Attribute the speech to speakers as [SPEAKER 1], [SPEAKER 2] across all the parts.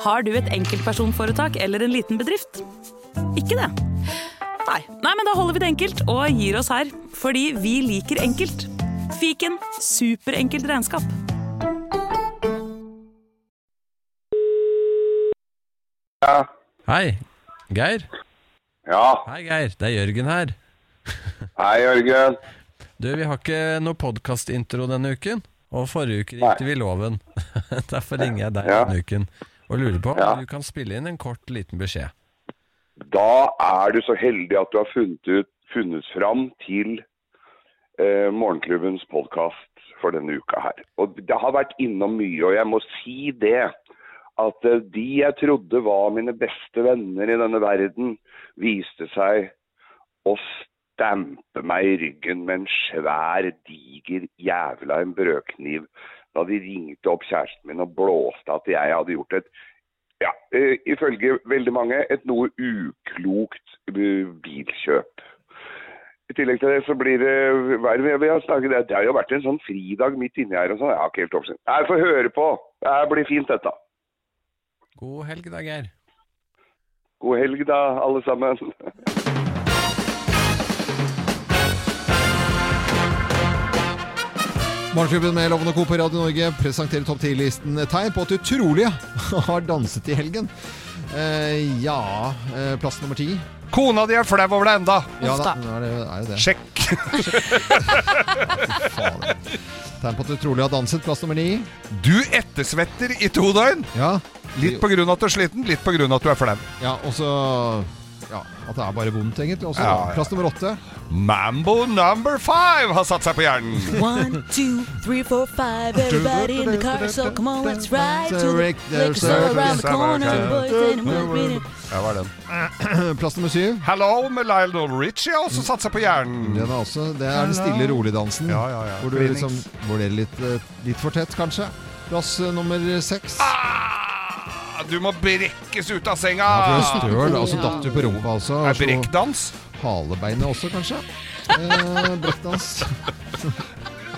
[SPEAKER 1] Har du et enkeltpersonforetak eller en liten bedrift? Ikke det? Nei. Nei, men da holder vi det enkelt og gir oss her. Fordi vi liker enkelt. Fiken superenkelt regnskap.
[SPEAKER 2] Ja.
[SPEAKER 3] Hei, Geir.
[SPEAKER 2] ja.
[SPEAKER 3] Hei, Geir. Det er Jørgen her.
[SPEAKER 2] Hei, Jørgen.
[SPEAKER 3] Du, vi har ikke noe podcastintro denne uken, og forrige uke gikk vi loven. Derfor ringer jeg deg
[SPEAKER 2] Ja.
[SPEAKER 3] denne uken og lurer på om
[SPEAKER 2] Ja.
[SPEAKER 3] du kan spille inn en kort, liten beskjed.
[SPEAKER 2] Da er du så heldig at du har funnet, ut, funnet fram til eh, Morgenklubbens podkast for denne uka her. Og det har vært innom mye, og jeg må si det. At eh, de jeg trodde var mine beste venner i denne verden, viste seg å stampe meg i ryggen med en svær, diger jævla en brødkniv da de ringte opp kjæresten min og blåste at jeg hadde gjort et ja, eh, ifølge veldig mange et noe uklokt eh, bilkjøp. I tillegg til det så blir det hva er det vi har snakket det, det har jo vært en sånn fridag midt inni her og sånn. Jeg har ikke helt oversikt. Nei, få høre på. Det her blir fint, dette.
[SPEAKER 3] God helg da, Geir.
[SPEAKER 2] God helg, da, alle sammen.
[SPEAKER 4] Morgenklubben med Lovende Co. på Radio Norge presenterer topp 10-listen tegn på at du trolig har danset i helgen. Eh, ja eh, Plass nummer ti.
[SPEAKER 5] Kona di er flau over deg enda.
[SPEAKER 4] Ja, da, nå er det er jo det.
[SPEAKER 5] Sjekk.
[SPEAKER 4] Fader. Tegn på at du trolig har danset. Plass nummer ni.
[SPEAKER 5] Du ettersvetter i to døgn.
[SPEAKER 4] Ja.
[SPEAKER 5] Litt pga. at du er sliten, litt pga. at du er flau.
[SPEAKER 4] ja og så ja, At det er bare vondt, egentlig. Også.
[SPEAKER 5] Ja, ja.
[SPEAKER 4] Plass nummer åtte.
[SPEAKER 5] Mambo number five har satt seg på hjernen.
[SPEAKER 6] One, two, three, four, five. Everybody in the car, so come on, let's ride to the liquor store around the corner. The boys and we'll be in.
[SPEAKER 5] Ja, var den.
[SPEAKER 4] Plass nummer syv.
[SPEAKER 5] Hello med Lionel Richie har også satt seg på hjernen.
[SPEAKER 4] Den er også, det er den stille, rolig dansen.
[SPEAKER 5] Ja, ja, ja.
[SPEAKER 4] Hvor du liksom Hvor det er litt, eh, litt for tett, kanskje. Plass eh, nummer seks.
[SPEAKER 5] Ah, du må brekkes ut
[SPEAKER 4] Ja,
[SPEAKER 5] av
[SPEAKER 4] for
[SPEAKER 5] senga.
[SPEAKER 4] det er støl, og så datt du på rumpa også. og
[SPEAKER 5] Er
[SPEAKER 4] så
[SPEAKER 5] brekkdans?
[SPEAKER 4] halebeinet også, kanskje. Eh, Brekkdans.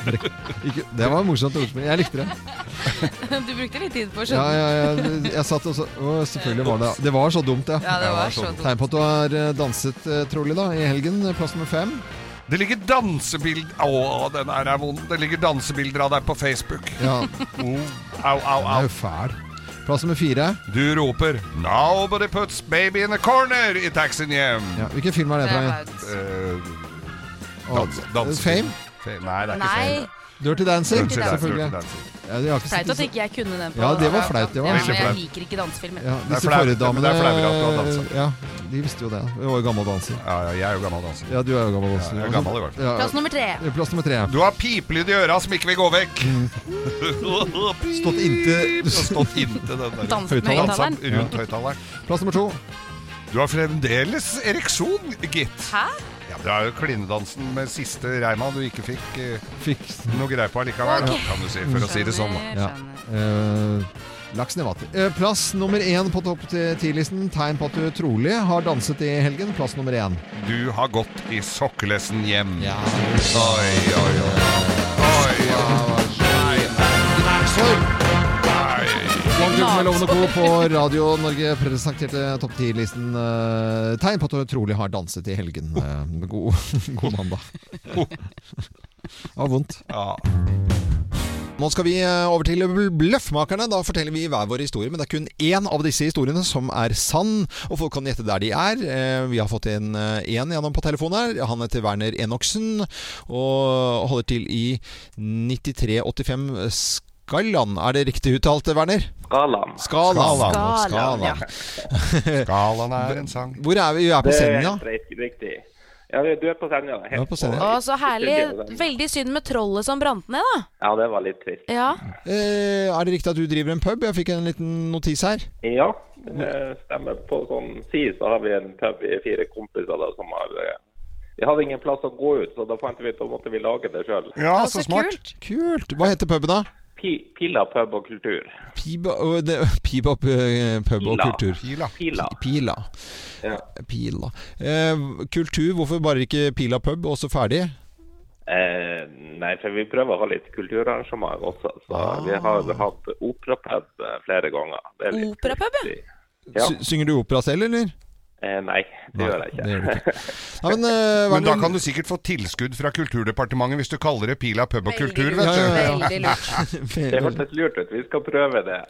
[SPEAKER 4] Brekk. Ikke, det var et morsomt ordspill. Jeg likte det.
[SPEAKER 7] Du brukte litt tid på å
[SPEAKER 4] Ja,
[SPEAKER 7] skjønne.
[SPEAKER 4] ja, ja, jeg satt også, å, selvfølgelig var det Det var så dumt, ja.
[SPEAKER 7] Ja, det var så dumt.
[SPEAKER 4] Tegn på at du har eh, danset eh, trolig da, i helgen. eh, Plass nummer fem.
[SPEAKER 5] Det ligger dansebild Å, den her er vond. Det ligger dansebilder av deg på Facebook.
[SPEAKER 4] Ja,
[SPEAKER 5] Oh, au, au,
[SPEAKER 4] den er
[SPEAKER 5] au.
[SPEAKER 4] jo fæl. Plass nummer fire.
[SPEAKER 5] Du roper 'Nobody puts baby in a corner' i taxien hjem.
[SPEAKER 4] Ja, hvilken film er det
[SPEAKER 7] Det
[SPEAKER 4] fra?
[SPEAKER 7] er
[SPEAKER 4] igjen?
[SPEAKER 7] bare-
[SPEAKER 5] Eh,
[SPEAKER 4] Å,
[SPEAKER 5] dans, dans,
[SPEAKER 4] Fame?
[SPEAKER 5] Fame. Nei, det er ikke
[SPEAKER 7] Nei,
[SPEAKER 4] Dirty Dancing,
[SPEAKER 5] Dirty Dancing, Dirty
[SPEAKER 4] selvfølgelig.
[SPEAKER 5] Dancing.
[SPEAKER 4] Ja, jeg har ikke
[SPEAKER 7] flaut
[SPEAKER 4] sett
[SPEAKER 7] at ikke jeg kunne den. på
[SPEAKER 4] Ja, det var flaut, det var
[SPEAKER 7] Ja,
[SPEAKER 5] veldig
[SPEAKER 7] men jeg
[SPEAKER 5] flaut.
[SPEAKER 7] liker ikke dansefilmer.
[SPEAKER 4] ja,
[SPEAKER 5] er
[SPEAKER 4] Disse
[SPEAKER 5] flaut, men det er
[SPEAKER 4] forrige damene
[SPEAKER 5] flauere at du har danset.
[SPEAKER 4] Ja, de visste jo det. Hun var jo gammel danser.
[SPEAKER 5] Ja, ja, jeg er jo gammel danser.
[SPEAKER 4] Ja, du er jo gammel også.
[SPEAKER 5] Ja, jeg er gammel i hvert fall.
[SPEAKER 4] Ja,
[SPEAKER 7] Plass nummer tre.
[SPEAKER 4] Plass nummer tre.
[SPEAKER 5] Du har pipelyd i øra som ikke vil gå vekk.
[SPEAKER 4] Mm. Stått inntil-
[SPEAKER 5] Du har Stått inntil den der
[SPEAKER 7] Danset med
[SPEAKER 5] dansa
[SPEAKER 7] høyttaleren.
[SPEAKER 5] rundt høyttaleren.
[SPEAKER 4] Plass nummer to.
[SPEAKER 5] Du har fremdeles ereksjon, gitt.
[SPEAKER 7] Hæ?
[SPEAKER 5] Ja, Det er jo klinedansen med siste reima du ikke fikk eh,
[SPEAKER 4] Fikk
[SPEAKER 5] noe greie på allikevel,
[SPEAKER 7] Ok.
[SPEAKER 5] kan du si, for å si det sånn. da.
[SPEAKER 7] Skjønner,
[SPEAKER 4] Ja.
[SPEAKER 7] skjønner.
[SPEAKER 4] eh, laksen i vater. Eh, plass nummer én på topp ti- ti-listen. Tegn på at du trolig har danset i helgen. Plass nummer én.
[SPEAKER 5] Du har gått i sokkelesten hjem.
[SPEAKER 4] Ja.
[SPEAKER 5] Oi, oi, oi. Oi, oi. Nei, nei.
[SPEAKER 4] Morgenklubben med Lovende Co. på Radio Norge presenterte topp ti-listen. eh, tegn på at du trolig har danset i helgen. Eh, god, god mandag.
[SPEAKER 5] Oh.
[SPEAKER 4] Det var vondt.
[SPEAKER 5] Ja.
[SPEAKER 4] Nå skal vi eh, over til bl- Bløffmakerne. Da forteller vi hver vår historie, men det er kun én av disse historiene som er sann. Og folk kan gjette der de er. Eh, Vi har fått inn én gjennom på telefonen her. Han heter Werner Enoksen og holder til i 9385 Skallan. Er det riktig uttalt, Werner?
[SPEAKER 8] Galan.
[SPEAKER 4] Skalan.
[SPEAKER 7] Skalan, ja.
[SPEAKER 5] Skalaen er en sang.
[SPEAKER 4] Hvor er vi? Vi er på
[SPEAKER 8] Det er
[SPEAKER 4] Senja.
[SPEAKER 8] helt riktig- riktig. Ja, du du er på Senja. Helt
[SPEAKER 4] Ja, på Senja.
[SPEAKER 7] Å, så herlig. Veldig synd med trollet som brant ned, da.
[SPEAKER 8] Ja, det var litt trist.
[SPEAKER 7] Ja.
[SPEAKER 4] Eh, Er det riktig at du driver en pub? Jeg fikk en liten notis her.
[SPEAKER 8] Ja, det stemmer. På sånn si så har vi en pub i fire kompiser da, som har eh, Vi hadde ingen plass å gå ut, så da fant vi ut da måtte vi lage det sjøl.
[SPEAKER 5] Ja,
[SPEAKER 7] Å,
[SPEAKER 5] så
[SPEAKER 7] så
[SPEAKER 5] smart.
[SPEAKER 7] kult.
[SPEAKER 4] Kult. Hva heter puben, da?
[SPEAKER 8] Pila pub og kultur.
[SPEAKER 4] Pib og, det- Pib og eh, pub og
[SPEAKER 8] Pila.
[SPEAKER 4] kultur.
[SPEAKER 5] Pila.
[SPEAKER 8] Pila.
[SPEAKER 4] Pila.
[SPEAKER 8] Ja.
[SPEAKER 4] Pila. Eh, kultur, hvorfor bare ikke Pila pub, og så ferdig?
[SPEAKER 8] Eh, Eh, nei, for vi prøver å ha litt kulturarrangement også. Så
[SPEAKER 4] Ah.
[SPEAKER 8] vi har hatt operapub eh, flere ganger. Det er litt
[SPEAKER 7] Operapub, ja?
[SPEAKER 8] kult. Ja.
[SPEAKER 4] Sy- Synger du opera selv, eller?
[SPEAKER 8] Eh, nei, det gjør jeg ikke.
[SPEAKER 4] Det gjør du ikke. Nei, men, eh,
[SPEAKER 5] Men da
[SPEAKER 4] Werner-
[SPEAKER 5] kan du sikkert få tilskudd fra Kulturdepartementet hvis du kaller det Pila pub og kultur,
[SPEAKER 7] Veldig
[SPEAKER 5] vet
[SPEAKER 7] lurt.
[SPEAKER 5] du.
[SPEAKER 7] Veldig lurt.
[SPEAKER 8] Det hørtes lurt ut. Vi skal prøve det.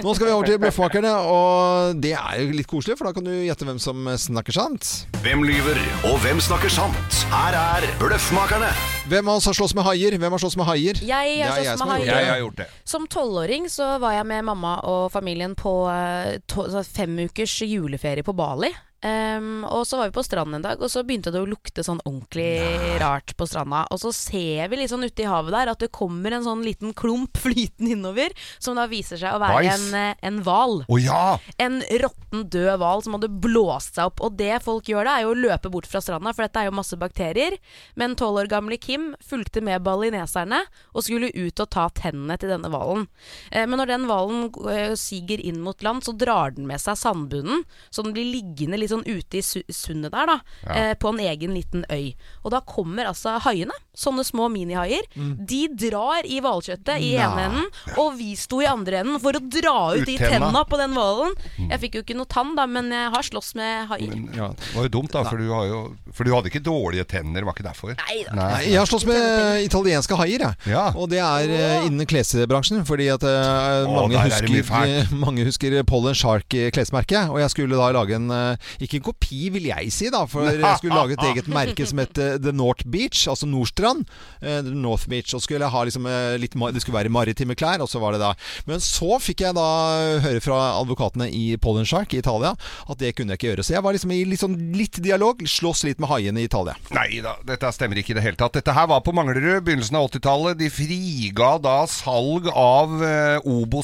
[SPEAKER 4] Nå skal vi over til Bløffmakerne, og det er jo litt koselig, for da kan du gjette hvem som snakker sant.
[SPEAKER 9] Hvem lyver, og hvem snakker sant? Her er Bløffmakerne.
[SPEAKER 4] Hvem av oss har slåss med haier? Hvem har slåss med haier?
[SPEAKER 7] Jeg
[SPEAKER 4] Det er
[SPEAKER 7] har
[SPEAKER 4] jeg
[SPEAKER 7] slåss
[SPEAKER 4] som
[SPEAKER 7] med
[SPEAKER 4] har gjort
[SPEAKER 7] haier.
[SPEAKER 4] det.
[SPEAKER 5] Jeg har gjort det.
[SPEAKER 7] Som tolvåring så var jeg med mamma og familien på eh, to, så fem ukers juleferie på Bali. Ehm, og så var vi på stranden en dag, og så begynte det å lukte sånn ordentlig rart på stranda. Og så ser vi litt sånn ute i havet der at det kommer en sånn liten klump flytende innover, som da viser seg å være
[SPEAKER 5] Bæsj.
[SPEAKER 7] en, eh, en hval.
[SPEAKER 5] Å ja!
[SPEAKER 7] En råtten, død hval som hadde blåst seg opp. Og det folk gjør da, er jo å løpe bort fra stranda, for dette er jo masse bakterier. Men tolv år gamle Kim fulgte med balineserne og skulle ut og ta tennene til denne hvalen. Eh, Men når den hvalen eh, siger inn mot land, så drar den med seg sandbunnen, så den blir liggende litt sånn ute i su- sundet der, da. eh, På en egen liten øy. Og da kommer altså haiene, sånne små minihaier.
[SPEAKER 5] Mm.
[SPEAKER 7] De drar i hvalkjøttet i ene enden, og vi sto i andre enden for å dra ut de
[SPEAKER 5] Uttenna.
[SPEAKER 7] tenna på den hvalen.
[SPEAKER 5] Mm.
[SPEAKER 7] Jeg fikk jo ikke noe tann, da, men jeg har slåss med haier.
[SPEAKER 5] Det var jo dumt, da, for du, har jo, for du hadde ikke dårlige tenner, det var ikke derfor.
[SPEAKER 7] Nei da.
[SPEAKER 5] Nei.
[SPEAKER 4] Nei, Jeg har slåss med italienske haier, jeg.
[SPEAKER 5] Ja.
[SPEAKER 4] Og det er eh, innen klesbransjen. Fordi at eh, mange,
[SPEAKER 5] der er det mye
[SPEAKER 4] husker,
[SPEAKER 5] fælt.
[SPEAKER 4] mange husker Pollen Shark-klesmerket. Og jeg skulle da lage en eh, Ikke en kopi, vil jeg si, da. For jeg skulle lage et eget merke som het eh, The North Beach, altså Nordstrand. eh, The North Beach. Og skulle jeg ha liksom eh, litt ma- Det skulle være maritime klær, og så var det da Men så fikk jeg da høre fra advokatene i Pollen Shark i Italia at det kunne jeg ikke gjøre. Så jeg var liksom i litt, sånn, litt dialog. Slåss litt med haiene i Italia.
[SPEAKER 5] Nei da, dette stemmer ikke i det hele tatt. Dette her var på Manglerud, begynnelsen av 80-tallet. De friga da salg av eh,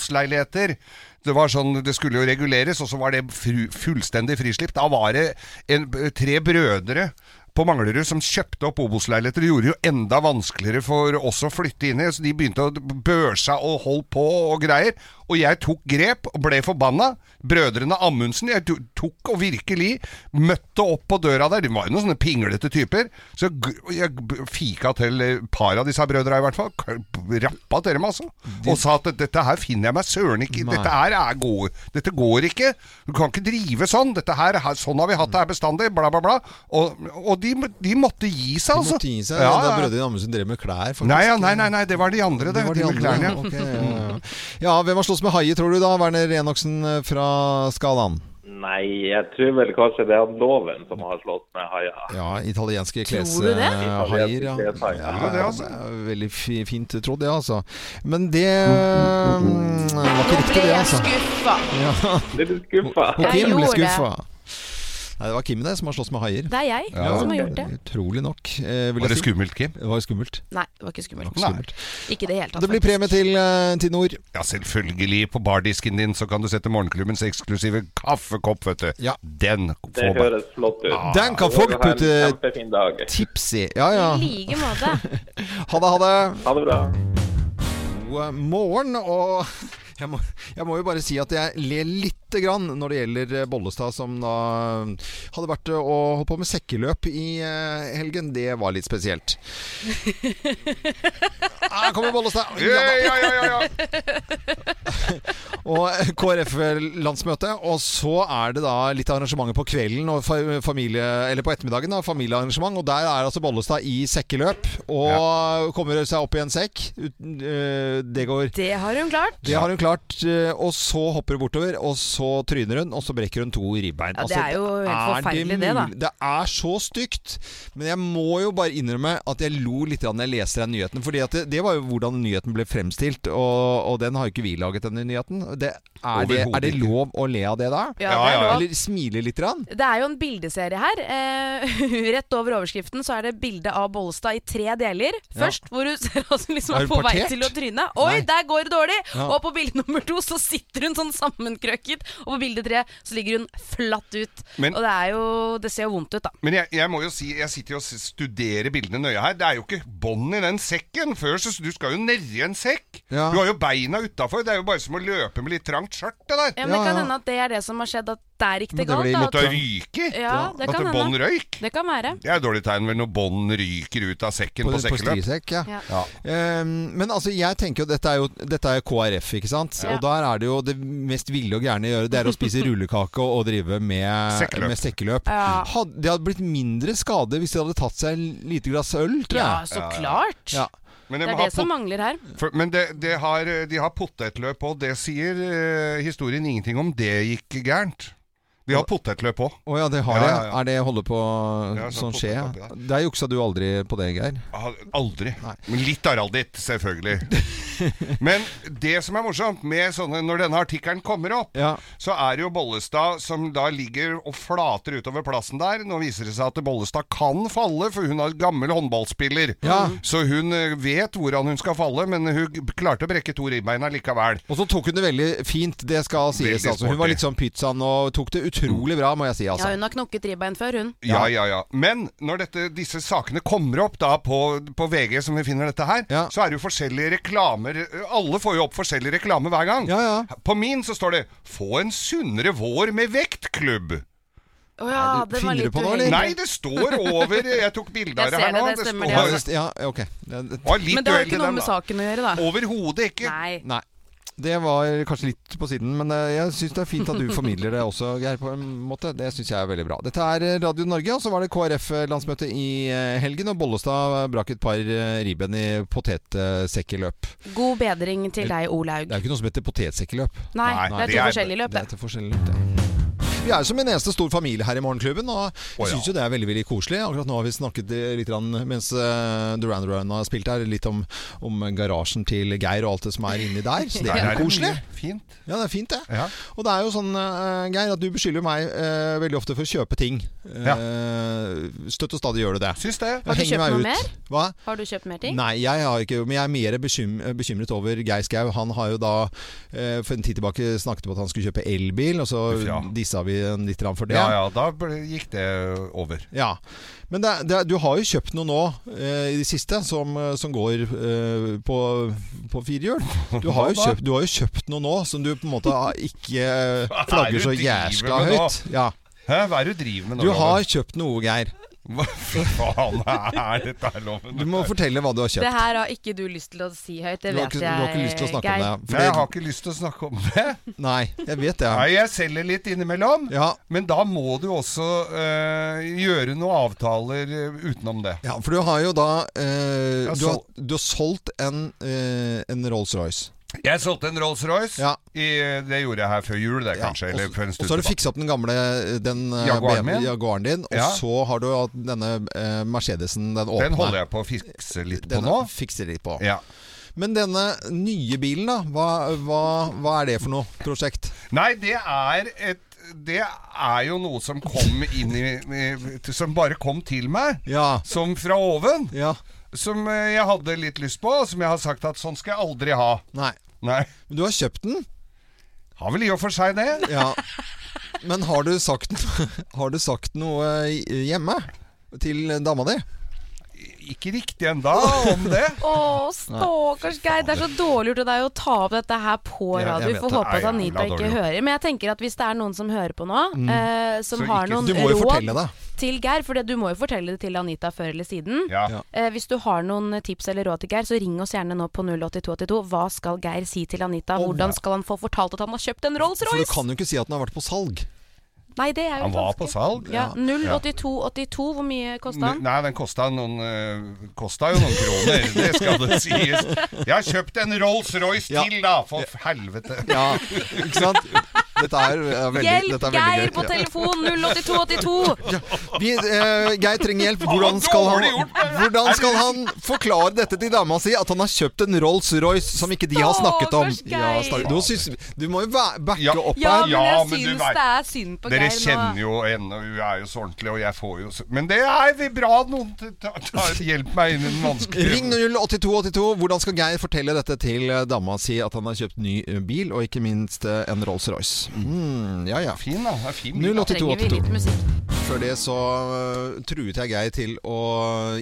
[SPEAKER 5] Obos-leiligheter. Det var sånn, det skulle jo reguleres, og så var det fru, fullstendig frislipp. Da var det en, tre brødre på Manglerud som kjøpte opp Obos-leiligheter. Det gjorde det jo enda vanskeligere for oss å flytte inn i, så de begynte å børsa og holdt på og greier. Og jeg tok grep og ble forbanna. Brødrene Amundsen, jeg to- tok og virkelig møtte opp på døra der. De var jo noen sånne pinglete typer. Så g- jeg b- fika til et par av disse brødra i hvert fall. K- Rappa til dem, altså. Og sa at dette her finner jeg meg søren ikke i. Dette her er gode. Dette går ikke. Du kan ikke drive sånn. Dette her, er- sånn har vi hatt det her bestandig. Bla, bla, bla. Og, og de, de måtte gi seg, altså.
[SPEAKER 4] måtte gi seg.
[SPEAKER 5] Ja,
[SPEAKER 4] Da
[SPEAKER 5] ja.
[SPEAKER 4] brødrene Amundsen drev med klær, faktisk.
[SPEAKER 5] Nei, ja, nei, nei, nei, det var de andre, det.
[SPEAKER 4] Det var de
[SPEAKER 5] med
[SPEAKER 4] andre. ja.
[SPEAKER 5] klærne, ja.
[SPEAKER 4] Ok, ja, ja. ja, hvem har slåss med haier, tror du da, Werner Enoksen eh, fra Skalaen?
[SPEAKER 8] Nei, jeg tror vel kanskje det er han Loven som har slått med haier.
[SPEAKER 4] Ja, italienske
[SPEAKER 7] Tror du det?
[SPEAKER 4] kleshaier. Ja.
[SPEAKER 8] Italienske kleshaier.
[SPEAKER 4] Ja,
[SPEAKER 5] Tror du det, altså?
[SPEAKER 4] er Veldig fi- fint trodd, det, altså. Men det eh, var ikke riktig, det, altså.
[SPEAKER 7] skuffa.
[SPEAKER 8] Blir du skuffa?
[SPEAKER 4] Og Kim ble
[SPEAKER 7] gjorde det.
[SPEAKER 4] skuffa. Nei, det var Kim det som har slåss med haier.
[SPEAKER 7] Det er jeg som har gjort det.
[SPEAKER 4] Utrolig nok. eh, vil
[SPEAKER 5] Var
[SPEAKER 4] jeg
[SPEAKER 5] det
[SPEAKER 4] si.
[SPEAKER 5] skummelt, Kim?
[SPEAKER 4] Det var skummelt.
[SPEAKER 7] Nei, det var ikke skummelt.
[SPEAKER 5] Nei.
[SPEAKER 4] skummelt.
[SPEAKER 7] Ikke i det hele tatt.
[SPEAKER 4] Det blir premie til, eh, til Nord.
[SPEAKER 5] Ja, selvfølgelig. På bardisken din så kan du sette morgenklubbens eksklusive kaffekopp, vet du.
[SPEAKER 4] Ja.
[SPEAKER 5] Den
[SPEAKER 8] Det
[SPEAKER 5] får meg.
[SPEAKER 8] høres flott
[SPEAKER 5] Ah,
[SPEAKER 8] ut.
[SPEAKER 4] Den kan folk
[SPEAKER 8] Ha en
[SPEAKER 4] putte
[SPEAKER 8] Kjempefin dag.
[SPEAKER 4] tips i. Ja, ja.
[SPEAKER 7] faktisk. I like måte.
[SPEAKER 4] Ha det, ha det.
[SPEAKER 8] Ha det bra.
[SPEAKER 4] God morgen, og jeg må, jeg må jo bare si at jeg ler lite grann når det gjelder eh, Bollestad, som da hadde vært eh, og holdt på med sekkeløp i eh, helgen. Det var litt spesielt. Her kommer Bollestad!
[SPEAKER 5] Ja,
[SPEAKER 4] Ja,
[SPEAKER 5] ja, ja, ja, ja.
[SPEAKER 4] da. Og KrF-landsmøte. Og så er det da litt arrangementer på kvelden og fa- familie, eller på ettermiddagen. da, Familiearrangement. Og der er altså Bollestad i sekkeløp. Og kommer seg opp i en sekk. Uten- eh, Det går
[SPEAKER 7] Det har hun klart.
[SPEAKER 4] det har hun klart, eh, og så hopper hun bortover, og så tryner hun, og så brekker hun to ribbein. Altså,
[SPEAKER 7] Ja, det er jo helt
[SPEAKER 4] er
[SPEAKER 7] forferdelig det, da.
[SPEAKER 4] mulig? Det er så stygt. Men jeg må jo bare innrømme at jeg lo litt da jeg leste den nyheten. For det, det var jo hvordan nyheten ble fremstilt, og, og den har jo ikke vi laget, denne nyheten. Det, er, det, er det
[SPEAKER 5] Overhodet ikke.
[SPEAKER 4] lov å le av det da?
[SPEAKER 7] Ja, det er
[SPEAKER 5] ja.
[SPEAKER 7] lov.
[SPEAKER 4] Eller smile litt? Grann?
[SPEAKER 7] Det er jo en bildeserie her. Eh, rett over overskriften så er det bilde av Bollestad i tre deler. Først hvor hun ser at hun liksom
[SPEAKER 4] Er
[SPEAKER 7] er,
[SPEAKER 4] hun
[SPEAKER 7] på vei
[SPEAKER 4] partert?
[SPEAKER 7] til å tryne. Oi,
[SPEAKER 4] Nei.
[SPEAKER 7] der går det dårlig!
[SPEAKER 4] Ja.
[SPEAKER 7] Og på bilde nummer to så sitter hun sånn sammenkrøkket, og på bilde tre så ligger hun flatt ut.
[SPEAKER 5] Men-
[SPEAKER 7] og det er jo Det ser jo vondt ut, da.
[SPEAKER 5] Men jeg, jeg må jo si, jeg sitter jo og s- studerer bildene nøye her. Det er jo ikke bånd i den sekken før, så du skal jo nedi en sekk.
[SPEAKER 4] Ja.
[SPEAKER 5] Du har jo beina utafor. Det er jo bare som å løpe med litt trangt skjørt, det der.
[SPEAKER 7] Ja, men
[SPEAKER 4] Ja,
[SPEAKER 7] Det kan
[SPEAKER 4] ja.
[SPEAKER 7] hende at det er det som har skjedd, at Dette er ikke
[SPEAKER 4] Men
[SPEAKER 7] det
[SPEAKER 4] det blir
[SPEAKER 7] galt. da,
[SPEAKER 4] litt
[SPEAKER 5] At det
[SPEAKER 7] at-
[SPEAKER 5] ryker?
[SPEAKER 7] Ja, det
[SPEAKER 5] At
[SPEAKER 7] kan
[SPEAKER 5] det
[SPEAKER 7] hende.
[SPEAKER 5] bånd røyk?
[SPEAKER 7] Det kan være.
[SPEAKER 5] Det er et dårlig tegn vel når bånd ryker ut av sekken på,
[SPEAKER 4] På, på
[SPEAKER 5] sekkeløp.
[SPEAKER 4] strisekk, ja.
[SPEAKER 7] Ja.
[SPEAKER 5] Ja.
[SPEAKER 4] Eh, men altså, jeg tenker jo Dette er jo, dette er jo KrF, ikke sant?
[SPEAKER 7] Ja.
[SPEAKER 4] Og der er det jo det mest ville og gærne å gjøre, det er å spise rullekake og, og drive med
[SPEAKER 5] Sekkeløp.
[SPEAKER 4] med sekkeløp.
[SPEAKER 7] Ja.
[SPEAKER 4] Had, det hadde blitt mindre skade hvis de hadde tatt seg en lite glass øl, tror
[SPEAKER 7] ja,
[SPEAKER 4] jeg.
[SPEAKER 7] så klart.
[SPEAKER 4] Ja.
[SPEAKER 5] Men, de
[SPEAKER 7] Det er
[SPEAKER 5] har
[SPEAKER 7] det som
[SPEAKER 5] pot-
[SPEAKER 7] mangler her.
[SPEAKER 5] for, men det, det har, eh, de har potetløp òg. Det sier eh, historien ingenting om. Det gikk gærent. De har potetløp òg.
[SPEAKER 4] Å ja, det har
[SPEAKER 5] Ja,
[SPEAKER 4] jeg.
[SPEAKER 5] ja, ja.
[SPEAKER 4] Er det holde på
[SPEAKER 5] Ja, sånn
[SPEAKER 4] sånn skje? ja?
[SPEAKER 5] potet oppi
[SPEAKER 4] Der juksa du aldri på det, Geir.
[SPEAKER 5] Ah, Aldri.
[SPEAKER 4] Nei.
[SPEAKER 5] Men litt aralditt, selvfølgelig. Men det som er morsomt med sånne Når denne artikkelen kommer opp,
[SPEAKER 4] Ja.
[SPEAKER 5] så er det jo Bollestad som da ligger og flater utover plassen der. Nå viser det seg at Bollestad kan falle, for hun er gammel håndballspiller.
[SPEAKER 4] Ja.
[SPEAKER 5] Så hun eh, vet hvordan hun skal falle, men hun g- klarte å brekke to ribbeina likevel.
[SPEAKER 4] Og så tok hun det veldig fint, det skal sies.
[SPEAKER 5] Veldig
[SPEAKER 4] Altså. Hun var
[SPEAKER 5] sporty.
[SPEAKER 4] litt sånn pizzaen og tok det utrolig bra, må jeg si.
[SPEAKER 7] Ja,
[SPEAKER 4] Altså.
[SPEAKER 7] hun har knokket ribbein før, hun.
[SPEAKER 5] Ja, ja, ja. Men når dette, disse sakene kommer opp da på, på VG, som vi finner dette her,
[SPEAKER 4] Ja.
[SPEAKER 5] så er det jo forskjellige reklamer. Alle får jo opp forskjellige reklamer hver gang.
[SPEAKER 4] Ja, ja.
[SPEAKER 5] På min så står det 'Få en sunnere vår med vektklubb'.
[SPEAKER 7] Å ja,
[SPEAKER 4] du
[SPEAKER 7] det var
[SPEAKER 4] finner
[SPEAKER 7] litt
[SPEAKER 4] på noe, eller?
[SPEAKER 7] uheldig.
[SPEAKER 5] Nei, det står over Jeg tok bilde av
[SPEAKER 7] Jeg
[SPEAKER 5] det her
[SPEAKER 7] ser det,
[SPEAKER 5] nå.
[SPEAKER 7] det stemmer
[SPEAKER 5] står,
[SPEAKER 4] Ja,
[SPEAKER 7] det,
[SPEAKER 4] det- ja, ok. Det- det-
[SPEAKER 5] var litt
[SPEAKER 7] Men det har
[SPEAKER 5] duell i
[SPEAKER 7] ikke noe
[SPEAKER 5] den,
[SPEAKER 7] med
[SPEAKER 5] da.
[SPEAKER 7] saken å gjøre, da.
[SPEAKER 5] Overhodet ikke.
[SPEAKER 7] Nei.
[SPEAKER 4] Nei. Det var kanskje litt på siden, men eh, jeg syns det er fint at du formidler det også, Geir, på en måte. Det syns jeg er veldig bra. Dette er eh, Radio Norge, og så var det KrF-landsmøte i eh, helgen, og Bollestad brakk et par eh, ribben i potetsekkeløp.
[SPEAKER 7] God bedring til deg, Olaug.
[SPEAKER 4] Det er jo ikke noe som heter potetsekkeløp.
[SPEAKER 7] Nei,
[SPEAKER 5] Nei,
[SPEAKER 7] det er
[SPEAKER 5] det
[SPEAKER 7] to
[SPEAKER 5] er-
[SPEAKER 7] forskjellige
[SPEAKER 4] Det
[SPEAKER 7] løp. det.
[SPEAKER 4] er til forskjellig ut, ja. Vi er jo som en eneste stor familie her i Morgenklubben, og jeg
[SPEAKER 5] Å, ja.
[SPEAKER 4] syns jo det er veldig veldig koselig. Akkurat nå har vi snakket eh, litt grann, mens eh, Duran Duran har spilt her, litt om, om garasjen til Geir og alt det som er inni der. Så det
[SPEAKER 5] Der
[SPEAKER 4] er
[SPEAKER 5] er
[SPEAKER 4] jo koselig.
[SPEAKER 5] mye Fint.
[SPEAKER 4] Ja, det er fint, det.
[SPEAKER 5] Ja.
[SPEAKER 4] Og det er jo sånn, eh, Geir, at du beskylder meg eh, veldig ofte for å kjøpe ting. Eh, Støtt og stadig gjør du det.
[SPEAKER 5] Syns det.
[SPEAKER 7] Har du
[SPEAKER 4] Jeg henger
[SPEAKER 7] kjøpt
[SPEAKER 4] meg
[SPEAKER 7] noe
[SPEAKER 4] ut.
[SPEAKER 7] mer?
[SPEAKER 4] Hva?
[SPEAKER 7] Har du kjøpt mer ting?
[SPEAKER 4] Nei, jeg har ikke Men jeg er mer bekym bekymret over Geir Skau. Han har jo da eh, for en tid tilbake snakket om at han skulle kjøpe elbil, og så
[SPEAKER 5] Uff, ja.
[SPEAKER 4] dissa vi en litt grann for det.
[SPEAKER 5] Ja ja, da ble- gikk det over.
[SPEAKER 4] Ja. Men det, er- det, er- du har jo kjøpt noe nå eh, i det siste som, eh, som går eh, på, på firehjul. Du har, jo
[SPEAKER 5] Hva da?
[SPEAKER 4] kjøpt, du har jo kjøpt noe nå som du på en måte har- ikke eh, flagger så
[SPEAKER 5] Hva er det du
[SPEAKER 4] jæskla
[SPEAKER 5] driver med
[SPEAKER 4] høyt. Ja.
[SPEAKER 5] Hæ, hva er det du driver med nå?
[SPEAKER 4] Du har
[SPEAKER 5] Loven?
[SPEAKER 4] kjøpt noe, Geir.
[SPEAKER 5] Hva faen er dette her,
[SPEAKER 4] Du
[SPEAKER 5] Loven?
[SPEAKER 4] må fortelle hva du har
[SPEAKER 7] Det
[SPEAKER 4] kjøpt.
[SPEAKER 7] her har ikke du lyst til å si høyt, det
[SPEAKER 4] Du har,
[SPEAKER 7] vet
[SPEAKER 4] ikke,
[SPEAKER 7] jeg.
[SPEAKER 4] du har ikke lyst til å snakke om det.
[SPEAKER 5] Nei, jeg har ikke lyst til å snakke om det.
[SPEAKER 4] Nei, jeg vet det.
[SPEAKER 5] Nei, jeg selger litt innimellom.
[SPEAKER 4] Ja,
[SPEAKER 5] Men da må du også eh, gjøre noen avtaler eh, utenom det.
[SPEAKER 4] Ja, for du har jo da eh,
[SPEAKER 5] har
[SPEAKER 4] du, har, du har solgt en, eh, en Rolls-Royce.
[SPEAKER 5] Jeg solgte en Rolls-Royce.
[SPEAKER 4] Ja.
[SPEAKER 5] i- Det gjorde jeg her før jul, det,
[SPEAKER 4] Ja,
[SPEAKER 5] kanskje.
[SPEAKER 4] og
[SPEAKER 5] eller
[SPEAKER 4] så-
[SPEAKER 5] for en
[SPEAKER 4] Og
[SPEAKER 5] stund
[SPEAKER 4] så har du
[SPEAKER 5] tilbake.
[SPEAKER 4] fiksa opp den gamle den, eh,
[SPEAKER 5] Jaguaren
[SPEAKER 4] BMW
[SPEAKER 5] min.
[SPEAKER 4] jaguaren din. Og
[SPEAKER 5] Ja.
[SPEAKER 4] så har du hatt denne eh, Mercedesen, den åpne.
[SPEAKER 5] Den holder jeg på å fikse litt på
[SPEAKER 4] Denne
[SPEAKER 5] nå.
[SPEAKER 4] fikser de på.
[SPEAKER 5] Ja.
[SPEAKER 4] Men denne nye bilen, da. Hva, hva, hva er det for noe prosjekt?
[SPEAKER 5] Nei, det er et Det er jo noe som kom inn i i- Som bare kom til meg.
[SPEAKER 4] Ja.
[SPEAKER 5] Som fra oven.
[SPEAKER 4] Ja.
[SPEAKER 5] Som eh, jeg hadde litt lyst på, og som jeg har sagt at sånn skal jeg aldri ha.
[SPEAKER 4] Nei.
[SPEAKER 5] Nei.
[SPEAKER 4] Men du har kjøpt den?
[SPEAKER 5] Har vel i og for seg det.
[SPEAKER 4] Ja. Men har du sagt, har du sagt noe hjemme? Til dama di?
[SPEAKER 5] Ikke riktig enda om det.
[SPEAKER 7] Å, stakkars Geir. Det er så dårlig gjort av deg å ta opp dette her
[SPEAKER 4] Ja,
[SPEAKER 7] på
[SPEAKER 4] jeg
[SPEAKER 7] radio.
[SPEAKER 4] vet
[SPEAKER 7] Vi får
[SPEAKER 4] det.
[SPEAKER 7] håpe
[SPEAKER 5] Nei,
[SPEAKER 7] at Anita
[SPEAKER 5] jævla
[SPEAKER 7] ikke
[SPEAKER 5] dårlig gjort.
[SPEAKER 7] hører. Men jeg tenker at hvis det er noen som hører på nå, eh, som
[SPEAKER 5] Så
[SPEAKER 7] har
[SPEAKER 5] ikke-
[SPEAKER 4] Mm. Du
[SPEAKER 7] noen
[SPEAKER 4] må jo fortelle
[SPEAKER 7] råd
[SPEAKER 4] det.
[SPEAKER 7] til Geir, for det- du må jo fortelle det til Anita før eller siden.
[SPEAKER 5] Ja.
[SPEAKER 4] Ja.
[SPEAKER 7] Eh, hvis du har noen tips eller råd til Geir, så ring oss gjerne nå på 08282. Hva skal Geir si til Anita? Hvordan skal han få fortalt at han har kjøpt en
[SPEAKER 4] For du
[SPEAKER 7] Rolls-Royce?
[SPEAKER 4] kan jo ikke si at den har vært på salg.
[SPEAKER 7] Nei, det er jo
[SPEAKER 5] Han var på
[SPEAKER 7] ganske-
[SPEAKER 5] salg.
[SPEAKER 7] Ja, 08282, hvor mye kosta han?
[SPEAKER 5] Nei, den kosta noen eh, Kosta jo noen kroner, det skal det sies. Jeg har kjøpt en Rolls-Royce
[SPEAKER 4] Ja.
[SPEAKER 5] til, da! For helvete.
[SPEAKER 4] Ja, ikke sant? Dette er eh, veldig,
[SPEAKER 7] Hjelp
[SPEAKER 4] dette er veldig
[SPEAKER 7] Geir
[SPEAKER 4] gøy.
[SPEAKER 7] på telefon 08282!
[SPEAKER 4] Vi, eh, Geir trenger hjelp. Hvordan skal,
[SPEAKER 5] dårlig
[SPEAKER 4] han,
[SPEAKER 5] gjort, det der.
[SPEAKER 4] hvordan skal han forklare dette til dama si, at han har kjøpt en Rolls-Royce som ikke de har snakket om?
[SPEAKER 7] Stakkars Geir.
[SPEAKER 4] Ja, stakkars- du, syns, du må jo væ- backe
[SPEAKER 5] Ja.
[SPEAKER 4] opp
[SPEAKER 7] Ja,
[SPEAKER 4] her.
[SPEAKER 7] men
[SPEAKER 5] Ja,
[SPEAKER 7] jeg
[SPEAKER 5] men du
[SPEAKER 7] syns
[SPEAKER 5] vet-
[SPEAKER 7] det er synd på
[SPEAKER 5] Dere
[SPEAKER 7] Geir nå.
[SPEAKER 5] kjenner jo henne, og hun er jo så ordentlig, og jeg får jo så Men det er vel bra at noen t- ta- ta- hjelper meg inn i den vanskelige
[SPEAKER 4] Ring 08282. Hvordan skal Geir fortelle dette til eh, dama si, at han har kjøpt ny eh, bil, og ikke minst eh, en Rolls-Royce? Mm, ja, ja.
[SPEAKER 5] Fin, da. Det er fin. bil, da.
[SPEAKER 4] 08282.
[SPEAKER 7] Trenger vi litt musikk?
[SPEAKER 4] før det så øh, truet jeg Geir til å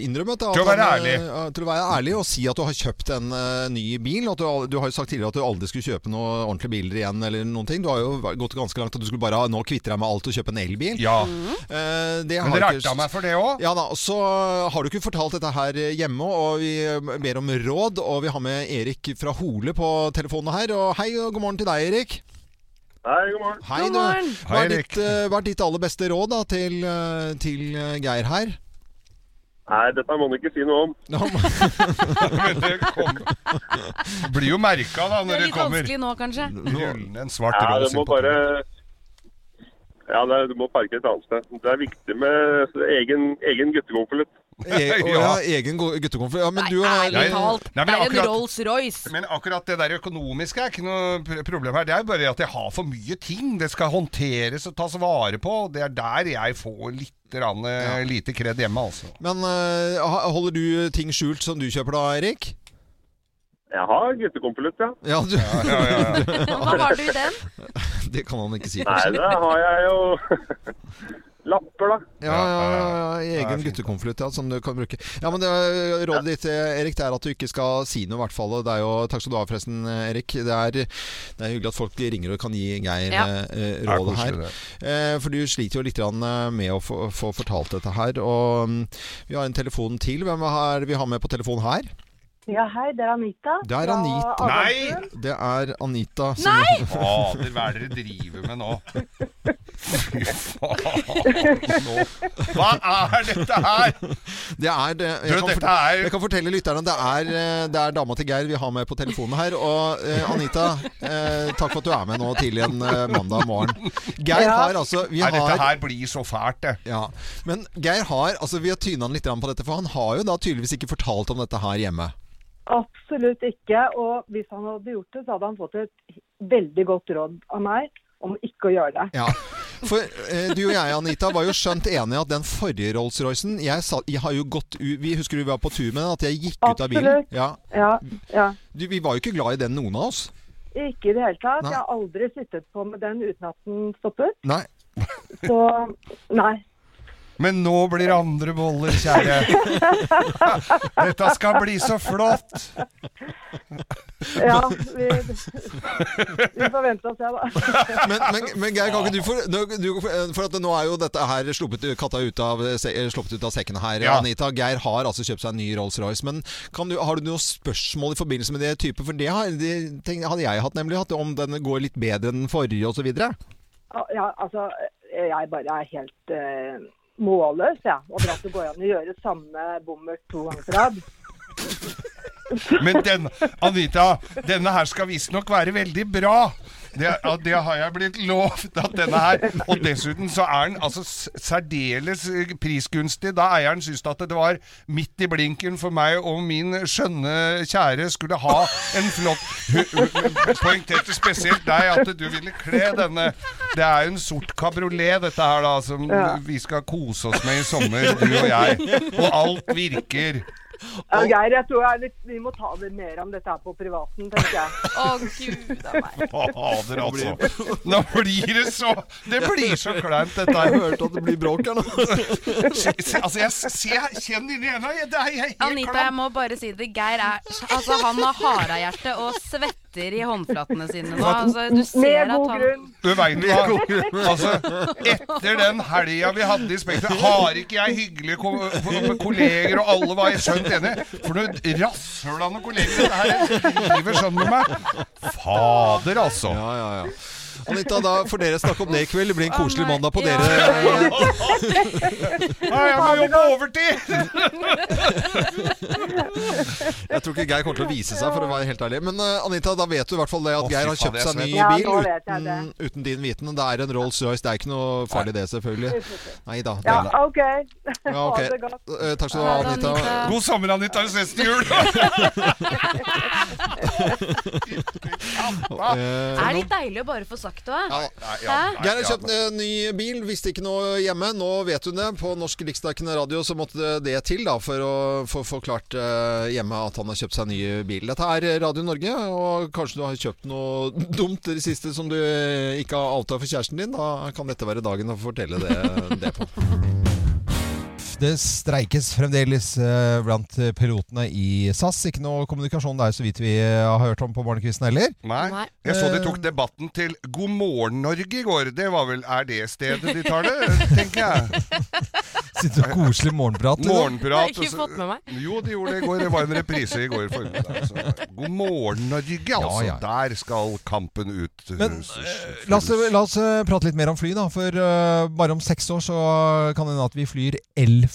[SPEAKER 4] innrømme at,
[SPEAKER 5] Til å være
[SPEAKER 4] han, øh,
[SPEAKER 5] ærlig.
[SPEAKER 4] ja, til å være ærlig og si at du har kjøpt en øh, ny bil. og At du, al- du har jo sagt tidligere at du aldri skulle kjøpe noen ordentlige biler igjen. eller noen ting. Du har jo gått ganske langt at du skulle bare ha- nå kvitte deg med alt og kjøpe en elbil.
[SPEAKER 5] Ja.
[SPEAKER 4] Eh, det har
[SPEAKER 5] Men dere
[SPEAKER 4] ikke-
[SPEAKER 5] erta meg for det òg?
[SPEAKER 4] ja da, og Så har du ikke fortalt dette her hjemme, og vi øh, ber om råd. Og vi har med Erik fra Hole på telefonen her. Og hei og god morgen til deg, Erik.
[SPEAKER 8] Hei, god morgen.
[SPEAKER 4] Hei,
[SPEAKER 7] God
[SPEAKER 4] du.
[SPEAKER 7] morgen.
[SPEAKER 4] Hva
[SPEAKER 5] Hei,
[SPEAKER 4] er,
[SPEAKER 5] Erik.
[SPEAKER 4] ditt, eh, hva er ditt aller beste råd da, til, eh, til eh, Geir her?
[SPEAKER 8] Nei, dette må du ikke si noe om.
[SPEAKER 4] Nå må-
[SPEAKER 5] Blir jo merka da
[SPEAKER 7] Det
[SPEAKER 5] når
[SPEAKER 7] er
[SPEAKER 5] det
[SPEAKER 7] litt
[SPEAKER 5] kommer.
[SPEAKER 7] vanskelig nå, kanskje.
[SPEAKER 5] Rullende en svart
[SPEAKER 8] Ja,
[SPEAKER 5] roll
[SPEAKER 8] du må bare Ja, det, er- du må parke et annet sted. Det er viktig med egen, egen guttekonvolutt.
[SPEAKER 4] E å, ja, egen go- guttekonflikt. Ja, men du har
[SPEAKER 5] Nei,
[SPEAKER 7] Ærlig talt,
[SPEAKER 5] nei, men
[SPEAKER 7] det er en
[SPEAKER 5] akkurat-
[SPEAKER 7] Rolls-Royce.
[SPEAKER 5] Men akkurat det der økonomiske er ikke noe pr- problem her. Det er bare at jeg har for mye ting. Det skal håndteres og tas vare på. og Det er der jeg får litt grann, eh, lite kred hjemme, altså.
[SPEAKER 4] Men eh, ha- holder du ting skjult som du kjøper da, Erik?
[SPEAKER 8] Jeg har guttekonvolutt, ja.
[SPEAKER 4] Ja, du,
[SPEAKER 5] Ja, ja, ja.
[SPEAKER 7] Hva har du i den?
[SPEAKER 4] Det kan han ikke si.
[SPEAKER 8] Nei,
[SPEAKER 4] kanskje.
[SPEAKER 8] det har jeg jo Lapper, da.
[SPEAKER 4] Ja, ja, ja, ja,
[SPEAKER 5] Det er
[SPEAKER 4] egen
[SPEAKER 5] fint.
[SPEAKER 4] guttekonvolutt ja, som du kan bruke. Ja, men det, er- Rådet ditt eh, Erik, det er at du ikke skal si noe, i hvert fall. og Det er jo, takk skal du ha, forresten, eh, Erik. Det er, det er hyggelig at folk ringer og kan gi Geir
[SPEAKER 7] Ja.
[SPEAKER 4] eh,
[SPEAKER 5] Det er
[SPEAKER 4] rådet
[SPEAKER 5] koselig,
[SPEAKER 4] her. Eh, for du sliter jo litt grann, eh, med å få, få fortalt dette her. Og mm, vi har en telefon til. Hvem er det vi har med på telefon her?
[SPEAKER 10] Ja, hei, det er Anita.
[SPEAKER 4] Det er Anita.
[SPEAKER 5] Nei!
[SPEAKER 4] Det er Anita. som-
[SPEAKER 7] Nei!
[SPEAKER 5] Fader, hva er det dere driver med nå? Fy faen. Nå. Hva er dette her?
[SPEAKER 4] Det er det.
[SPEAKER 5] Du,
[SPEAKER 4] Jeg, kan,
[SPEAKER 5] dette
[SPEAKER 4] fort-
[SPEAKER 5] er-
[SPEAKER 4] jeg kan fortelle lytterne det er, eh, det er dama til Geir vi har med på telefonen her. Og eh, Anita, eh, takk for at du er med nå tidlig en eh, mandag morgen. Geir har altså Vi
[SPEAKER 5] Nei, dette
[SPEAKER 4] har
[SPEAKER 5] her blir så fælt, det.
[SPEAKER 4] ja, men Geir har altså vi har tyna han litt grann på dette, for han har jo da tydeligvis ikke fortalt om dette her hjemme.
[SPEAKER 10] Absolutt ikke. Og hvis han hadde gjort det, så hadde han fått et veldig godt råd av meg om ikke å gjøre det.
[SPEAKER 4] Ja. For eh, du og jeg, Anita, var jo skjønt enige at den forrige Rolls-Roycen jeg, sa- jeg har jo gått u- Vi husker du var på tur med den, at jeg gikk ut av bilen.
[SPEAKER 10] Absolutt.
[SPEAKER 4] Ja.
[SPEAKER 10] Ja,
[SPEAKER 4] Mm.
[SPEAKER 10] ja.
[SPEAKER 4] Du, vi var jo ikke glad i den, noen av oss.
[SPEAKER 10] Ikke i det hele tatt.
[SPEAKER 4] Nei.
[SPEAKER 10] Jeg har aldri sittet på med den uten at den stoppet.
[SPEAKER 4] Nei.
[SPEAKER 10] Så nei.
[SPEAKER 5] Men nå blir det andre boller, kjære. Dette skal bli så flott.
[SPEAKER 10] Ja, vi, vi får vente og se, da.
[SPEAKER 4] Men, men, men Geir, kan ikke du for, nå- du, for at nå er jo dette her sluppet katta ut av, se- sluppet ut av sekken her,
[SPEAKER 5] Ja.
[SPEAKER 4] Anita. Geir har altså kjøpt seg en ny Rolls-Royce. Men kan du, har du noen spørsmål i forbindelse med det type? For det, har, det tenk, hadde jeg hatt, nemlig. At om den går litt bedre enn den forrige osv.
[SPEAKER 10] Ja, altså, jeg bare er helt eh, målløs, jeg, over at det går an å gjøre samme bommert to ganger på rad.
[SPEAKER 5] Men den, Anita, denne her skal visstnok være veldig bra. Det, ja, det har jeg blitt lovt at denne her. Og dessuten så er den altså s- særdeles eh, prisgunstig. Da eieren syntes at det var midt i blinken for meg og min skjønne kjære skulle ha en flott Hun- hun Poengterte spesielt deg at du ville kle denne. Det er jo en sort kabriolet dette her da, som vi skal kose oss med i sommer, du og jeg. Og alt virker.
[SPEAKER 10] Ja, Geir, jeg tror jeg, litt- vi må ta det mer om dette her på privaten, tenker jeg.
[SPEAKER 7] Å, gud a meg.
[SPEAKER 5] Fader, altså. Nå blir det så Det blir så kleint, dette her.
[SPEAKER 4] Hørte at det blir bråk her nå.
[SPEAKER 5] Se- se- Altså, jeg ser Kjenn inni ena. jeg- Det er jeg helt
[SPEAKER 7] Anita, jeg
[SPEAKER 5] klam.
[SPEAKER 7] må bare si det. Geir er Altså, han har harehjerte og svetter i håndflatene sine nå. Altså, du
[SPEAKER 10] Med
[SPEAKER 7] ser at
[SPEAKER 10] god
[SPEAKER 7] han
[SPEAKER 10] grunn.
[SPEAKER 5] Du veit hva. Altså, etter den helga vi hadde i Spekter, har ikke jeg hyggelige ko kolleger, og alle var skjønt enige. For noen rasshølende kolleger dette her driver sånn med meg. Fader, altså.
[SPEAKER 4] Ja, ja, ja. Anita, da får dere snakke om det i kveld. Det blir en koselig
[SPEAKER 7] Å, nei.
[SPEAKER 4] mandag på
[SPEAKER 7] Ja.
[SPEAKER 4] dere.
[SPEAKER 5] Nei, jeg må jobbe overtid!
[SPEAKER 4] Jeg tror ikke Geir kommer til å vise seg, for å være helt ærlig. Men eh, Anita, da vet du i hvert fall det at
[SPEAKER 5] Å, fy
[SPEAKER 4] Geir har
[SPEAKER 5] faen,
[SPEAKER 4] kjøpt
[SPEAKER 5] jeg
[SPEAKER 4] seg en ny
[SPEAKER 10] svett. Ja,
[SPEAKER 4] bil
[SPEAKER 10] nå vet jeg
[SPEAKER 4] uten, uten din viten. Det er en Rolls-Royce, det er ikke noe farlig det, selvfølgelig. Nei da.
[SPEAKER 10] Ja,
[SPEAKER 4] deilig.
[SPEAKER 10] OK.
[SPEAKER 4] Ja,
[SPEAKER 10] Ha det
[SPEAKER 4] ok.
[SPEAKER 10] godt.
[SPEAKER 4] Eh, Takk skal du ha,
[SPEAKER 7] Ha det,
[SPEAKER 4] Anita.
[SPEAKER 7] Anita.
[SPEAKER 5] God sommer, Anita. Vi ses til jul.
[SPEAKER 4] Eh, Eh,
[SPEAKER 7] Det er litt deilig å bare få jo sagt òg.
[SPEAKER 10] Ja. Geir har kjøpt eh, ny bil, visste ikke noe hjemme. Nå vet hun det. På norsk riksdekkende radio så måtte det til da, for å få forklart eh, hjemme at han har kjøpt seg ny bil. Dette er eh, Radio Norge, og kanskje du har kjøpt noe dumt i det siste som du eh, ikke har avtalt for kjæresten din. Da kan dette være dagen å fortelle det, det på.
[SPEAKER 4] Det streikes fremdeles eh, blant pilotene i SAS. Ikke noe kommunikasjon der, så vidt vi eh, har hørt om på morgenkvisten heller.
[SPEAKER 5] Nei. Jeg så
[SPEAKER 7] Eh.
[SPEAKER 5] de tok debatten til God morgen Norge i går. Det var vel Er det stedet de tar det, tenker jeg.
[SPEAKER 4] Sitter og koselig morgenprat. liksom.
[SPEAKER 5] Morgenprat.
[SPEAKER 7] Det har jeg ikke
[SPEAKER 5] og så-
[SPEAKER 7] fått med meg.
[SPEAKER 5] Jo, de gjorde det i går. Det var en reprise i går formiddag. så. God morgen Norge, altså.
[SPEAKER 4] ja.
[SPEAKER 5] Der skal kampen ut. eh,
[SPEAKER 4] Men,
[SPEAKER 7] eh,
[SPEAKER 4] La oss, la oss eh, prate litt mer om fly, da. For eh, bare om seks år så kan det hende at vi flyr elfly.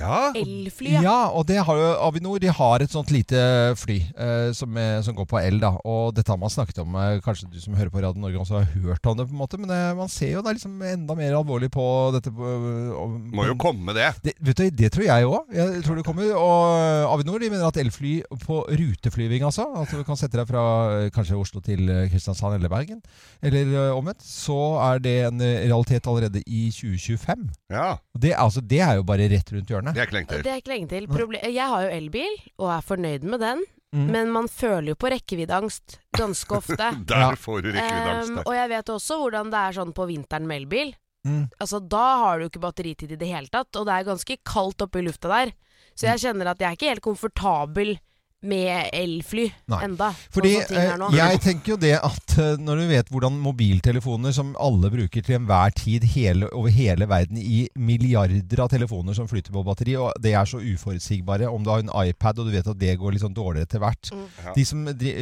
[SPEAKER 5] Ja.
[SPEAKER 7] Elfly,
[SPEAKER 4] ja. og det har jo Avinor. De har et sånt lite fly eh, som, eh, som går på el, da. Og dette har man snakket om, eh, kanskje du som hører på Radio Norge også har hørt om det, på en måte. Men eh, man ser jo det er liksom enda mer alvorlig på dette. eh, Må
[SPEAKER 5] Må jo komme det.
[SPEAKER 4] det, vet du, det tror jeg òg. Jeg tror det kommer. Og eh, Avinor de mener at elfly på ruteflyving, altså, at du kan sette deg fra eh, kanskje Oslo til eh, Kristiansand eller Bergen, eller eh, omvendt, så er det en eh, realitet allerede i 2025.
[SPEAKER 5] Ja.
[SPEAKER 4] Det, altså, det er jo bare rett rundt hjørnet.
[SPEAKER 5] Det er ikke lenge
[SPEAKER 7] Det er ikke lenge til. Proble jeg har jo elbil, og er fornøyd med den.
[SPEAKER 4] Mm.
[SPEAKER 7] Men man føler jo på rekkeviddeangst ganske ofte.
[SPEAKER 5] Der får du rekkeviddeangst.
[SPEAKER 7] Ehm,
[SPEAKER 5] der.
[SPEAKER 7] og jeg vet også hvordan det er sånn på vinteren med elbil.
[SPEAKER 4] Mm.
[SPEAKER 7] Altså, da har du ikke batteritid i det hele tatt, og det er ganske kaldt oppe i lufta der. Så
[SPEAKER 4] Mm.
[SPEAKER 7] jeg kjenner at jeg er ikke helt komfortabel med elfly
[SPEAKER 4] Nei.
[SPEAKER 7] enda.
[SPEAKER 4] Fordi
[SPEAKER 7] sånn som ting er nå.
[SPEAKER 4] eh, jeg tenker jo det at eh, når du vet hvordan mobiltelefoner som alle bruker til enhver tid hele, over hele verden i milliarder av telefoner som flyter på batteri, og det er så uforutsigbare om du har en iPad og du vet at det går litt sånn dårligere etter hvert.
[SPEAKER 7] Mm.
[SPEAKER 5] Ja.
[SPEAKER 4] De som dri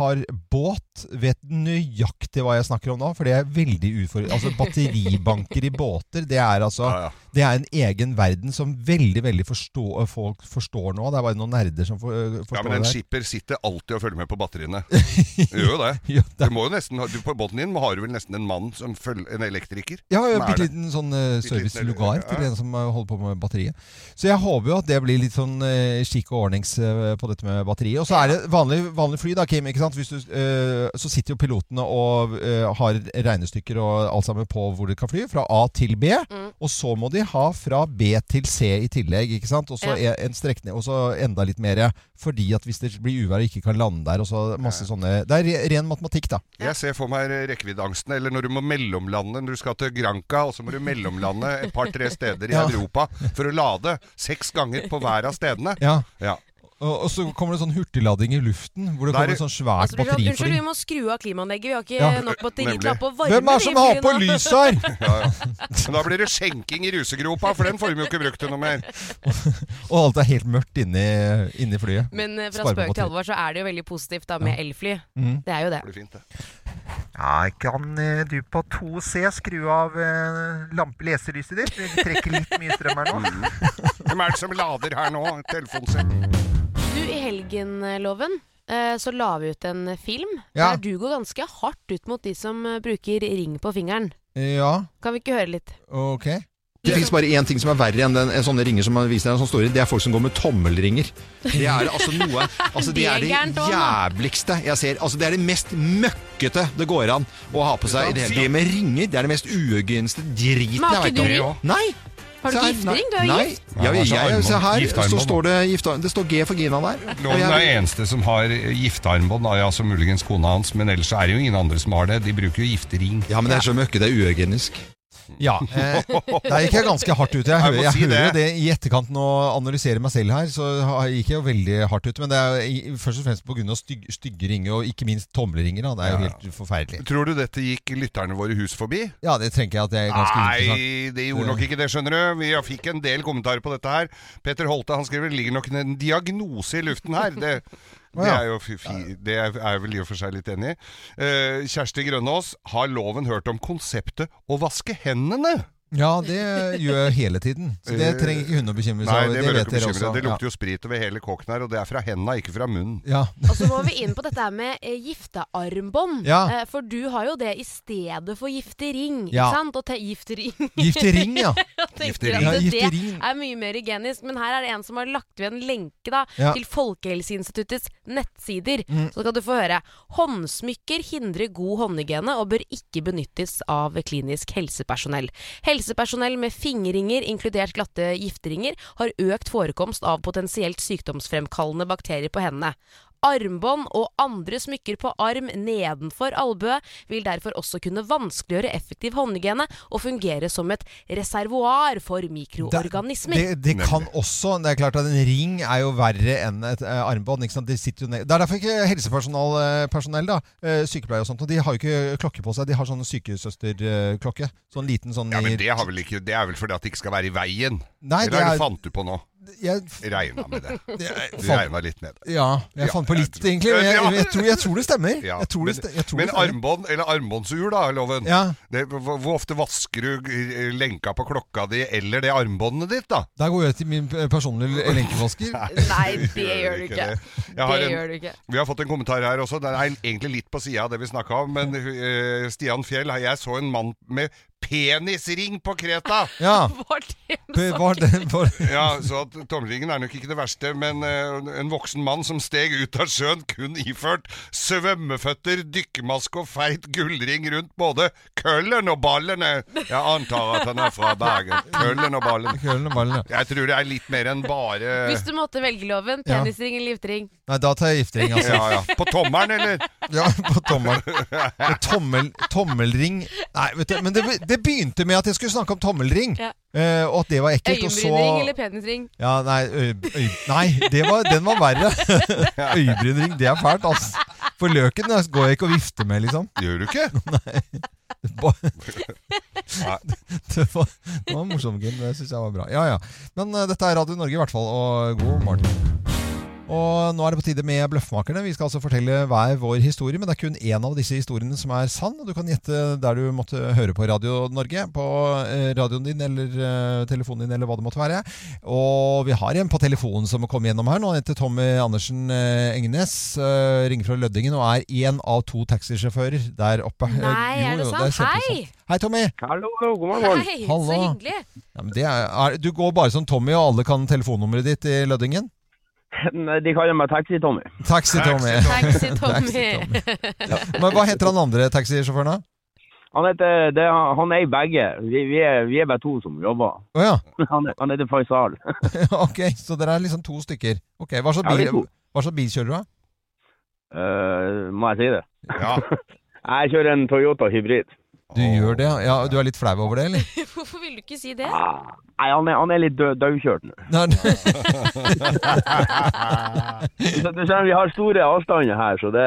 [SPEAKER 4] har båt vet nøyaktig hva jeg snakker om nå, for det er veldig ufor... Altså batteribanker i båter, det er altså...
[SPEAKER 5] Ja, ja.
[SPEAKER 4] Det er en egen verden som veldig, veldig forstå- folk forstår nå. Det er bare noen nerder som for, forstår
[SPEAKER 5] Ja,
[SPEAKER 4] det.
[SPEAKER 5] men en
[SPEAKER 4] her.
[SPEAKER 5] skipper sitter alltid og følger med på batteriene. Det Gjør jo det.
[SPEAKER 4] Ja, det
[SPEAKER 5] Du må jo nesten, ha- du, på båten din har du vel nesten en mann som følger En elektriker.
[SPEAKER 4] Ja,
[SPEAKER 5] Som
[SPEAKER 4] en
[SPEAKER 5] er
[SPEAKER 4] bitte
[SPEAKER 5] det.
[SPEAKER 4] liten sånn eh,
[SPEAKER 5] Bitte liten,
[SPEAKER 4] servicelugar til
[SPEAKER 5] ja.
[SPEAKER 4] en som eh, holder på med batteriet. Så jeg håper jo at det blir litt sånn eh, skikk og ordnings eh, på dette med batteriet. Og så er det vanlig, vanlig fly, da, Kim. ikke sant? Hvis du, eh, så sitter jo pilotene og eh, har regnestykker og alt sammen på hvor de kan fly, fra A til B.
[SPEAKER 5] Mm.
[SPEAKER 4] Og så må de ha fra B til C i tillegg, ikke sant? Og så
[SPEAKER 7] Ja.
[SPEAKER 4] en strekning, og så enda litt mer. Fordi at hvis det blir uvær og ikke kan lande der, og så masse sånne Det er re- ren matematikk, da.
[SPEAKER 5] Jeg ser for meg rekkeviddeangsten. Eller når du må mellomlande når du skal til Granca, og så må du mellomlande et par-tre steder i
[SPEAKER 4] Ja.
[SPEAKER 5] Europa for å lade. Seks ganger på hver av stedene.
[SPEAKER 4] Ja.
[SPEAKER 5] Ja.
[SPEAKER 4] Og, og så kommer det sånn hurtiglading i luften, hvor det
[SPEAKER 5] Der-
[SPEAKER 4] kommer et sånn svært
[SPEAKER 7] Altså, blir det sånn,
[SPEAKER 4] batteri
[SPEAKER 7] Unnskyld, vi
[SPEAKER 4] for
[SPEAKER 7] må skru av klimaanlegget. Vi har ikke eh,
[SPEAKER 4] Ja,
[SPEAKER 7] nok batteri
[SPEAKER 5] nemlig.
[SPEAKER 7] til å ha på varme.
[SPEAKER 4] Hvem er det
[SPEAKER 7] i
[SPEAKER 4] som har
[SPEAKER 7] flyene?
[SPEAKER 4] på lys her?!
[SPEAKER 5] Ja, ja. Men da blir det skjenking i rusegropa, for den får vi jo ikke brukt til noe mer.
[SPEAKER 4] Og alt er helt mørkt inni, inni flyet.
[SPEAKER 7] Men eh,
[SPEAKER 4] Spare
[SPEAKER 7] fra
[SPEAKER 4] på
[SPEAKER 7] spøk til
[SPEAKER 4] batteri.
[SPEAKER 7] alvor så er det jo veldig positivt da med elfly.
[SPEAKER 4] Mm.
[SPEAKER 7] Det er jo det.
[SPEAKER 5] Det blir fint, det.
[SPEAKER 4] Nei, kan eh, du på 2C skru av eh, lampe leselyset ditt? Vi trekker litt mye strøm her nå.
[SPEAKER 5] Mm. Hvem er det som lader her nå? Telefonen sin.
[SPEAKER 7] Du, i helgenloven eh, så la vi ut en film
[SPEAKER 4] Ja.
[SPEAKER 7] der du går ganske hardt ut mot de som eh, bruker ring på fingeren.
[SPEAKER 4] Ja,
[SPEAKER 7] Kan vi ikke høre litt?
[SPEAKER 4] ok.
[SPEAKER 10] Det fins bare én ting som er verre enn den, sånne ringer som man viser deg, som står i. Det er folk som går med tommelringer. Det er altså noe altså Det er det
[SPEAKER 7] Det er gærent også, da.
[SPEAKER 10] jævligste jeg ser. Altså Det er det mest møkkete det går an å ha på seg i det hele tatt. Med ringer. Det er det mest uøgenste driten jeg
[SPEAKER 7] Men har
[SPEAKER 10] veit
[SPEAKER 7] ikke
[SPEAKER 10] om.
[SPEAKER 7] du ring?
[SPEAKER 10] Nei!
[SPEAKER 7] Har
[SPEAKER 10] Se
[SPEAKER 7] du
[SPEAKER 10] her,
[SPEAKER 7] ikke giftering? Du
[SPEAKER 10] nei-
[SPEAKER 7] er jo
[SPEAKER 10] nei.
[SPEAKER 7] gift.
[SPEAKER 10] Ja, jeg, jeg, se her,
[SPEAKER 5] Giftarmbånd.
[SPEAKER 10] så står det giftarm. Det står G for Gina der. Og
[SPEAKER 5] Loven er
[SPEAKER 10] jeg-
[SPEAKER 5] eneste som har giftearmbånd, da, ja, altså muligens kona hans, men ellers er det jo ingen andre som har det. De bruker jo giftering.
[SPEAKER 10] Ja, men det er så møkkete. Det er uøgenisk.
[SPEAKER 4] Ja. Eh, der gikk jeg ganske hardt ut. Jeg,
[SPEAKER 5] Jeg må
[SPEAKER 4] hører- jeg
[SPEAKER 5] si det.
[SPEAKER 4] hører jo det i etterkant nå analyserer meg selv her, så har- gikk jeg jo veldig hardt ut. Men det er i- først og fremst pga. Styg, stygge ringer, og ikke minst tommelringer. Da. Det er jo
[SPEAKER 5] Ja.
[SPEAKER 4] helt forferdelig.
[SPEAKER 5] Tror du dette gikk lytterne våre hus forbi?
[SPEAKER 4] Ja, det tenker jeg at det er ganske interessant.
[SPEAKER 5] Nei, det gjorde nok ikke det, skjønner du. Vi har- fikk en del kommentarer på dette her. Peter Holte han skriver det ligger nok en diagnose i luften her. Det, det, er, jo, fi- fi- det er jeg vel i og for seg litt enig i. Eh, Kjersti Grønås, har loven hørt om konseptet å vaske hendene?
[SPEAKER 4] Ja, det gjør jeg hele tiden. Så
[SPEAKER 10] Eh,
[SPEAKER 4] det trenger ikke hun å bekymre seg
[SPEAKER 5] Nei,
[SPEAKER 4] over.
[SPEAKER 5] det,
[SPEAKER 4] Det
[SPEAKER 5] bør du
[SPEAKER 4] vet
[SPEAKER 5] ikke
[SPEAKER 4] dere
[SPEAKER 5] bekymre
[SPEAKER 4] også.
[SPEAKER 5] deg. Det lukter jo sprit over hele kåken her, og det er fra henda, ikke fra munnen.
[SPEAKER 4] Ja.
[SPEAKER 7] Og så må vi inn på dette her med eh, giftearmbånd.
[SPEAKER 5] Ja.
[SPEAKER 7] Eh, for du har jo det i stedet for giftering.
[SPEAKER 5] Ja.
[SPEAKER 7] Ikke sant? Og te giftering.
[SPEAKER 4] Giftering, ja.
[SPEAKER 7] Jeg tenker
[SPEAKER 4] Giftering.
[SPEAKER 7] at
[SPEAKER 4] Ja,
[SPEAKER 7] det-
[SPEAKER 4] giftering.
[SPEAKER 7] Det er mye mer hygienisk. Men her er det en som har lagt ved en lenke da,
[SPEAKER 4] Ja.
[SPEAKER 7] til Folkehelseinstituttets nettsider.
[SPEAKER 4] Mm.
[SPEAKER 7] Så skal du få høre. Håndsmykker hindrer god håndhygiene og bør ikke benyttes av klinisk helsepersonell. Helsepersonell med fingerringer, inkludert glatte gifteringer, har økt forekomst av potensielt sykdomsfremkallende bakterier på hendene. Armbånd og andre smykker på arm nedenfor albue vil derfor også kunne vanskeliggjøre effektiv håndhygiene og fungere som et reservoar for mikroorganismer.
[SPEAKER 4] Det, det kan også Det er klart at en ring er jo verre enn et eh, armbånd. Ikke sant? Det, sitter jo ned. det er derfor ikke helsepersonell eh, personell da, eh, sykepleiere og sånt, og de har jo ikke klokke på seg. De har sånn sykesøsterklokke. Sånn liten sånn
[SPEAKER 5] Ja,
[SPEAKER 4] i-
[SPEAKER 5] men det, har vel ikke, det er vel fordi at det ikke skal være i veien?
[SPEAKER 4] Nei,
[SPEAKER 5] Eller
[SPEAKER 4] det
[SPEAKER 5] er
[SPEAKER 4] er-
[SPEAKER 5] det fant du på nå?
[SPEAKER 4] Jeg-
[SPEAKER 5] Regna med det. Du
[SPEAKER 4] fant-
[SPEAKER 5] regna litt med det.
[SPEAKER 4] Ja, jeg fant på litt, egentlig. Men jeg, jeg, tror, jeg tror det stemmer.
[SPEAKER 5] Ja,
[SPEAKER 4] Jeg tror det,
[SPEAKER 5] men-
[SPEAKER 4] ste- jeg tror
[SPEAKER 5] men
[SPEAKER 4] det stemmer.
[SPEAKER 5] armbånd, eller armbåndsur da, er Loven.
[SPEAKER 4] Ja.
[SPEAKER 5] Det, hvor, hvor ofte vasker du eh, lenka på klokka di, eller det armbåndet ditt da?
[SPEAKER 4] Der går jeg til min eh, personlige lenkevasker.
[SPEAKER 7] Nei, det gjør du ikke.
[SPEAKER 5] Jeg har
[SPEAKER 7] Det
[SPEAKER 5] en-
[SPEAKER 7] gjør du ikke.
[SPEAKER 5] Vi har fått en kommentar her også. Den er egentlig litt på sida av det vi snakka om. Men eh, Stian Fjell, jeg så en mann med penisring på Kreta!
[SPEAKER 4] Ja. P- Var det var,
[SPEAKER 5] Ja, så at Tommelringen er nok ikke det verste, men eh, en voksen mann som steg ut av sjøen kun iført svømmeføtter, dykkermaske og feit gullring rundt både køllen og ballene. Jeg antar at han er fra Bergen. Køllen og ballen.
[SPEAKER 4] Køllen og ballen,
[SPEAKER 5] Jeg tror det er litt mer enn bare
[SPEAKER 7] Hvis du måtte velge loven,
[SPEAKER 5] Ja.
[SPEAKER 7] penisring eller giftering.
[SPEAKER 4] Nei, da tar jeg giftering, altså.
[SPEAKER 5] Ja, ja. På tommelen, eller?
[SPEAKER 4] Ja, på tommelen. Tommel, tommelring Nei, vet du, men det, det begynte med at jeg skulle snakke om tommelring,
[SPEAKER 7] Ja.
[SPEAKER 4] eh, og at det var ekkelt. Og så
[SPEAKER 7] Øyenbrynring eller penisring?
[SPEAKER 4] ja, nei, øy, øy, nei det var, den var verre. Øyebrynring, det er fælt, ass. For løken da, går jeg ikke og vifter med, liksom.
[SPEAKER 5] Gjør du ikke?
[SPEAKER 4] Nei. Det var,
[SPEAKER 5] Nei.
[SPEAKER 4] det var, det var morsom, Gunn. Det syns jeg var bra. Ja, ja. Men eh, dette er Radio Norge, i hvert fall. Og god morgen. Og nå er det på tide med Bløffmakerne. Vi skal altså fortelle hver vår historie, men det er kun én av disse historiene som er sann. Og du kan gjette der du måtte høre på Radio Norge. På eh, radioen din eller eh, telefonen din eller hva det måtte være. Og vi har en på telefonen som må komme gjennom her nå. Han heter Tommy Andersen eh, Engnes. eh, ringer fra Lødingen og er én av to taxisjåfører der oppe. Eh,
[SPEAKER 7] Nei, er det sant?
[SPEAKER 4] kjempesant. Hei, Tommy.
[SPEAKER 11] Hallo, god
[SPEAKER 7] Hei, så
[SPEAKER 4] Hallo.
[SPEAKER 7] hyggelig.
[SPEAKER 4] Ja, men det er, er, du går bare som Tommy, og alle kan telefonnummeret ditt i Lødingen?
[SPEAKER 11] Nei, De kaller meg Taxi-Tommy.
[SPEAKER 4] Taxi-Tommy.
[SPEAKER 7] Taxi-Tommy.
[SPEAKER 4] Men hva heter han andre taxisjåføren, da?
[SPEAKER 11] Han heter det, er- Han er begge. Vi, vi, er, vi er bare to som jobber.
[SPEAKER 4] Å ja.
[SPEAKER 11] Han, er- han heter Faisal.
[SPEAKER 4] ok, så dere er liksom to stykker. Ok, Hva slags
[SPEAKER 11] Ja, vi
[SPEAKER 4] bil,
[SPEAKER 11] er to.
[SPEAKER 4] hva slags bil kjører du, da?
[SPEAKER 11] Eh, må jeg si det?
[SPEAKER 5] Ja.
[SPEAKER 11] Jeg kjører en Toyota hybrid.
[SPEAKER 4] Du gjør det, ja? Du er litt flau over det, eller?
[SPEAKER 7] Hvorfor vil du ikke si det?
[SPEAKER 11] Ah, Nei, han er, han er litt død- daukjørt nå.
[SPEAKER 4] Nei, nei.
[SPEAKER 11] Så du skjønner, Vi har store avstander her, så det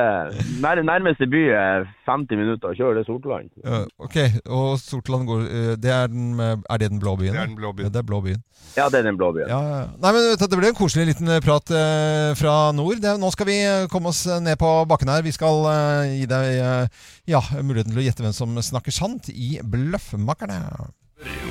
[SPEAKER 11] nær, nærmeste by er 50 minutter å kjøre, det er Sortland.
[SPEAKER 4] Ja, Ok, og Sortland går eh, det er, den, eh, er det den blå byen?
[SPEAKER 11] Det er
[SPEAKER 4] da?
[SPEAKER 11] den blå
[SPEAKER 4] Ja,
[SPEAKER 11] byen.
[SPEAKER 4] det er blå byen.
[SPEAKER 11] Ja, det er den blå byen.
[SPEAKER 4] Ja, ja. Nei, men vet du, Det ble en koselig liten eh, prat eh, fra nord. Det, er- nå skal vi eh, komme oss ned på bakken her. Vi skal eh, gi deg eh, ja, muligheten til å gjette hvem som snakker sant i Bløffmakerne.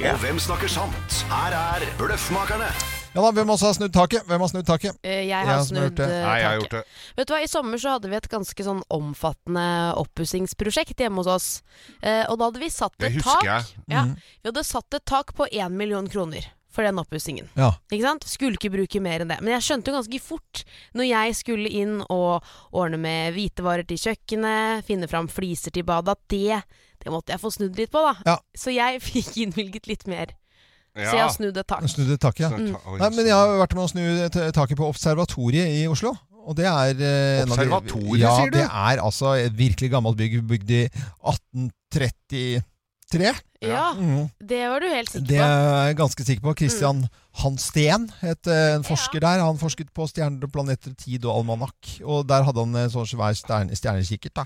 [SPEAKER 9] Og hvem snakker sant? Her er Bløffmakerne.
[SPEAKER 4] Ja da, Hvem også har snudd taket? Hvem har snudd taket?
[SPEAKER 7] Eh, Jeg har snudd eh, taket.
[SPEAKER 4] det.
[SPEAKER 7] Vet du hva, I sommer så hadde vi et ganske sånn omfattende oppussingsprosjekt hjemme hos oss. Eh, og da hadde vi satt
[SPEAKER 5] Det
[SPEAKER 7] et
[SPEAKER 5] husker
[SPEAKER 7] tak
[SPEAKER 5] jeg.
[SPEAKER 7] ja,
[SPEAKER 4] Mm.
[SPEAKER 5] Mhm.
[SPEAKER 7] Vi hadde satt et tak på én million kroner for den oppussingen.
[SPEAKER 4] Ja.
[SPEAKER 7] Ikke sant? Skulle ikke bruke mer enn det. Men jeg skjønte jo ganske fort, når jeg skulle inn og ordne med hvitevarer til kjøkkenet, finne fram fliser til badet, at det, det måtte jeg få snudd litt på, da. Så jeg fikk innvilget litt mer. Så jeg har snudd et tak.
[SPEAKER 4] Snudd et tak, ja.
[SPEAKER 7] Mm.
[SPEAKER 4] Nei, men jeg har vært med å snu t- taket på Observatoriet i Oslo. Og det er eh, en av de-
[SPEAKER 5] Observatoriet,
[SPEAKER 4] ja,
[SPEAKER 5] sier du?
[SPEAKER 4] Det er altså et virkelig gammelt bygg, bygd i 1833.
[SPEAKER 7] Ja,
[SPEAKER 5] Ah.
[SPEAKER 4] Mm.
[SPEAKER 7] det var du helt sikker
[SPEAKER 4] Det
[SPEAKER 7] på. Mm.
[SPEAKER 4] er jeg ganske sikker på. Christian Hansten het eh, en forsker der. Han forsket på stjerner, planeter, tid og almanakk. Og der hadde han en sånn svær stjerne, stjernekikkert. da.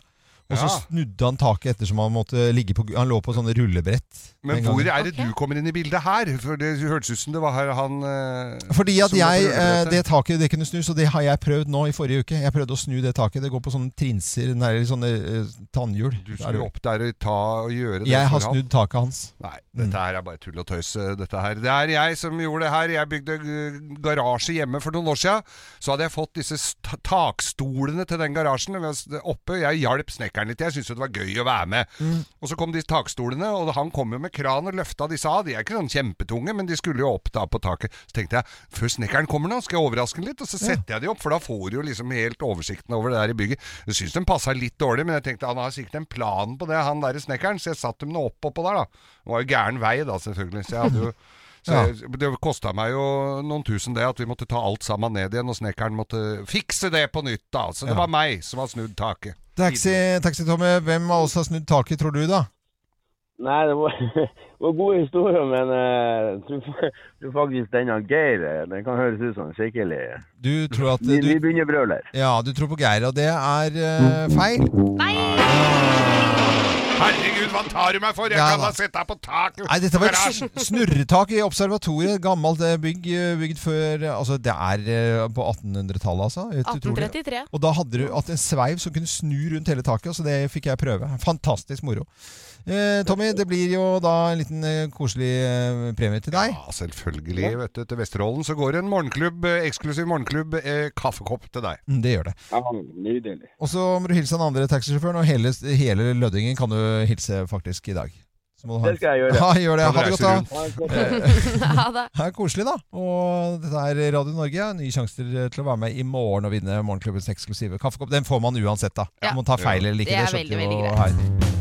[SPEAKER 4] Og så
[SPEAKER 5] Ja.
[SPEAKER 4] snudde han taket ettersom han måtte ligge på Han lå på sånne rullebrett.
[SPEAKER 5] Men
[SPEAKER 4] den
[SPEAKER 5] hvor
[SPEAKER 4] gangen.
[SPEAKER 5] er det du kommer inn i bildet her? For Det hørtes ut som det var her han eh,
[SPEAKER 4] Fordi at
[SPEAKER 5] som
[SPEAKER 4] jeg, eh,
[SPEAKER 5] måtte gjøre dette.
[SPEAKER 4] det taket det kunne snus, og det har jeg prøvd nå i forrige uke. Jeg prøvde å snu det taket. Det går på sånne trinser, nei, eller sånne eh, tannhjul. Er
[SPEAKER 5] Du
[SPEAKER 4] det
[SPEAKER 5] skulle
[SPEAKER 4] vel?
[SPEAKER 5] opp der og ta og gjøre det.
[SPEAKER 4] Jeg har
[SPEAKER 5] for han.
[SPEAKER 4] snudd taket hans.
[SPEAKER 5] Nei, dette her er bare tull og tøys. eh, Dette her. Det er jeg som gjorde det her. Jeg bygde eh, garasje hjemme for noen år siden. Så hadde jeg fått disse st- takstolene til den garasjen mens det- oppe. Jeg hjalp snekkeren litt. Jeg syntes jo det var gøy å være med.
[SPEAKER 4] Mm.
[SPEAKER 5] Og så kom de takstolene, og han kom jo med kran og løfta disse av. De er ikke sånn kjempetunge, men de skulle jo opp da på taket. Så tenkte jeg før snekkeren kommer nå, skal jeg overraske han litt. Og så setter jeg de opp, for da får du jo liksom helt oversikten over det der i bygget. Jeg syns den passa litt dårlig, men jeg tenkte han har sikkert en plan på det, han derre snekkeren. Så jeg satte dem nå opp oppå der, da. Det var jo gæren vei da, selvfølgelig. Så jeg hadde jo så
[SPEAKER 4] Ja.
[SPEAKER 5] jeg, Det kosta meg jo noen tusen det, at vi måtte ta alt sammen ned igjen, og snekkeren måtte fikse det på nytt, da. Så det
[SPEAKER 4] Ja.
[SPEAKER 5] var meg som har snudd taket.
[SPEAKER 4] Taxi, taxi Tommy, hvem av oss har snudd taket, tror du, da?
[SPEAKER 11] Nei, det var, det var gode historier, men eh, jeg tror fa- tror faktisk denne Geir eh, Den kan høres ut som en skikkelig
[SPEAKER 4] Du tror at
[SPEAKER 11] ny-
[SPEAKER 4] du,
[SPEAKER 11] nybegynnerbrøler.
[SPEAKER 4] Ja, du tror på Geir, og det er eh, feil.
[SPEAKER 5] Herregud, hva tar du meg for? Jeg
[SPEAKER 4] Ja,
[SPEAKER 5] kan
[SPEAKER 4] da.
[SPEAKER 5] ha sett deg på taket!
[SPEAKER 4] Nei, dette var et
[SPEAKER 5] Garasjen.
[SPEAKER 4] sn- snurretak i observatoriet. Gammelt eh, bygg eh, bygd før eh, Altså, det er eh, på 1800-tallet, altså. Et utrolig-
[SPEAKER 7] 1833.
[SPEAKER 4] Og da hadde du at en sveiv som kunne snu rundt hele taket, så det fikk jeg prøve. Fantastisk moro. Eh, Tommy, det blir jo da en liten eh, koselig eh, premie til deg.
[SPEAKER 5] Ja, selvfølgelig. Vet du, til Vesterålen så går det en morgenklubb, eh, eksklusiv morgenklubb, eh, kaffekopp til deg.
[SPEAKER 4] Mm, Det gjør det.
[SPEAKER 11] Ja, nydelig.
[SPEAKER 4] Og så må du hilse den andre taxisjåføren, og hele, hele Lødingen kan du hilse faktisk i dag. Så må du ha-
[SPEAKER 11] Det skal jeg gjøre.
[SPEAKER 4] Ja, gjør det.
[SPEAKER 11] Kan
[SPEAKER 4] Ha det
[SPEAKER 11] reise rundt.
[SPEAKER 4] godt, da.
[SPEAKER 11] Ha det
[SPEAKER 4] Eh,
[SPEAKER 7] Ha det.
[SPEAKER 4] Det er koselig, da. Og dette er Radio Norge. Nye sjanser til å være med i morgen og vinne Morgenklubbens eksklusive kaffekopp. Den får man uansett, da.
[SPEAKER 7] Ja.
[SPEAKER 4] Om man tar feil eller ikke.
[SPEAKER 7] Det er
[SPEAKER 4] skjønte
[SPEAKER 7] veldig, veldig
[SPEAKER 4] jo
[SPEAKER 7] greit.
[SPEAKER 4] her.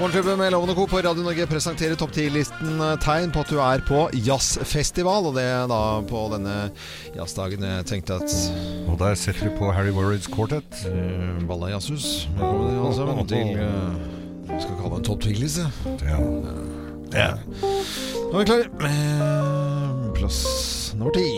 [SPEAKER 4] Morgenklubben med Loven og Co. på Radio Norge presenterer topp 10-listen tegn på at du er på jazzfestival. Og det er da på denne jazzdagen jeg tenkte at
[SPEAKER 5] Og der setter du på Harry Warrids Quartet.
[SPEAKER 4] Balla jazzhus. Eh, Velkommen alle sammen til eh, Vi skal kalle det en topp 10-liste.
[SPEAKER 5] Ja.
[SPEAKER 4] Nå er vi klare. Eh, Plass nummer ti.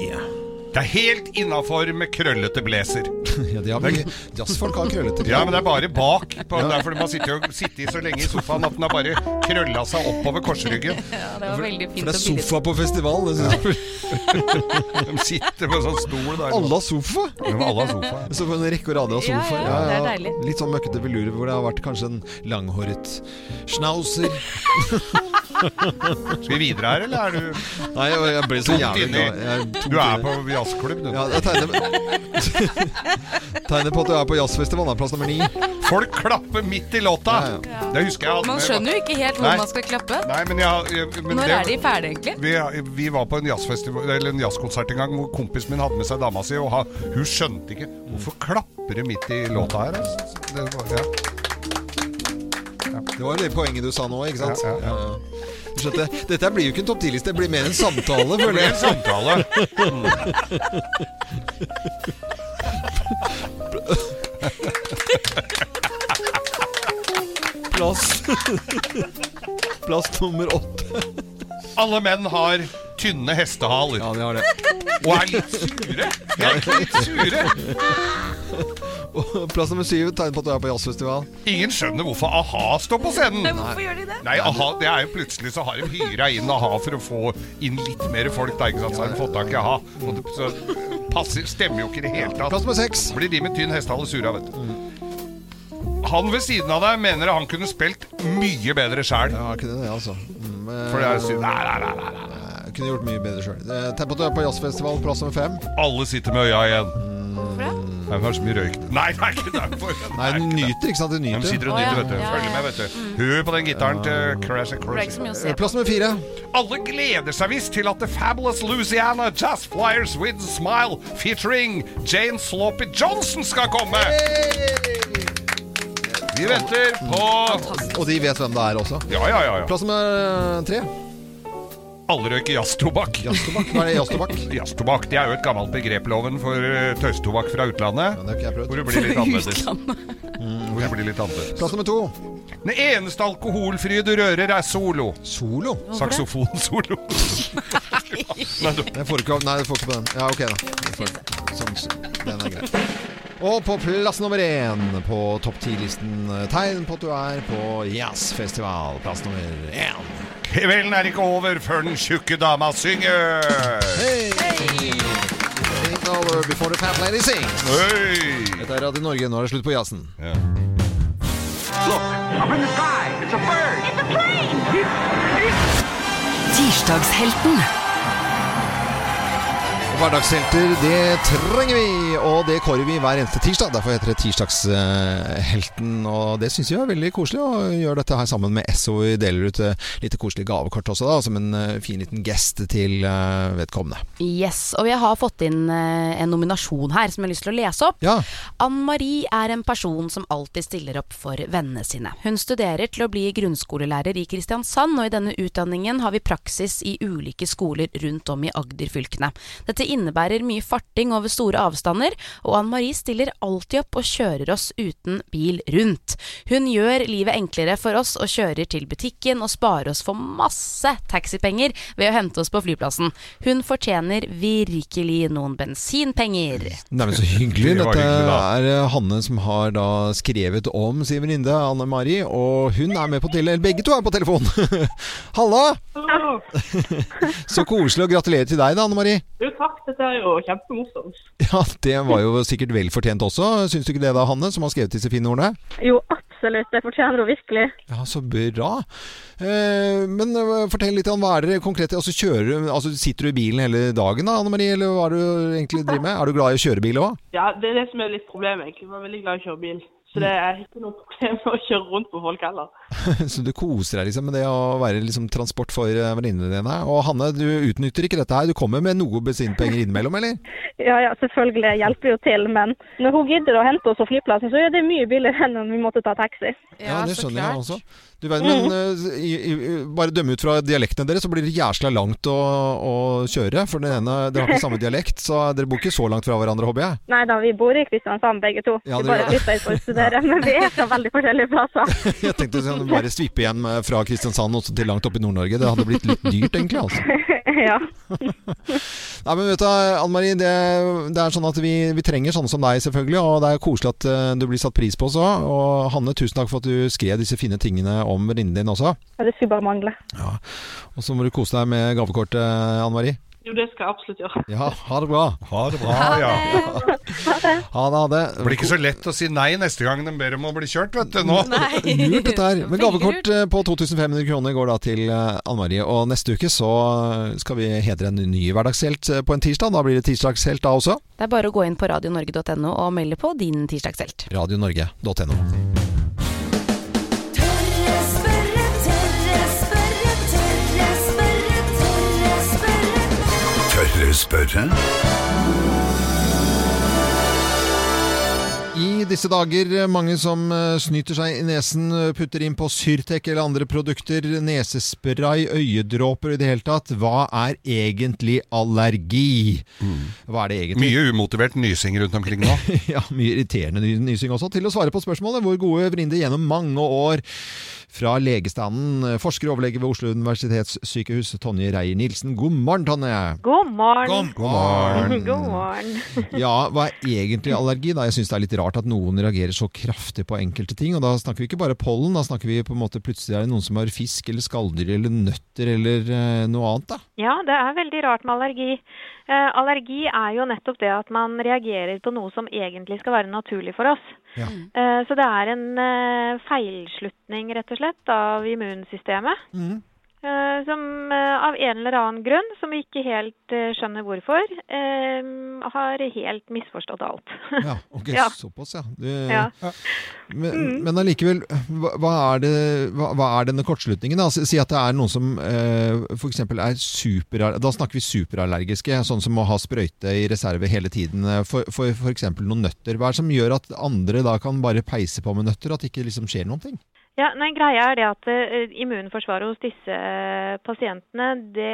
[SPEAKER 5] Det er helt innafor med krøllete blazer.
[SPEAKER 4] Ja, de har mye Jazzfolk har krøllete
[SPEAKER 5] Ja, men det er bare bak. På, det er fordi man sitter jo sitter i så lenge i sofaen at den har bare krølla seg oppover korsryggen.
[SPEAKER 7] Ja, det var veldig fint
[SPEAKER 4] For det er
[SPEAKER 7] og billig.
[SPEAKER 4] sofa på festival. Det synes jeg.
[SPEAKER 5] De sitter på sånn stol der.
[SPEAKER 4] Alle har sofa!
[SPEAKER 5] Ja, men alle har sofa.
[SPEAKER 4] Så på en rekke og rader av
[SPEAKER 7] Ja,
[SPEAKER 4] sofa.
[SPEAKER 7] ja, det er deilig.
[SPEAKER 4] Litt sånn møkkete velure hvor det har vært kanskje en langhåret schnauzer.
[SPEAKER 5] Skal vi videre her, eller er du
[SPEAKER 4] Nei, jeg jeg ble så
[SPEAKER 5] Tungt
[SPEAKER 4] jævlig
[SPEAKER 5] inni.
[SPEAKER 4] glad. Jeg tungt
[SPEAKER 5] Du er
[SPEAKER 4] inni.
[SPEAKER 5] på jazzklubb, du.
[SPEAKER 4] Ja, jeg tegner, tegner på at du er på jazzfestival. da. Plass nummer ni.
[SPEAKER 5] Folk klapper midt i låta! Det husker jeg. at-
[SPEAKER 7] Man skjønner jo ikke helt hvor
[SPEAKER 5] Nei.
[SPEAKER 7] man skal klappe.
[SPEAKER 5] Nei, men jeg, jeg men
[SPEAKER 7] Når
[SPEAKER 5] det-
[SPEAKER 7] er de ferdige, egentlig?
[SPEAKER 5] Vi, vi var på en, jazzfestival- eller en jazzkonsert en gang hvor kompisen min hadde med seg dama si, og ha, hun skjønte ikke Hvorfor klapper det midt i låta her? altså? Det var, ja.
[SPEAKER 4] Det var det poenget du sa nå, ikke sant?
[SPEAKER 5] Ja, ja,
[SPEAKER 4] ja. Du skjønte, dette blir jo ikke en topp 10-liste, det blir mer en samtale,
[SPEAKER 5] Det
[SPEAKER 4] føler
[SPEAKER 5] ble
[SPEAKER 4] jeg.
[SPEAKER 5] en samtale.
[SPEAKER 4] Plass Plass nummer åtte.
[SPEAKER 5] Alle menn har tynne hestehaler.
[SPEAKER 4] Ja, de har det.
[SPEAKER 5] Og er litt sure. De er ikke litt sure.
[SPEAKER 4] Og Plass nummer syv, tegn på at du er på jazzfestival.
[SPEAKER 5] Ingen skjønner hvorfor a-ha står på scenen.
[SPEAKER 7] Nei, hvorfor gjør de det?
[SPEAKER 5] Nei, aha, det er jo plutselig så har de hyra inn a-ha for å få inn litt mer folk. Da, ikke sant? Så har de fått tak i a-ha. Og det så passer, stemmer jo ikke i det hele tatt.
[SPEAKER 4] Plass nummer seks.
[SPEAKER 5] Blir de med tynn hestehale sure av, vet du. Han ved siden av deg mener han kunne spilt mye bedre sjæl.
[SPEAKER 4] Ja, ikke det, det, altså. Mm,
[SPEAKER 5] For det er synd. Nei, nei, nei, nei, nei.
[SPEAKER 4] eh, Kunne gjort mye bedre sjøl. Tegn på at du er på jazzfestival, plass nummer fem.
[SPEAKER 5] Alle sitter med øya igjen. Det er kanskje mye røyk Nei, det er ikke derfor.
[SPEAKER 4] Nei, den nyter, ikke sant? Den
[SPEAKER 5] De
[SPEAKER 4] nyter.
[SPEAKER 5] sitter og
[SPEAKER 7] Å, ja.
[SPEAKER 5] nyter, vet du.
[SPEAKER 7] Ja, ja,
[SPEAKER 5] Følger med, vet du. Hør på den gitaren til Crash and
[SPEAKER 7] Det er ikke så mye å se
[SPEAKER 4] Eh, Plass nummer fire.
[SPEAKER 5] Alle gleder seg visst til at The Fabulous Louisiana Jazz Flyers with Smile featuring Jane Sloppy Johnson skal komme! Vi venter på
[SPEAKER 4] Og de vet hvem det er også.
[SPEAKER 5] Ja, ja, ja. ja.
[SPEAKER 4] Plass nummer eh, tre.
[SPEAKER 5] Alle røyker jazztobakk.
[SPEAKER 4] Jazztobakk. Hva er det? Jazztobakk?
[SPEAKER 5] Jazztobakk det er jo et gammelt begrep, loven, for eh, tøysetobakk fra utlandet.
[SPEAKER 4] Det har ikke jeg
[SPEAKER 5] Hvor
[SPEAKER 4] prøvd.
[SPEAKER 5] det blir litt annerledes. Hvor det blir litt annerledes.
[SPEAKER 4] Plass nummer to.
[SPEAKER 5] Den eneste alkoholfrie du rører, er solo.
[SPEAKER 4] Solo.
[SPEAKER 5] Saksofonsolo.
[SPEAKER 4] Jeg får ikke, nei, jeg får ikke på den. Ja, ok, da. Jeg får, sånn, den er grei. Og på plass nummer én på topp ti-listen eh, tegn på at du er på jazzfestival. Plass nummer én.
[SPEAKER 5] Kvelden er ikke over før den tjukke dama synger.
[SPEAKER 4] Hey. Think over before the fat lady sings.
[SPEAKER 5] Hey.
[SPEAKER 4] Dette er Radio Norge. Nå er det slutt på jazzen.
[SPEAKER 12] Up in the sky, it's a bird. It's a plane.
[SPEAKER 4] Tirsdagshelten. Hverdagshelter, det trenger vi, og det kårer vi hver eneste tirsdag. Derfor heter det Tirsdagshelten, og det syns vi er veldig koselig. Og gjør dette her sammen med SO. Vi deler ut eh, litt koselige gavekort også, da, som en eh, fin liten gest til eh, vedkommende.
[SPEAKER 7] Yes, og jeg har fått inn eh, en nominasjon her som jeg har lyst til å lese opp. Ann Marie er en person som alltid stiller opp for vennene sine. Hun studerer til å bli grunnskolelærer i Kristiansand, og i denne utdanningen har vi praksis i ulike skoler rundt om i Agder-fylkene. Dette innebærer mye farting over store avstander, og Ann Marie stiller alltid opp og kjører oss uten bil rundt. Hun gjør livet enklere for oss og kjører til butikken og sparer oss for masse taxipenger ved å hente oss på flyplassen. Hun fortjener virkelig noen bensinpenger.
[SPEAKER 4] Neimen, så hyggelig.
[SPEAKER 5] Det var
[SPEAKER 4] Dette
[SPEAKER 5] hyggelig, da.
[SPEAKER 4] er eh, Hanne som har da skrevet om Siv Rinde, Anne Mari, og hun er med på tele... eller Begge to er på telefon! Halla! Så koselig, og gratulerer til deg da, Anne Mari.
[SPEAKER 13] Jo, takk. Dette er jo kjempemorsomt.
[SPEAKER 4] Ja, det var jo sikkert vel fortjent også. Syns du ikke det da, Hanne, som har skrevet disse fine ordene?
[SPEAKER 14] Jo, absolutt. Det fortjener hun virkelig.
[SPEAKER 4] Ja, så bra. Eh, men eh, fortell litt om hva er det konkret altså, kjører, du- altså, Sitter du i bilen hele dagen da, Anne Marie, eller hva er det du egentlig driver med? Er du glad i å kjøre bil òg?
[SPEAKER 13] Ja, Det er det som er litt problemet, egentlig. Man er veldig glad i å kjøre bil. Så det er ikke noe problem å kjøre rundt på folk heller.
[SPEAKER 4] så du koser deg liksom med det å være liksom, transport for eh, venninnene dine? Og Hanne, du utnytter ikke dette her. Du kommer med noe bensinpenger innimellom, eller?
[SPEAKER 14] Ja, ja, selvfølgelig. Jeg Hjelper jo til. Men når hun gidder å hente oss på flyplassen, så er det mye billigere enn om vi måtte ta taxi.
[SPEAKER 4] Ja, det skjønner jeg også. Du vet, men eh, i, i, bare dømme ut fra dialektene deres, så blir det jæsla langt å, å kjøre. For den ene, dere har ikke samme dialekt, så dere bor ikke så langt fra hverandre, håper jeg.
[SPEAKER 14] Nei da, vi bor i Kristiansand begge to.
[SPEAKER 4] Ja,
[SPEAKER 14] vi
[SPEAKER 4] det gjør
[SPEAKER 14] bare
[SPEAKER 4] det.
[SPEAKER 14] flytta hit for å studere, men vi er fra veldig forskjellige plasser.
[SPEAKER 4] Jeg tenkte sånn, bare svippe igjen med- fra Kristiansand også til langt opp i Nord-Norge. Det hadde blitt litt dyrt, egentlig. altså.
[SPEAKER 14] ja.
[SPEAKER 4] Nei, men vet du, Anne Marie, det, det er sånn at vi, vi trenger sånne som deg, selvfølgelig. Og det er koselig at eh, du blir satt pris på også. Og Hanne, tusen takk for at du skrev disse fine tingene om venninnen din også.
[SPEAKER 14] Ja, Det skulle bare mangle.
[SPEAKER 4] Ja. Og så må du kose deg med gavekortet, Anne Marie.
[SPEAKER 13] Jo, det skal jeg absolutt gjøre.
[SPEAKER 4] Ja, ha det bra.
[SPEAKER 5] Ha det bra, ja.
[SPEAKER 4] Ha det, ha det.
[SPEAKER 5] Det blir ikke så lett å si nei neste gang de ber om å bli kjørt, vet du. Nå.
[SPEAKER 4] Lurt dette her. Men gavekort eh, på 2500 kroner går da til eh, Anne Marie. Og neste uke så eh, skal vi hedre en ny hverdagshelt eh, på en tirsdag. Da blir det tirsdagshelt da også.
[SPEAKER 7] Det er bare å gå inn på radionorge.no og melde på din tirsdagshelt.
[SPEAKER 4] Radionorge.no.
[SPEAKER 9] Tørre spørre?
[SPEAKER 4] I disse dager eh, mange som eh, snyter seg i nesen, eh, putter inn på Syrtec eller andre produkter, nesespray, øyedråper i det hele tatt. Hva er egentlig allergi? Hva er det egentlig?
[SPEAKER 5] Mye umotivert nysing rundt omkring nå.
[SPEAKER 4] ja, mye irriterende ny- nysing også. Til å svare på spørsmålet hvor gode Vrinde gjennom mange år fra legestanden, eh, forsker og overlege ved Oslo universitetssykehus, Tonje Reier-Nilsen. God morgen, Tonje!
[SPEAKER 15] God morgen.
[SPEAKER 4] God morgen.
[SPEAKER 15] God morgen.
[SPEAKER 4] Ja, hva er egentlig allergi? da? Jeg syns det er litt rart at noen reagerer så kraftig på enkelte ting. Og da snakker vi ikke bare pollen, da snakker vi på en måte plutselig er det noen som har fisk eller skalldyr eller nøtter eller eh, noe annet. da.
[SPEAKER 15] Ja, det er veldig rart med allergi. Eh, allergi er jo nettopp det at man reagerer på noe som egentlig skal være naturlig for oss. Eh, så det er en eh, feilslutning, rett og slett, av immunsystemet. Eh, som eh, av en eller annen grunn, som vi ikke helt eh, skjønner hvorfor, eh, har helt misforstått alt.
[SPEAKER 4] Ja, ok,
[SPEAKER 15] Ja.
[SPEAKER 4] såpass, ja. Du,
[SPEAKER 15] Ja.
[SPEAKER 4] Men,
[SPEAKER 15] Mm.
[SPEAKER 4] men allikevel, hva, hva, er det, hva, hva er denne kortslutningen? da? Si- Si at det er noen som eh, for f.eks. er super... Da snakker vi superallergiske, sånn som må ha sprøyte i reserve hele tiden. eh, For f.eks. noen nøtter. Hva er det som gjør at andre da kan bare peise på med nøtter, at det ikke liksom skjer noen ting?
[SPEAKER 15] Ja, nei, greia er det at eh, immunforsvaret hos disse eh, pasientene, det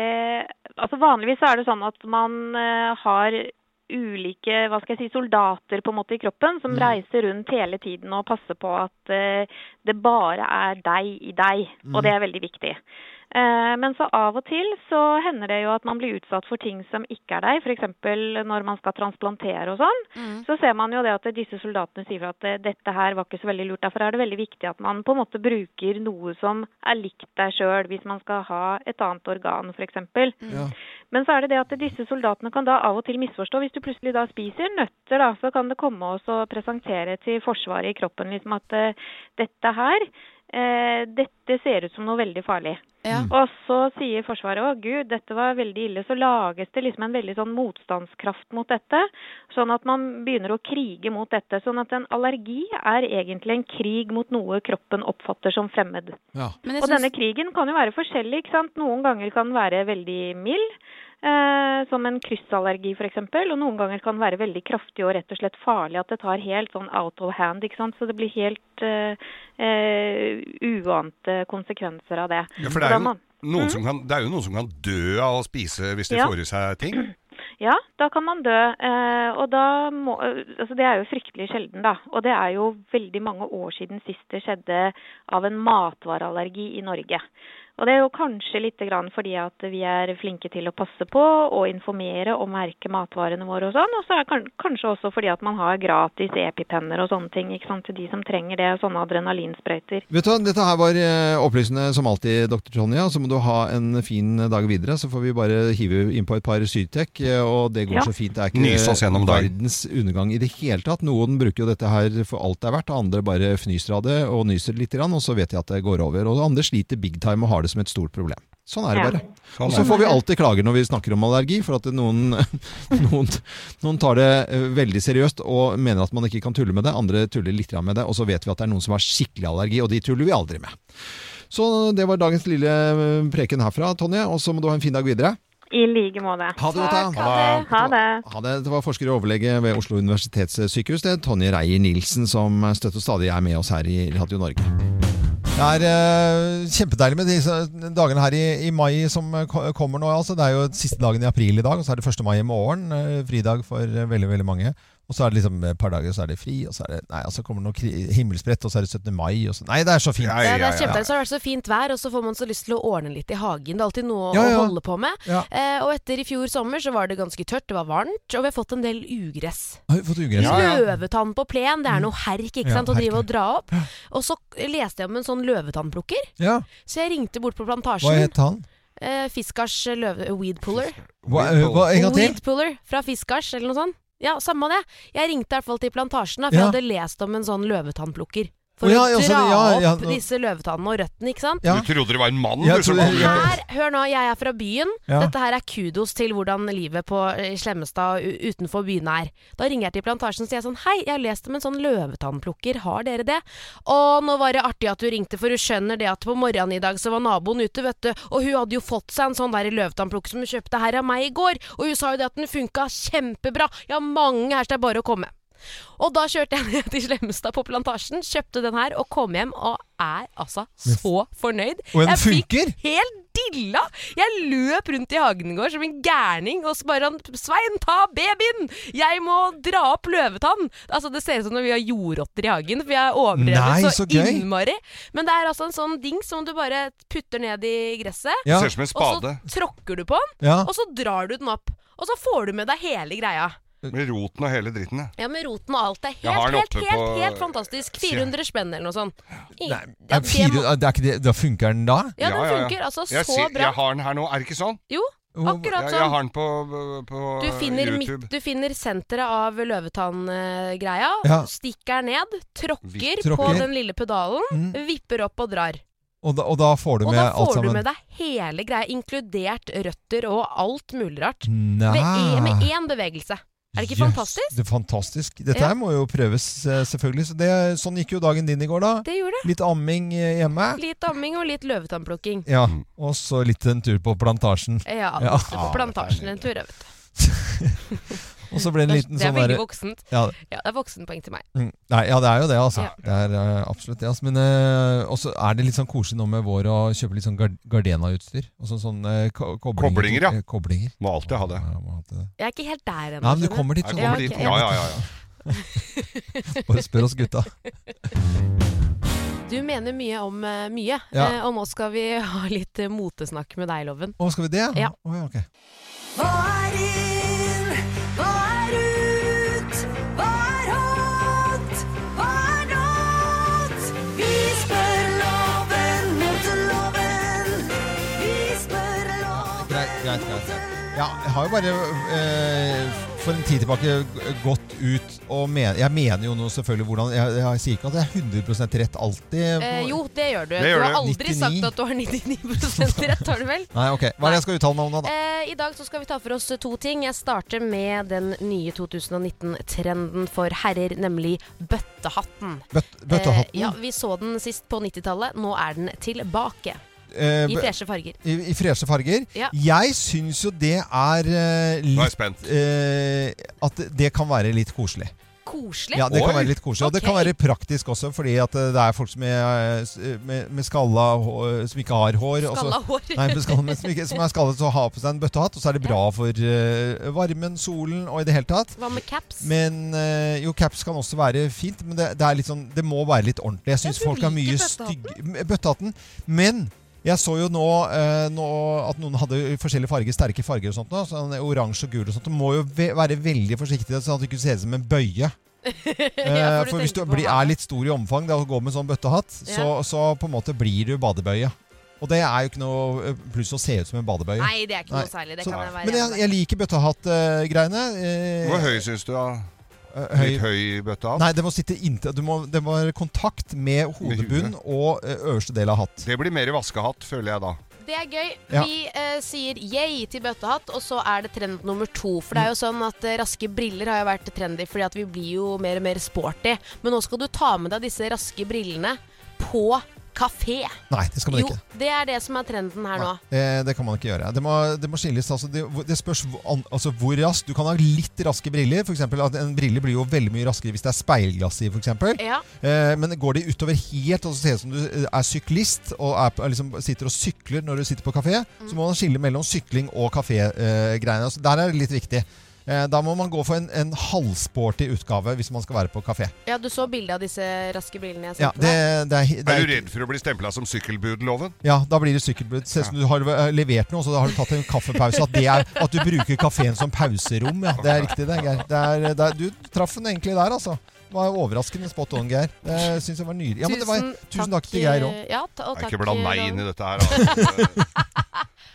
[SPEAKER 15] Altså vanligvis så er det sånn at man eh, har ulike hva skal jeg si, soldater på en måte i kroppen som reiser rundt hele tiden og passer på at eh, det bare er deg i deg. Og det er veldig viktig. Eh, Men så av og til så hender det jo at man blir utsatt for ting som ikke er deg, f.eks. når man skal transplantere og sånn. Så ser man jo det at disse soldatene sier at eh, dette her var ikke så veldig lurt. Derfor er det veldig viktig at man på en måte bruker noe som er likt deg sjøl, hvis man skal ha et annet organ f.eks.
[SPEAKER 4] Mm.
[SPEAKER 16] Ja.
[SPEAKER 15] Men så er det det at disse soldatene kan da av og til misforstå. Hvis du plutselig da spiser nøtter, da, så kan det komme oss og presentere til Forsvaret i kroppen liksom at eh, dette her eh, dette ser ut som noe veldig farlig. Og så sier Forsvaret å gud, dette var veldig ille. Så lages det liksom en veldig sånn motstandskraft mot dette. Sånn at man begynner å krige mot dette. Sånn at en allergi er egentlig en krig mot noe kroppen oppfatter som fremmed.
[SPEAKER 7] Men jeg
[SPEAKER 15] Og
[SPEAKER 7] syns-
[SPEAKER 15] denne krigen kan jo være forskjellig. ikke sant? Noen ganger kan den være veldig mild, eh, som en kryssallergi f.eks., og noen ganger kan den være veldig kraftig og rett og slett farlig, at det tar helt sånn out of hand. ikke sant? Så det blir helt eh, eh, uante konsekvenser av det.
[SPEAKER 5] Ja, for det er,
[SPEAKER 15] Og da
[SPEAKER 5] jo
[SPEAKER 15] må-
[SPEAKER 7] Mm.
[SPEAKER 5] noen som kan, det er jo noen som kan dø av å spise hvis de
[SPEAKER 15] Ja.
[SPEAKER 5] får i seg ting.
[SPEAKER 15] Ja, da kan man dø. eh, Og da må, altså det er jo fryktelig sjelden, da. Og det er jo veldig mange år siden sist det skjedde av en matvareallergi i Norge. Og det er jo kanskje litt grann fordi at vi er flinke til å passe på og informere og merke matvarene våre og sånn. Og så er det kan- kanskje også fordi at man har gratis epipenner og sånne ting ikke sant, til de som trenger det. Sånne adrenalinsprøyter.
[SPEAKER 4] Vet du hva, Dette her var eh, opplysende som alltid, dr. Tonja. Så må du ha en fin dag videre. Så får vi bare hive innpå et par Syrtec, eh, og det går
[SPEAKER 5] Ja.
[SPEAKER 4] så fint. Det er ikke eh,
[SPEAKER 5] Nys oss gjennom dagen.
[SPEAKER 4] verdens undergang i det hele tatt. Noen bruker jo dette her for alt det er verdt, andre bare fnyser av det og nyser litt, grann, og så vet de at det går over. Og andre sliter big time og har det som et stort problem. Sånn er det
[SPEAKER 17] Ja.
[SPEAKER 4] bare.
[SPEAKER 17] Sånn
[SPEAKER 4] og
[SPEAKER 17] er
[SPEAKER 4] så
[SPEAKER 17] det.
[SPEAKER 4] får vi alltid klager når vi snakker om allergi, for at noen, noen, noen tar det eh, veldig seriøst og mener at man ikke kan tulle med det. Andre tuller litt grann med det, og så vet vi at det er noen som har skikkelig allergi, og de tuller vi aldri med. Så det var dagens lille eh, preken herfra, Tonje, og så må du ha en fin dag videre.
[SPEAKER 15] I like måte.
[SPEAKER 4] Ha det godt, da.
[SPEAKER 15] Takk, Ha det. Ha det.
[SPEAKER 4] Ha det. Det var forsker og overlege ved Oslo universitetssykehus, det er Tonje Reier-Nilsen, som støtt og stadig er med oss her i Radio Norge.
[SPEAKER 17] Det er eh, kjempedeilig med disse dagene her i, i mai som eh, ko- kommer nå. Altså. Det er jo siste dagen i april i dag, og så er det 1. mai i morgen. eh, fridag for eh, veldig veldig mange. Og så er det liksom et par dager, og så er det fri. Og så er det, nei, og så kommer det noe kri- himmelsbrett, og så er det 17. mai. Og så, nei, det er så fint.
[SPEAKER 7] Ja, det er kjempedeilig. Så har det vært så fint vær, og så får man så lyst til å ordne litt i hagen. Det er alltid noe
[SPEAKER 17] Ja,
[SPEAKER 7] å
[SPEAKER 17] ja.
[SPEAKER 7] holde på med.
[SPEAKER 17] Ja.
[SPEAKER 7] Eh, og etter i fjor sommer så var det ganske tørt, det var varmt, og vi har fått en del ugress.
[SPEAKER 17] Har vi fått ugress?
[SPEAKER 7] Løvetann på plen, det er noe herk ikke
[SPEAKER 17] Mm. Ja,
[SPEAKER 7] sant, å
[SPEAKER 17] herk,
[SPEAKER 7] drive og dra opp. Og så leste jeg om en sånn løvetannplukker,
[SPEAKER 17] Ja.
[SPEAKER 7] så jeg ringte bort på plantasjen.
[SPEAKER 17] Hva het han?
[SPEAKER 7] Eh, Fiskars løve... Weedpuller.
[SPEAKER 17] Hva, eh, hva, en gang til?
[SPEAKER 7] Weedpuller fra Fiskars, eller noe sånt. Ja, samme det. Jeg ringte i hvert fall til plantasjen, da, for
[SPEAKER 17] Ja.
[SPEAKER 7] jeg hadde lest om en sånn løvetannplukker.
[SPEAKER 17] Å,
[SPEAKER 7] For
[SPEAKER 17] ja, ja,
[SPEAKER 7] å
[SPEAKER 17] så det-
[SPEAKER 7] dra
[SPEAKER 17] ja, ja,
[SPEAKER 7] opp
[SPEAKER 17] nå-
[SPEAKER 7] disse løvetannene og røttene, ikke sant?
[SPEAKER 5] Du trodde det var en mann,
[SPEAKER 17] Jeg
[SPEAKER 5] du, som
[SPEAKER 17] trodde-
[SPEAKER 5] hadde
[SPEAKER 17] Ja.
[SPEAKER 7] Her, hør nå, jeg er fra byen.
[SPEAKER 17] Ja.
[SPEAKER 7] Dette her er kudos til hvordan livet på eh, Slemmestad u- utenfor byen er. Da ringer jeg til plantasjen og sier jeg sånn Hei, jeg har lest om en sånn løvetannplukker, har dere det? Å, nå var det artig at du ringte, for du skjønner det at på morgenen i dag så var naboen ute, vet du, og hun hadde jo fått seg en sånn der løvetannplukker som hun kjøpte her av meg i går, og hun sa jo det at den funka kjempebra. Jeg har mange her, så det er bare å komme. Og da kjørte jeg ned til Slemmestad på plantasjen, kjøpte den her og kom hjem og er altså så fornøyd.
[SPEAKER 17] Og den
[SPEAKER 7] jeg fikk
[SPEAKER 17] funker!
[SPEAKER 7] helt dilla. Jeg løp rundt i hagen i går som en gærning og så bare han Svein, ta babyen! Jeg må dra opp løvetann! Altså, det ser ut som når vi har jordrotter i hagen, for jeg er
[SPEAKER 17] Nei,
[SPEAKER 7] overdrevet
[SPEAKER 17] så gøy.
[SPEAKER 7] innmari. Men det er altså en sånn dings som du bare putter ned i gresset.
[SPEAKER 17] Ja. Det ser ut som en spade.
[SPEAKER 7] Og så tråkker du på den,
[SPEAKER 17] Ja.
[SPEAKER 7] og så drar du den opp. Og så får du med deg hele greia.
[SPEAKER 5] Med roten og hele dritten, ja.
[SPEAKER 7] Ja, med roten og alt. Det er
[SPEAKER 5] Jeg har
[SPEAKER 7] helt,
[SPEAKER 5] den
[SPEAKER 7] helt,
[SPEAKER 5] oppe
[SPEAKER 7] helt,
[SPEAKER 5] på-
[SPEAKER 7] helt fantastisk. 400 spenn eller noe sånt.
[SPEAKER 17] Det
[SPEAKER 7] I- ja,
[SPEAKER 17] er fire, det er ikke det, da funker den da?
[SPEAKER 7] Ja, den funker altså
[SPEAKER 5] jeg
[SPEAKER 7] så
[SPEAKER 5] ser-
[SPEAKER 7] bra.
[SPEAKER 5] Jeg har den her nå, er det ikke sånn?
[SPEAKER 7] Jo,
[SPEAKER 5] Jeg,
[SPEAKER 7] akkurat
[SPEAKER 5] jeg
[SPEAKER 7] sånn.
[SPEAKER 5] har den på, på
[SPEAKER 7] Du finner,
[SPEAKER 5] YouTube.
[SPEAKER 7] midt, du finner senteret av løvetann-greia,
[SPEAKER 17] Ja.
[SPEAKER 7] stikker ned, tråkker,
[SPEAKER 17] Tråkker.
[SPEAKER 7] på den lille pedalen, vipper opp og drar.
[SPEAKER 17] Mm. Og da, og da får du
[SPEAKER 7] Og
[SPEAKER 17] med
[SPEAKER 7] da
[SPEAKER 17] alt
[SPEAKER 7] får du
[SPEAKER 17] sammen?
[SPEAKER 7] med deg hele greia, inkludert røtter og alt mulig rart.
[SPEAKER 17] Nei.
[SPEAKER 7] Ved e- Med én bevegelse. Er det ikke
[SPEAKER 17] Jøss,
[SPEAKER 7] fantastisk?
[SPEAKER 17] Det er fantastisk. Dette
[SPEAKER 7] Ja.
[SPEAKER 17] her må jo prøves, eh, selvfølgelig. Så det, sånn gikk jo dagen din i går, da.
[SPEAKER 7] Det gjorde det.
[SPEAKER 17] Litt amming eh, hjemme.
[SPEAKER 7] Litt amming og litt løvetannplukking.
[SPEAKER 17] Ja, Og så litt en tur på plantasjen.
[SPEAKER 7] Ja,
[SPEAKER 17] Ja.
[SPEAKER 7] ute på plantasjen en tur, jeg vet du.
[SPEAKER 17] Og så ble det en liten
[SPEAKER 7] Det er
[SPEAKER 17] sånn
[SPEAKER 7] veldig
[SPEAKER 17] derre-
[SPEAKER 7] voksent.
[SPEAKER 17] Ja.
[SPEAKER 7] Ja, det er voksenpoeng til meg.
[SPEAKER 17] Mm. Nei, ja, det er jo det, altså.
[SPEAKER 7] Ja.
[SPEAKER 17] Det er eh, absolutt det. Altså. Men eh, også er det litt sånn koselig nå med vår å kjøpe litt sånn gar- Gardena-utstyr. Og sånn, sånn eh, ko koblinger.
[SPEAKER 5] Koblinger, ja.
[SPEAKER 17] Eh, Koblinger.
[SPEAKER 5] Må alltid ha det.
[SPEAKER 7] Jeg er ikke helt der ennå.
[SPEAKER 17] Nei, men du
[SPEAKER 7] skjønner
[SPEAKER 17] kommer dit.
[SPEAKER 7] Ja,
[SPEAKER 17] du
[SPEAKER 7] ok.
[SPEAKER 17] kommer dit.
[SPEAKER 5] Ja, ja, ja,
[SPEAKER 17] Bare spør oss gutta.
[SPEAKER 7] Du mener mye om eh, mye,
[SPEAKER 4] Ja.
[SPEAKER 7] eh, og nå skal vi ha litt eh, motesnakk med deg, Loven.
[SPEAKER 4] Å, skal vi det?
[SPEAKER 7] Ja.
[SPEAKER 4] Å, ja, ok.
[SPEAKER 10] Hva er inn? Hva er ut? Hva er hot? Hva er not? Vi spør loven mot loven. Vi spør loven
[SPEAKER 4] Greit, greit, greit. greit. Ja, jeg har jo bare eh, for en tid tilbake g- gått ut og men, Jeg mener jo nå selvfølgelig hvordan Jeg, jeg sier ikke at jeg er 100 rett alltid.
[SPEAKER 7] Eh, jo, det gjør du.
[SPEAKER 4] Det gjør
[SPEAKER 7] du har
[SPEAKER 4] du.
[SPEAKER 7] aldri
[SPEAKER 4] 99.
[SPEAKER 7] sagt at du har 99 rett, har du vel?
[SPEAKER 4] Nei, ok. Hva er det jeg skal uttale meg om nå, da?
[SPEAKER 7] Eh, I dag så skal vi ta for oss eh, to ting. Jeg starter med den nye 2019-trenden for herrer, nemlig bøttehatten.
[SPEAKER 4] bøttehatten?
[SPEAKER 7] Eh, ja, Vi så den sist på 90-tallet. Nå er den tilbake.
[SPEAKER 4] Eh,
[SPEAKER 7] I
[SPEAKER 4] b-
[SPEAKER 7] freshe farger.
[SPEAKER 4] I, i freshe farger.
[SPEAKER 7] Ja.
[SPEAKER 4] Jeg syns jo det er eh, litt eh, At det kan være litt koselig.
[SPEAKER 7] Koselig?
[SPEAKER 4] Ja, det kan
[SPEAKER 7] Oi.
[SPEAKER 4] være litt koselig. Og det
[SPEAKER 7] Ok.
[SPEAKER 4] kan være praktisk også, fordi at eh, det er folk som er, eh, s- med, med skalla hår, som ikke har hår. og så-
[SPEAKER 10] Skalla hår.
[SPEAKER 4] Nei, men skalla, men som, ikke, som er skallet, så har på seg en bøttehatt, og så er det bra for eh, varmen, solen og i det hele tatt.
[SPEAKER 7] Hva med caps?
[SPEAKER 4] Men eh, jo, caps kan også være fint, men det, det, er litt sånn, det må være litt ordentlig. Jeg syns
[SPEAKER 7] du
[SPEAKER 4] folk har mye
[SPEAKER 7] liker
[SPEAKER 4] stygge m- Bøttehatten. Men jeg så jo nå, eh, nå at noen hadde forskjellige farger, sterke farger og sånt. nå, Sånn oransje og gul og sånn. Du må jo ve være veldig forsiktig, sånn at du ikke ser ut som en bøye. Eh,
[SPEAKER 7] for du
[SPEAKER 4] for hvis du
[SPEAKER 7] tenker på
[SPEAKER 4] blir, er litt stor i omfang da, og går med sånn bøttehatt, så,
[SPEAKER 7] Ja.
[SPEAKER 4] så på en måte blir du badebøye. Og det er jo ikke noe eh, pluss å se ut som en badebøye.
[SPEAKER 7] Nei, det er ikke noe
[SPEAKER 4] Nei.
[SPEAKER 7] særlig. Det
[SPEAKER 4] Så-
[SPEAKER 7] kan jeg være
[SPEAKER 4] Men jeg,
[SPEAKER 7] enig
[SPEAKER 4] jeg liker eh, bøttehatt-greiene.
[SPEAKER 5] Hvor høy syns du, da?
[SPEAKER 4] Eh, høy-
[SPEAKER 5] Litt høy bøttehatt?
[SPEAKER 4] Nei, det må sitte inntil Du må, det må være kontakt med hodebunn og eh, øverste del av hatt.
[SPEAKER 5] Det blir mer vaskehatt, føler jeg da.
[SPEAKER 7] Det er gøy.
[SPEAKER 4] Ja.
[SPEAKER 7] Vi eh, sier yay til bøttehatt, og så er det trend nummer to. For
[SPEAKER 4] Mm.
[SPEAKER 7] det er jo sånn at eh, raske briller har jo vært trendy, fordi at vi blir jo mer og mer sporty. Men nå skal du ta med deg disse raske brillene på kafé.
[SPEAKER 4] Nei, det skal man
[SPEAKER 7] jo,
[SPEAKER 4] ikke.
[SPEAKER 7] det er det som er trenden her nå.
[SPEAKER 4] Eh, det kan man ikke gjøre. Det må, det må skilles. Altså, det, det spørs hvor- an- altså, hvor raskt. Du kan ha litt raske briller. For eksempel, at en brille blir jo veldig mye raskere hvis det er speilglass i, f.eks.
[SPEAKER 7] Ja.
[SPEAKER 4] Eh, men går de utover helt, og så ser det ut som du eh, er syklist og er, på- liksom, sitter og sykler når du sitter på kafé,
[SPEAKER 7] Mm.
[SPEAKER 4] så må man skille mellom sykling og kafégreiene. Eh, greiene. altså, der er det litt viktig. Eh, da må man gå for en, en halvsporty utgave hvis man skal være på kafé.
[SPEAKER 7] Ja, du så bildet av disse raske brillene jeg
[SPEAKER 4] Ja,
[SPEAKER 7] sendte
[SPEAKER 4] det,
[SPEAKER 7] deg.
[SPEAKER 4] det er, det
[SPEAKER 5] Er du redd for å bli stempla som sykkelbudloven?
[SPEAKER 4] Ja, da blir det sykkelbud. Se som du har eh, levert noe, så da har du tatt en kaffepause. At, det er, at du bruker kafeen som pauserom, ja. Det er riktig, det, Geir. Det er, det er, du traff den egentlig der, altså. Det var overraskende spot on, Geir. Det syns jeg var nydelig. Ja, men det var, tusen takk, til Geir òg.
[SPEAKER 7] eh, Ja, ta, og
[SPEAKER 5] Nei,
[SPEAKER 7] takk.
[SPEAKER 5] ikke bland meg inn i
[SPEAKER 7] Loven.
[SPEAKER 5] dette her. Altså.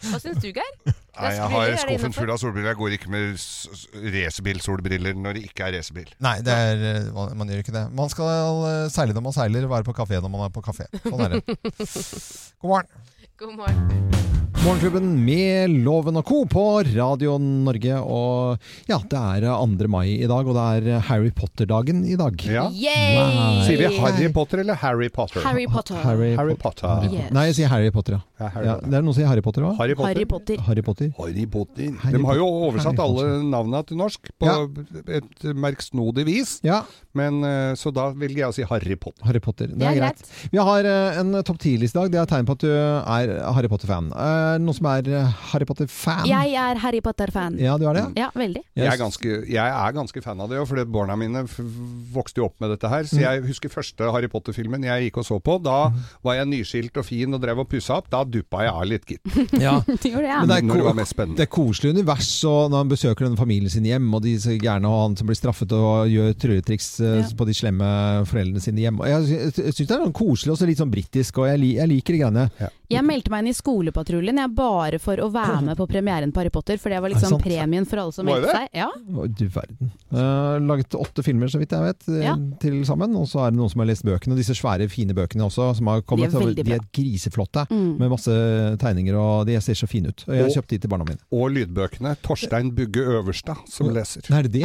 [SPEAKER 7] Hva syns du, Geir?
[SPEAKER 5] Nei,
[SPEAKER 7] Raske
[SPEAKER 5] jeg
[SPEAKER 7] briller, er
[SPEAKER 5] har
[SPEAKER 7] det
[SPEAKER 5] skuffen
[SPEAKER 7] innenfor?
[SPEAKER 5] full av solbriller. Jeg går ikke med s- s- racerbilsolbriller når det ikke er racerbil.
[SPEAKER 4] Nei, det er, eh, man, man gjør ikke det. Man skal eh, seile når man seiler, være på kafé når man er på kafé. Sånn er det. God morgen.
[SPEAKER 7] God morgen.
[SPEAKER 2] Morgenklubben med Loven og Co. på Radio Norge. Og ja, det er 2. mai i dag, og det er Harry Potter-dagen i dag.
[SPEAKER 7] Yay! Sier vi Harry
[SPEAKER 2] Potter eller Harry Potter?
[SPEAKER 7] Harry Potter.
[SPEAKER 2] Harry,
[SPEAKER 7] Harry
[SPEAKER 2] Potter.
[SPEAKER 7] Potter. Yes.
[SPEAKER 2] Nei, jeg sier Harry Potter, ja. ja det er noen som sier Harry Potter òg.
[SPEAKER 5] Harry Potter. Harry
[SPEAKER 7] Potter.
[SPEAKER 2] Harry Potter.
[SPEAKER 5] Harry Potter. De har jo oversatt alle navna til norsk på et merksnodig vis. Men, eh, så da velger jeg å si Harry Potter.
[SPEAKER 2] Harry Potter. Det er greit. Vi har eh, en topp 10-liste i dag. Det er tegn på at du er Harry Potter-fan. Eh, Noen som er eh, Harry Potter-fan?
[SPEAKER 1] Jeg er Harry Potter-fan.
[SPEAKER 2] Ja, du er det?
[SPEAKER 1] Ja, veldig.
[SPEAKER 5] Jeg, er ganske, jeg er ganske fan av det, jo, for det- barna mine f- vokste jo opp med dette her. Så jeg husker første Harry Potter-filmen jeg gikk og så på. Da var jeg nyskilt og fin og drev og pussa opp. Da duppa jeg av litt, gitt.
[SPEAKER 2] Ja.
[SPEAKER 1] ja.
[SPEAKER 2] Men det er,
[SPEAKER 5] Når det var
[SPEAKER 2] ko
[SPEAKER 5] mest spennende.
[SPEAKER 2] det er koselig univers og når han besøker denne familien sin hjem, og de så gærne og han som blir straffet og gjør trylletriks eh, på de slemme foreldrene sine hjemme. Og Jeg sy- jeg syns det er sånn koselig og så litt sånn britisk, og jeg, li jeg liker de greiene.
[SPEAKER 1] Jeg meldte meg inn i skolepatruljen jeg bare for å være med på premieren på Harry Potter, for det var
[SPEAKER 2] Er det
[SPEAKER 1] liksom
[SPEAKER 2] sant?
[SPEAKER 1] premien for alle som
[SPEAKER 2] Var
[SPEAKER 1] meldte
[SPEAKER 2] det?
[SPEAKER 1] seg. Ja.
[SPEAKER 2] Å, Du verden. Eh, laget åtte filmer, så vidt jeg vet, eh,
[SPEAKER 1] Ja.
[SPEAKER 2] til sammen. Og så er det noen som har lest bøkene, og disse svære, fine bøkene også, som har kommet.
[SPEAKER 1] De er
[SPEAKER 2] og
[SPEAKER 1] veldig
[SPEAKER 2] de er
[SPEAKER 1] bra.
[SPEAKER 2] griseflotte,
[SPEAKER 1] Mm.
[SPEAKER 2] med masse tegninger, og de ser så fine ut. Og jeg har
[SPEAKER 5] Og-
[SPEAKER 2] kjøpt de til barna mine.
[SPEAKER 5] Og lydbøkene. Torstein Bugge Øverstad som leser.
[SPEAKER 2] Er det det?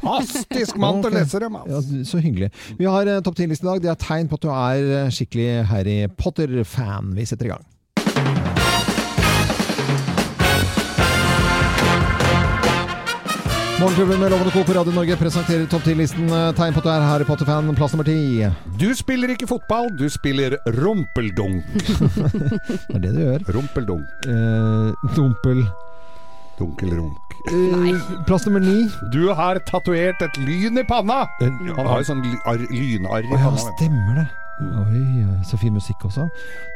[SPEAKER 5] Fantastisk mann til å
[SPEAKER 2] Ok.
[SPEAKER 5] lese dem!
[SPEAKER 2] Ja, du- så hyggelig. Vi har eh, topp 10-liste i dag. Det er tegn på at du er eh, skikkelig Harry Potter-fan. Vi setter i gang. Morgenklubben med Lovende Co på Radio Norge presenterer topp 10-listen eh, tegn på at du er Harry Potter-fan, plass nummer ti.
[SPEAKER 5] Du spiller ikke fotball, du spiller rumpeldunk.
[SPEAKER 2] Det er det du gjør.
[SPEAKER 5] Rumpeldunk.
[SPEAKER 2] Eh, dumpel.
[SPEAKER 5] Dunkelrunk.
[SPEAKER 2] Eh, plass nummer ni.
[SPEAKER 5] Du har tatovert et lyn i panna!
[SPEAKER 2] En-
[SPEAKER 5] Han har jo sånn ly- arr- lynarr i
[SPEAKER 2] Å ja,
[SPEAKER 5] panna.
[SPEAKER 2] stemmer det.
[SPEAKER 4] Oi, så fin musikk også.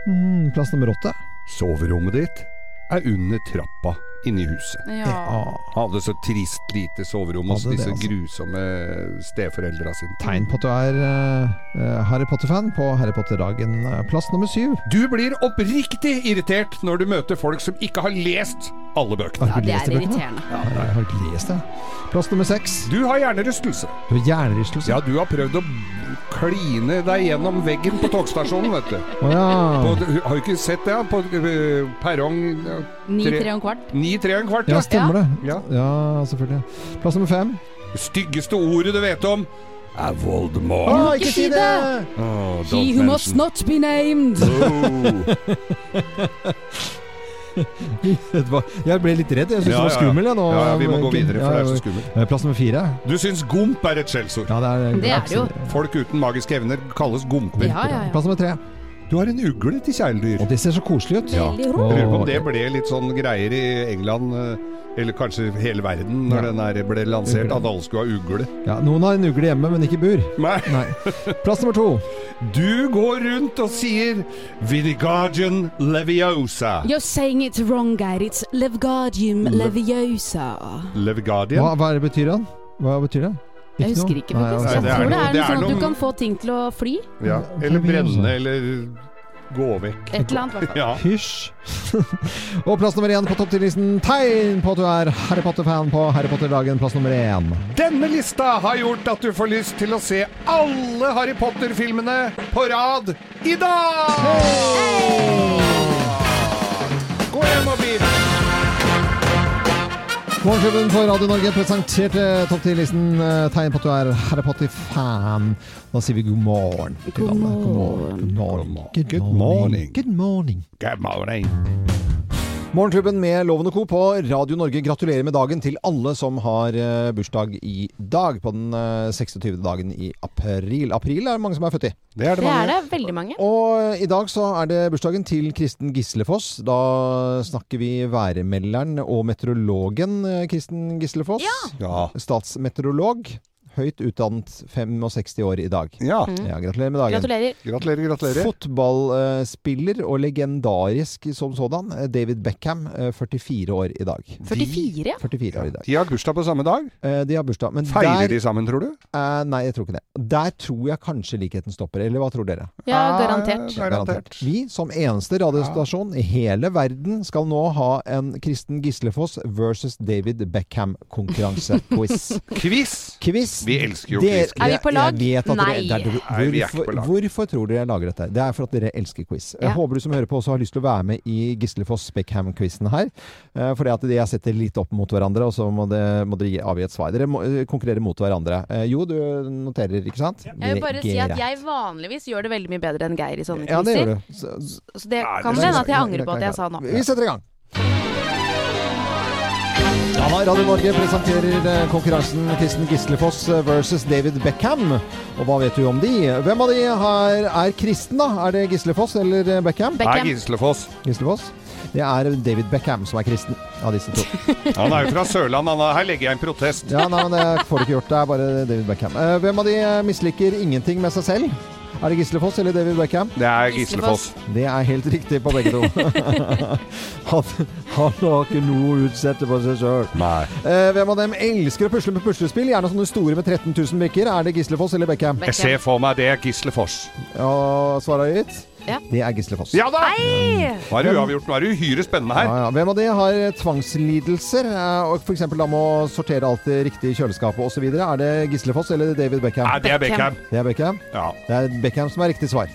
[SPEAKER 4] Mm, plass nummer åtte.
[SPEAKER 5] Soverommet ditt er under trappa inne i huset.
[SPEAKER 4] Ja. Ja.
[SPEAKER 5] Hadde så trist lite soverom hos
[SPEAKER 4] Hadde det,
[SPEAKER 5] disse
[SPEAKER 4] altså.
[SPEAKER 5] grusomme steforeldra sine.
[SPEAKER 4] Tegn på at du er eh, Harry Potter-fan på Harry Potter-dagen. Eh, Plass nummer syv.
[SPEAKER 5] Du blir oppriktig irritert når du møter folk som ikke har lest alle bøkene.
[SPEAKER 4] Har du lest de bøkene? Ja, jeg har ikke lest det. Plass nummer seks.
[SPEAKER 5] Du har hjernerystelse.
[SPEAKER 4] Du har hjernerystelse?
[SPEAKER 5] Ja, du har prøvd å kline deg gjennom veggen på togstasjonen, vet du.
[SPEAKER 4] Å ja.
[SPEAKER 5] På, har du ikke sett det? På eh, perrong eh,
[SPEAKER 7] Ni,
[SPEAKER 5] tre-
[SPEAKER 7] tre og en kvart.
[SPEAKER 5] Ni, tre og en kvart,
[SPEAKER 4] Ja, stemmer det.
[SPEAKER 5] Ja.
[SPEAKER 4] Ja, selvfølgelig. Plass nummer fem.
[SPEAKER 5] Det styggeste ordet du vet om, er Voldemort.
[SPEAKER 4] Å, ikke si det!
[SPEAKER 5] Oh,
[SPEAKER 7] He who must not be named.
[SPEAKER 4] Det var- jeg ble litt redd. Jeg syntes
[SPEAKER 5] Ja,
[SPEAKER 4] det var
[SPEAKER 5] ja, ja.
[SPEAKER 4] skummel. Jeg, nå.
[SPEAKER 5] Ja, ja, vi må gå videre, for
[SPEAKER 4] Ja,
[SPEAKER 5] det er så
[SPEAKER 4] ja.
[SPEAKER 5] skummelt.
[SPEAKER 4] Eh, Plass nummer fire.
[SPEAKER 5] Du syns gomp er et skjellsord.
[SPEAKER 4] Ja, det er- Det er det jo.
[SPEAKER 5] Folk uten magiske evner kalles gomper.
[SPEAKER 4] Ja, ja, ja. Plass nummer tre.
[SPEAKER 5] Du har en ugle til kjæledyr.
[SPEAKER 4] Og det ser så koselig ut.
[SPEAKER 5] Ja.
[SPEAKER 4] Veldig rart.
[SPEAKER 5] Lurer på om det ble litt sånn greier i England, eh, eller kanskje hele verden, når den her ble lansert,
[SPEAKER 4] Ugle.
[SPEAKER 5] at alle skulle ha ugle.
[SPEAKER 4] Ja, noen har en ugle hjemme, men ikke i bur.
[SPEAKER 5] Nei.
[SPEAKER 4] Plass nummer to.
[SPEAKER 5] Du går rundt og sier Vidigardian Leviosa.
[SPEAKER 7] You're saying it wrong, Geir. It's Levgardium
[SPEAKER 5] Lev-
[SPEAKER 7] leviosa.
[SPEAKER 5] Levigardian?
[SPEAKER 4] Hva, hva er det betyr han? Hva betyr det? noe?
[SPEAKER 7] Jeg husker ikke,
[SPEAKER 4] Nei,
[SPEAKER 7] faktisk.
[SPEAKER 4] altså.
[SPEAKER 5] Nei, det er
[SPEAKER 7] Jeg tror det
[SPEAKER 5] noe-
[SPEAKER 7] er
[SPEAKER 5] det
[SPEAKER 7] noe
[SPEAKER 5] er
[SPEAKER 7] sånn at
[SPEAKER 5] noe-
[SPEAKER 7] du kan få ting til å fly.
[SPEAKER 5] Ja. Eller brenne, eller gå vekk.
[SPEAKER 7] Et eller annet, i hvert fall.
[SPEAKER 5] Ja.
[SPEAKER 4] Hysj. og plass nummer én på topp 10-listen. Tegn på at du er Harry Potter-fan på Harry Potter-dagen. Plass nummer én.
[SPEAKER 5] Denne lista har gjort at du får lyst til å se alle Harry Potter-filmene på rad i dag! Gå hjem og bli med.
[SPEAKER 4] Morgenklubben for Radio Norge presenterte topp 10-listen eh, tegn på at du er Harry Potter-fan. Da sier vi god morgen til alle. God morgen. God morgen. Good morning. Good morning.
[SPEAKER 5] Good morning.
[SPEAKER 4] Morgenklubben med Lovende Co. på Radio Norge gratulerer med dagen til alle som har eh, bursdag i dag, på den eh, 26. dagen i april. April er det mange som er født i.
[SPEAKER 5] Det er
[SPEAKER 7] Det er det. Veldig mange.
[SPEAKER 4] Og eh, i dag så er det bursdagen til Kristen Gislefoss. Da snakker vi værmelderen og meteorologen eh, Kristen Gislefoss. Statsmeteorolog. Høyt utdannet 65 år i dag.
[SPEAKER 5] Ja.
[SPEAKER 7] Mm.
[SPEAKER 4] gratulerer med dagen.
[SPEAKER 7] Gratulerer.
[SPEAKER 5] Gratulerer,
[SPEAKER 4] Fotballspiller og legendarisk som sådan, eh, David Beckham, eh, 44 år i dag.
[SPEAKER 7] 44, ja.
[SPEAKER 4] 44 år i dag.
[SPEAKER 5] De har bursdag på samme dag.
[SPEAKER 4] Eh, De har bursdag. Men
[SPEAKER 5] Feirer
[SPEAKER 4] der-
[SPEAKER 5] de sammen, tror du?
[SPEAKER 4] Eh, nei, jeg tror ikke det. Der tror jeg kanskje likheten stopper. Eller hva tror dere?
[SPEAKER 7] Ja, garantert.
[SPEAKER 4] Garantert. Vi som eneste radiostasjon i hele verden skal nå ha en Kristen Gislefoss versus David Beckham-konkurranse-quiz.
[SPEAKER 5] Quiz!
[SPEAKER 4] Quiz!
[SPEAKER 5] Vi elsker jo
[SPEAKER 4] Dere-
[SPEAKER 5] quiz.
[SPEAKER 7] Er vi på lag?
[SPEAKER 4] Jeg vet at
[SPEAKER 7] Nei.
[SPEAKER 4] Dere, det er-
[SPEAKER 5] Nei, vi er ikke på
[SPEAKER 4] hvorfor,
[SPEAKER 5] lag.
[SPEAKER 4] hvorfor tror dere jeg lager dette? her? Det er for at dere elsker quiz. Jeg
[SPEAKER 7] Ja.
[SPEAKER 4] håper du som hører på også har lyst til å være med i Gislefoss Beckham-quizen her. eh, Fordi at jeg setter litt opp mot hverandre, og så må, det, må dere gi- avgi et svar. Dere må eh, konkurrere mot hverandre. Eh, Jo, du noterer, ikke sant?
[SPEAKER 10] Jeg vil bare si
[SPEAKER 4] Greit.
[SPEAKER 10] at jeg vanligvis gjør det veldig mye bedre enn Geir i sånne
[SPEAKER 4] Ja, det gjør
[SPEAKER 10] kriser.
[SPEAKER 4] du. Så-
[SPEAKER 10] Så det
[SPEAKER 4] Ja,
[SPEAKER 10] kan
[SPEAKER 4] det
[SPEAKER 10] hende
[SPEAKER 4] synes
[SPEAKER 10] at jeg
[SPEAKER 4] jeg-
[SPEAKER 10] angrer
[SPEAKER 4] det
[SPEAKER 10] på
[SPEAKER 4] kan
[SPEAKER 10] at jeg
[SPEAKER 4] jeg
[SPEAKER 10] sa
[SPEAKER 4] gjøre.
[SPEAKER 10] nå.
[SPEAKER 4] Vi setter i gang. Ja, da, Radio Norge presenterer eh, konkurransen Kristen Gislefoss eh, versus David Beckham. Og hva vet du om de? Hvem av de her er kristen, da? Er det Gislefoss eller eh, Beckham?
[SPEAKER 5] Nei, Gislefoss.
[SPEAKER 4] Gislefoss. Det er David Beckham som er kristen av disse to.
[SPEAKER 5] Han er jo fra Sørlandet. han er- Her legger jeg en protest.
[SPEAKER 4] Ja, nei, men Det får du ikke gjort. Det er bare David Beckham. Eh, Hvem av de eh, misliker ingenting med seg selv? Er det Gislefoss eller David Beckham?
[SPEAKER 5] Det er Gislefoss.
[SPEAKER 4] Det er helt riktig på begge to. han, han har ikke noe å utsette på seg sjøl. Eh, hvem av dem elsker å pusle med puslespill? Gjerne sånne store med 13 000 brikker. Er det Gislefoss eller Beckham?
[SPEAKER 5] Jeg ser for meg det er Gislefoss.
[SPEAKER 4] Ja, svaret er gitt?
[SPEAKER 10] Ja.
[SPEAKER 4] Det er Gislefoss.
[SPEAKER 5] Ja da! Nå er det uavgjort. Nå er det uhyre spennende her.
[SPEAKER 4] Ja, ja. Hvem av de har eh, tvangslidelser, eh, og f.eks. da med å sortere alt det riktige i kjøleskapet osv.? Er det Gislefoss eller David Beckham?
[SPEAKER 5] Nei, det er Beckham.
[SPEAKER 4] Det er Beckham Det er Beckham som er riktig svar.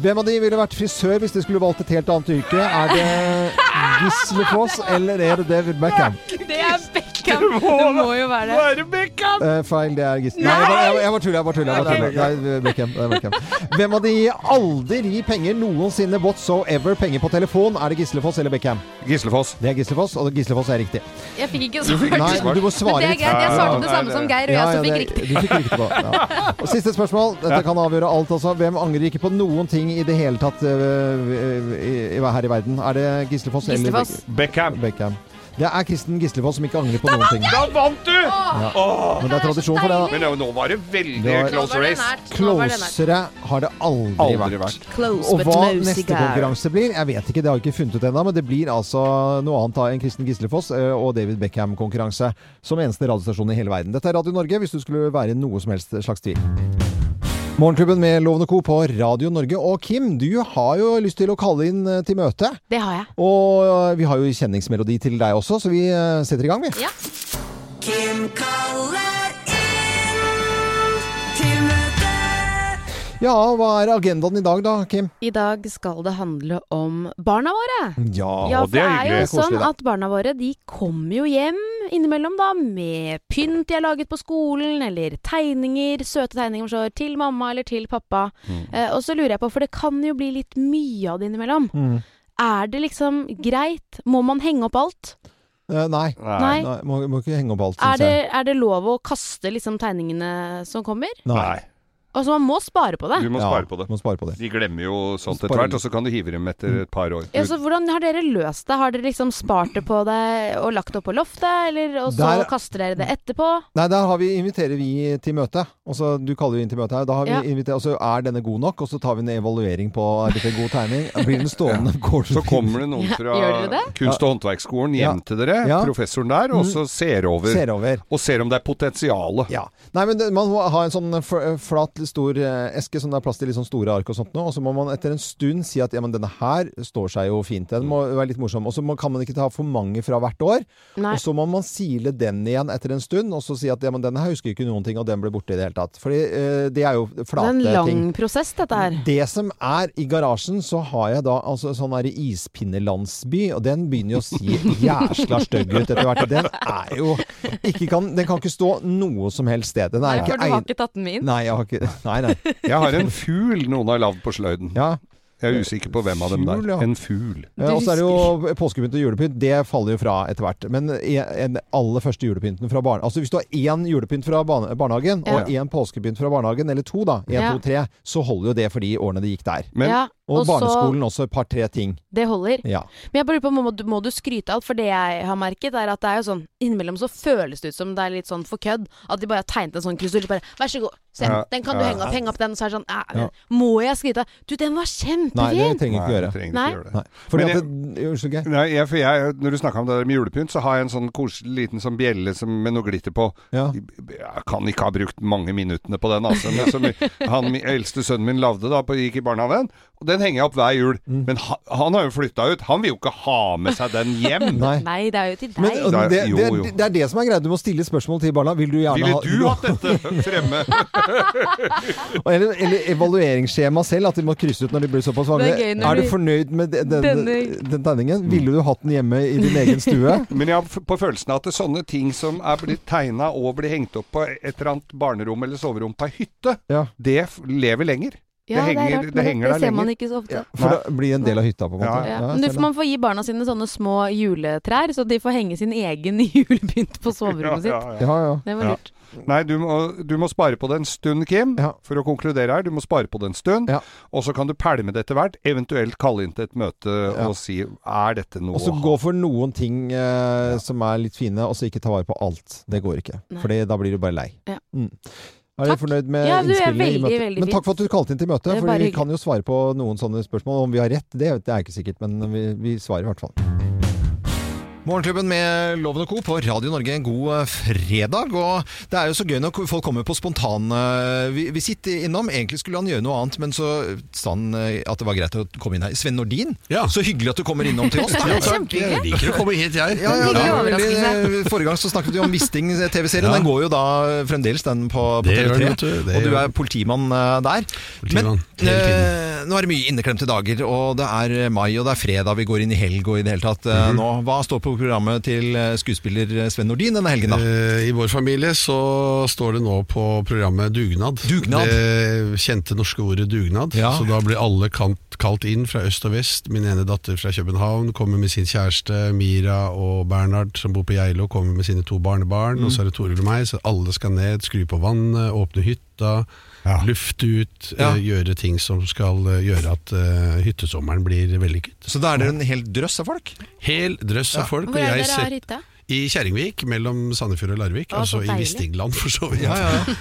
[SPEAKER 4] Hvem av de ville vært frisør hvis de skulle valgt et helt annet yrke? Er det Gislefoss eller er det David Beckham?
[SPEAKER 10] Det er Beckham! Det må jo være det.
[SPEAKER 5] er Beckham!
[SPEAKER 4] Eh, feil, det er Gisle.
[SPEAKER 10] Nei!
[SPEAKER 4] Nei, jeg bare- jeg- jeg bare tuller. Jeg bare tuller. Det er- Det er det er Beckham. Det er Beckham. Hvem av de gir aldri penger noensinne whatsoever penger på telefon? Er det Gislefoss eller Beckham?
[SPEAKER 5] Gislefoss.
[SPEAKER 4] Det er Gislefoss, og Gislefoss er riktig.
[SPEAKER 10] Jeg fikk ikke
[SPEAKER 4] Du fikk
[SPEAKER 10] svart.
[SPEAKER 4] ikke Nei, svar. du må svare
[SPEAKER 10] Men det er
[SPEAKER 4] litt.
[SPEAKER 10] greit.
[SPEAKER 4] Ja,
[SPEAKER 10] Jeg
[SPEAKER 4] ja,
[SPEAKER 10] svarte det
[SPEAKER 4] ja.
[SPEAKER 10] samme som Geir, og jeg som fikk
[SPEAKER 4] det-
[SPEAKER 10] riktig.
[SPEAKER 4] Du fikk riktig på. Ja. Og siste spørsmål. Dette kan avgjøre alt, altså. Hvem angrer ikke på noen ting i det hele tatt øh, øh, i- i- her i verden? Er det Gislefoss eller
[SPEAKER 5] Gislefoss. Beckham.
[SPEAKER 4] Beckham. Det er Kristen Gislevold som ikke angrer på
[SPEAKER 18] Da
[SPEAKER 4] noen
[SPEAKER 18] vant
[SPEAKER 4] ting.
[SPEAKER 18] jeg! Da vant du!
[SPEAKER 4] Ja. Men det er tradisjon for det, da.
[SPEAKER 18] Men nå- nå var det veldig
[SPEAKER 4] Det var-
[SPEAKER 18] close race.
[SPEAKER 4] Closere har det aldri,
[SPEAKER 18] Aldri
[SPEAKER 4] vært.
[SPEAKER 18] vært.
[SPEAKER 10] Close,
[SPEAKER 4] og
[SPEAKER 10] but
[SPEAKER 4] hva
[SPEAKER 10] no
[SPEAKER 4] neste
[SPEAKER 10] cigar.
[SPEAKER 4] konkurranse blir, jeg vet ikke, det har jeg ikke funnet ut ennå. Men det blir altså noe annet da enn Kristen Gislefoss eh, og David Beckham-konkurranse. Som eneste radiostasjon i hele verden. Dette er Radio Norge, hvis du skulle være i noe som helst slags tvil. Morgenklubben med Lovende Co. på Radio Norge. Og Kim, du har jo lyst til å kalle inn eh, til møte.
[SPEAKER 7] Det har jeg.
[SPEAKER 4] Og eh, vi har jo kjenningsmelodi til deg også, så vi eh, setter i gang, vi.
[SPEAKER 7] Ja.
[SPEAKER 10] Kim kaller inn til møte.
[SPEAKER 4] Ja, hva er agendaen i dag da, Kim?
[SPEAKER 7] I dag skal det handle om barna våre.
[SPEAKER 4] Ja,
[SPEAKER 7] Ja, for det er, jo sånn at barna våre de kommer jo hjem innimellom da med pynt de har laget på skolen, eller tegninger, søte tegninger som står til mamma eller til pappa.
[SPEAKER 4] Mm.
[SPEAKER 7] Eh, og så lurer jeg på, for det kan jo bli litt mye av det innimellom.
[SPEAKER 4] Mm.
[SPEAKER 7] Er det liksom greit? Må man henge opp alt?
[SPEAKER 4] Eh, nei.
[SPEAKER 7] Nei.
[SPEAKER 4] Må, må ikke henge opp alt.
[SPEAKER 7] Er
[SPEAKER 4] synes
[SPEAKER 7] det,
[SPEAKER 4] jeg.
[SPEAKER 7] er det lov å kaste liksom tegningene som kommer?
[SPEAKER 4] Nei.
[SPEAKER 7] Altså man må spare på det.
[SPEAKER 5] Du må
[SPEAKER 4] Ja,
[SPEAKER 5] spare på det.
[SPEAKER 4] De
[SPEAKER 5] glemmer jo sånt
[SPEAKER 4] Spare- Mm.
[SPEAKER 5] etter hvert, og så kan du hive dem etter et par år.
[SPEAKER 7] Ja, så hvordan har dere løst det? Har dere liksom spart det på det og lagt det opp på loftet, eller, og så
[SPEAKER 4] Der-
[SPEAKER 7] kaster dere det etterpå?
[SPEAKER 4] Nei, der har vi, inviterer vi til møte. Og så Du kaller jo inn til møte her. Da har vi
[SPEAKER 7] Ja.
[SPEAKER 4] inviter- og så er denne god nok, og så tar vi en evaluering på er dette en god tegning. Blir den stående? Går
[SPEAKER 5] Så kommer det noen fra
[SPEAKER 4] Gjør dere det?
[SPEAKER 5] kunst- og håndverksskolen hjem til dere,
[SPEAKER 4] Ja. Mm.
[SPEAKER 5] professoren der, og så ser over.
[SPEAKER 4] Ser over.
[SPEAKER 5] Og ser om det er potensiale.
[SPEAKER 4] Ja. Nei, men det, Man må ha en sånn fl- flat, stor eh, eske som det er plass til litt sånn store ark og sånt nå, og så må man etter en stund si at ja, men denne her står seg jo fint. Den må være litt morsom. Og så må- kan man ikke ta for mange fra hvert år.
[SPEAKER 7] Nei.
[SPEAKER 4] Og så må man sile den igjen etter en stund, og så si at ja, men denne her husker ikke noen ting, og den ble borte i det hele tatt. Fordi eh, det er jo
[SPEAKER 7] Det
[SPEAKER 4] flate
[SPEAKER 7] er en lang
[SPEAKER 4] ting.
[SPEAKER 7] prosess, dette her.
[SPEAKER 4] Det som er i garasjen, så har jeg da altså sånn her ispinnelandsby, og den begynner jo å si jæsla stygg ut etter hvert. og Den er jo ikke kan, Den kan ikke stå noe som helst sted. Den er ikke egn-
[SPEAKER 7] tatt den
[SPEAKER 4] Nei, jeg har ikke Nei, nei.
[SPEAKER 5] Jeg har en fugl noen har lagd på sløyden. Jeg er usikker på hvem av dem
[SPEAKER 4] Fugl,
[SPEAKER 5] der.
[SPEAKER 4] ja.
[SPEAKER 5] En fugl.
[SPEAKER 4] Eh, Og så er det jo påskepynt og julepynt. Det faller jo fra etter hvert. Men en, aller første julepynten fra barnehagen Altså hvis du har én julepynt fra barne- barnehagen, og én påskepynt fra barnehagen, eller to, da, én,
[SPEAKER 7] Ja.
[SPEAKER 4] to, tre, så holder jo det for de årene det gikk der.
[SPEAKER 7] Men- Ja,
[SPEAKER 4] og,
[SPEAKER 7] og så-
[SPEAKER 4] barneskolen også et par-tre ting.
[SPEAKER 7] Det holder.
[SPEAKER 4] Ja.
[SPEAKER 7] Men jeg bare lurer på, må du, må du skryte alt? For det jeg har merket, er at det er jo sånn innimellom så føles det ut som det er litt sånn for kødd. At de bare har tegnet en sånn krusedull. Bare 'vær så god, se,
[SPEAKER 4] Ja.
[SPEAKER 7] den kan du
[SPEAKER 4] Ja.
[SPEAKER 7] henge opp', henge opp den. Og så er det sånn "Æ,
[SPEAKER 4] Ja.
[SPEAKER 7] men Må jeg skryte? Du, den var kjempefin!
[SPEAKER 4] Nei, det trenger ikke gjøre.
[SPEAKER 5] trenger ikke
[SPEAKER 7] Nei.
[SPEAKER 5] gjøre det.
[SPEAKER 4] Nei. Fordi
[SPEAKER 5] Men
[SPEAKER 4] at
[SPEAKER 5] jeg-
[SPEAKER 4] det, Unnskyld, Geir.
[SPEAKER 5] Nei, jeg, for jeg, når du snakka om det der med julepynt, så har jeg en sånn koselig liten sånn bjelle som, med noe glitter på. Jeg kan ikke ha brukt mange minuttene på den, altså. Men som han min- eldste sønnen min lagde da på, gikk i barnehagen. Og den henger jeg opp hver jul. Men ha, han har jo flytta ut. Han vil jo ikke ha med seg den hjem.
[SPEAKER 4] Nei.
[SPEAKER 7] Nei, det er jo til deg.
[SPEAKER 4] Men, og
[SPEAKER 5] Nei,
[SPEAKER 4] det,
[SPEAKER 5] jo,
[SPEAKER 4] det,
[SPEAKER 5] jo.
[SPEAKER 4] det, er det som er greia. Du må stille spørsmål til barna. Vil du gjerne
[SPEAKER 5] Ville
[SPEAKER 4] ha
[SPEAKER 5] du hatt dette fremme?
[SPEAKER 4] Eller, eller evalueringsskjema selv, at de må krysse ut når de blir såpass
[SPEAKER 5] Det
[SPEAKER 4] vanlige.
[SPEAKER 5] er gøy når
[SPEAKER 4] Er du
[SPEAKER 5] de-
[SPEAKER 4] fornøyd med de- den,
[SPEAKER 5] Denne-
[SPEAKER 4] den tegningen? Ville du hatt den hjemme i din egen stue?
[SPEAKER 5] Men jeg har f- på følelsen av at det er sånne ting som er blitt tegna og blir hengt opp på et eller annet barnerom eller soverom på ei hytte, det f- lever lenger.
[SPEAKER 7] Ja, det er rart, men det- det
[SPEAKER 5] der
[SPEAKER 7] ser man
[SPEAKER 5] lenger.
[SPEAKER 7] ikke så ofte.
[SPEAKER 4] For det blir en del av hytta, på en måte.
[SPEAKER 5] Ja,
[SPEAKER 7] Men du, for man får gi barna sine sånne små juletrær, så de får henge sin egen julepynt på soverommet sitt. Det var lurt.
[SPEAKER 5] Nei, du må, du må spare på det en stund, Kim, for å konkludere her. Du må spare på det en stund, og så kan du pælme det etter hvert. Eventuelt kalle inn til et møte og si er dette noe
[SPEAKER 4] Og så gå for noen ting eh, som er litt fine, og så ikke ta vare på alt. Det går ikke.
[SPEAKER 7] Nei.
[SPEAKER 4] For da blir du bare lei.
[SPEAKER 7] Ja.
[SPEAKER 4] Mm. Er dere fornøyd med
[SPEAKER 7] Ja, du
[SPEAKER 4] innspillet?
[SPEAKER 7] er
[SPEAKER 4] i
[SPEAKER 7] veldig,
[SPEAKER 4] møtet?
[SPEAKER 7] veldig
[SPEAKER 4] men takk
[SPEAKER 7] fint.
[SPEAKER 4] for at du kalte inn til
[SPEAKER 7] Det
[SPEAKER 4] møtet.
[SPEAKER 7] er
[SPEAKER 4] For
[SPEAKER 7] bare
[SPEAKER 4] vi
[SPEAKER 7] hyggelig.
[SPEAKER 4] kan jo svare på noen sånne spørsmål. Om vi har rett, det, det er ikke sikkert, men vi, vi svarer i hvert fall. Morgenklubben med Loven og Co. på Radio Norge, en god eh, fredag. Og det er jo så gøy når folk kommer på spontan eh, vi- visitt innom. Egentlig skulle han gjøre noe annet, men så sa han eh, at det var greit å komme inn her. Sven Nordin, så hyggelig at du kommer innom til oss.
[SPEAKER 19] Ja, takk. Jeg liker å komme hit, jeg.
[SPEAKER 4] Ja, ja, det var
[SPEAKER 19] Ja.
[SPEAKER 4] veldig, eh, forrige gang så snakket vi om Wisting-TV-serien. Den går jo da fremdeles, den på, på
[SPEAKER 19] Det gjør
[SPEAKER 4] TV3.
[SPEAKER 19] den, vet du. Det
[SPEAKER 4] og du
[SPEAKER 19] gjør
[SPEAKER 4] er politimann eh, der. Men eh, nå er det mye inneklemte dager, og det er eh, mai og det er fredag, vi går inn i helg og i det hele tatt eh,
[SPEAKER 19] Mhm.
[SPEAKER 4] nå. Hva står på programmet til eh, skuespiller Sven Nordin denne helgen, da?
[SPEAKER 19] Eh, I vår familie så står det nå på programmet dugnad.
[SPEAKER 4] Dugnad?
[SPEAKER 19] Det kjente norske ordet dugnad.
[SPEAKER 4] Ja.
[SPEAKER 19] Så da blir alle kalt, kalt inn fra øst og vest. Min ene datter fra København kommer med sin kjæreste Mira og Bernhard som bor på Geilo, kommer med sine to barnebarn.
[SPEAKER 4] Mm.
[SPEAKER 19] Og så er det Toril og meg, så alle skal ned, skru på vannet, åpne hytta. lufte ut, eh, gjøre ting som skal eh, gjøre at eh, hyttesommeren blir vellykket.
[SPEAKER 4] Så da er dere en hel drøss av folk?
[SPEAKER 19] Hel drøss av folk.
[SPEAKER 16] Hvor er det
[SPEAKER 19] og jeg
[SPEAKER 16] dere
[SPEAKER 19] ser-
[SPEAKER 16] har hytte?
[SPEAKER 19] I Kjerringvik, mellom Sandefjord og Larvik.
[SPEAKER 16] Å, så
[SPEAKER 19] altså i
[SPEAKER 16] deilig.
[SPEAKER 19] Vistingland, for så vidt.
[SPEAKER 16] Ja,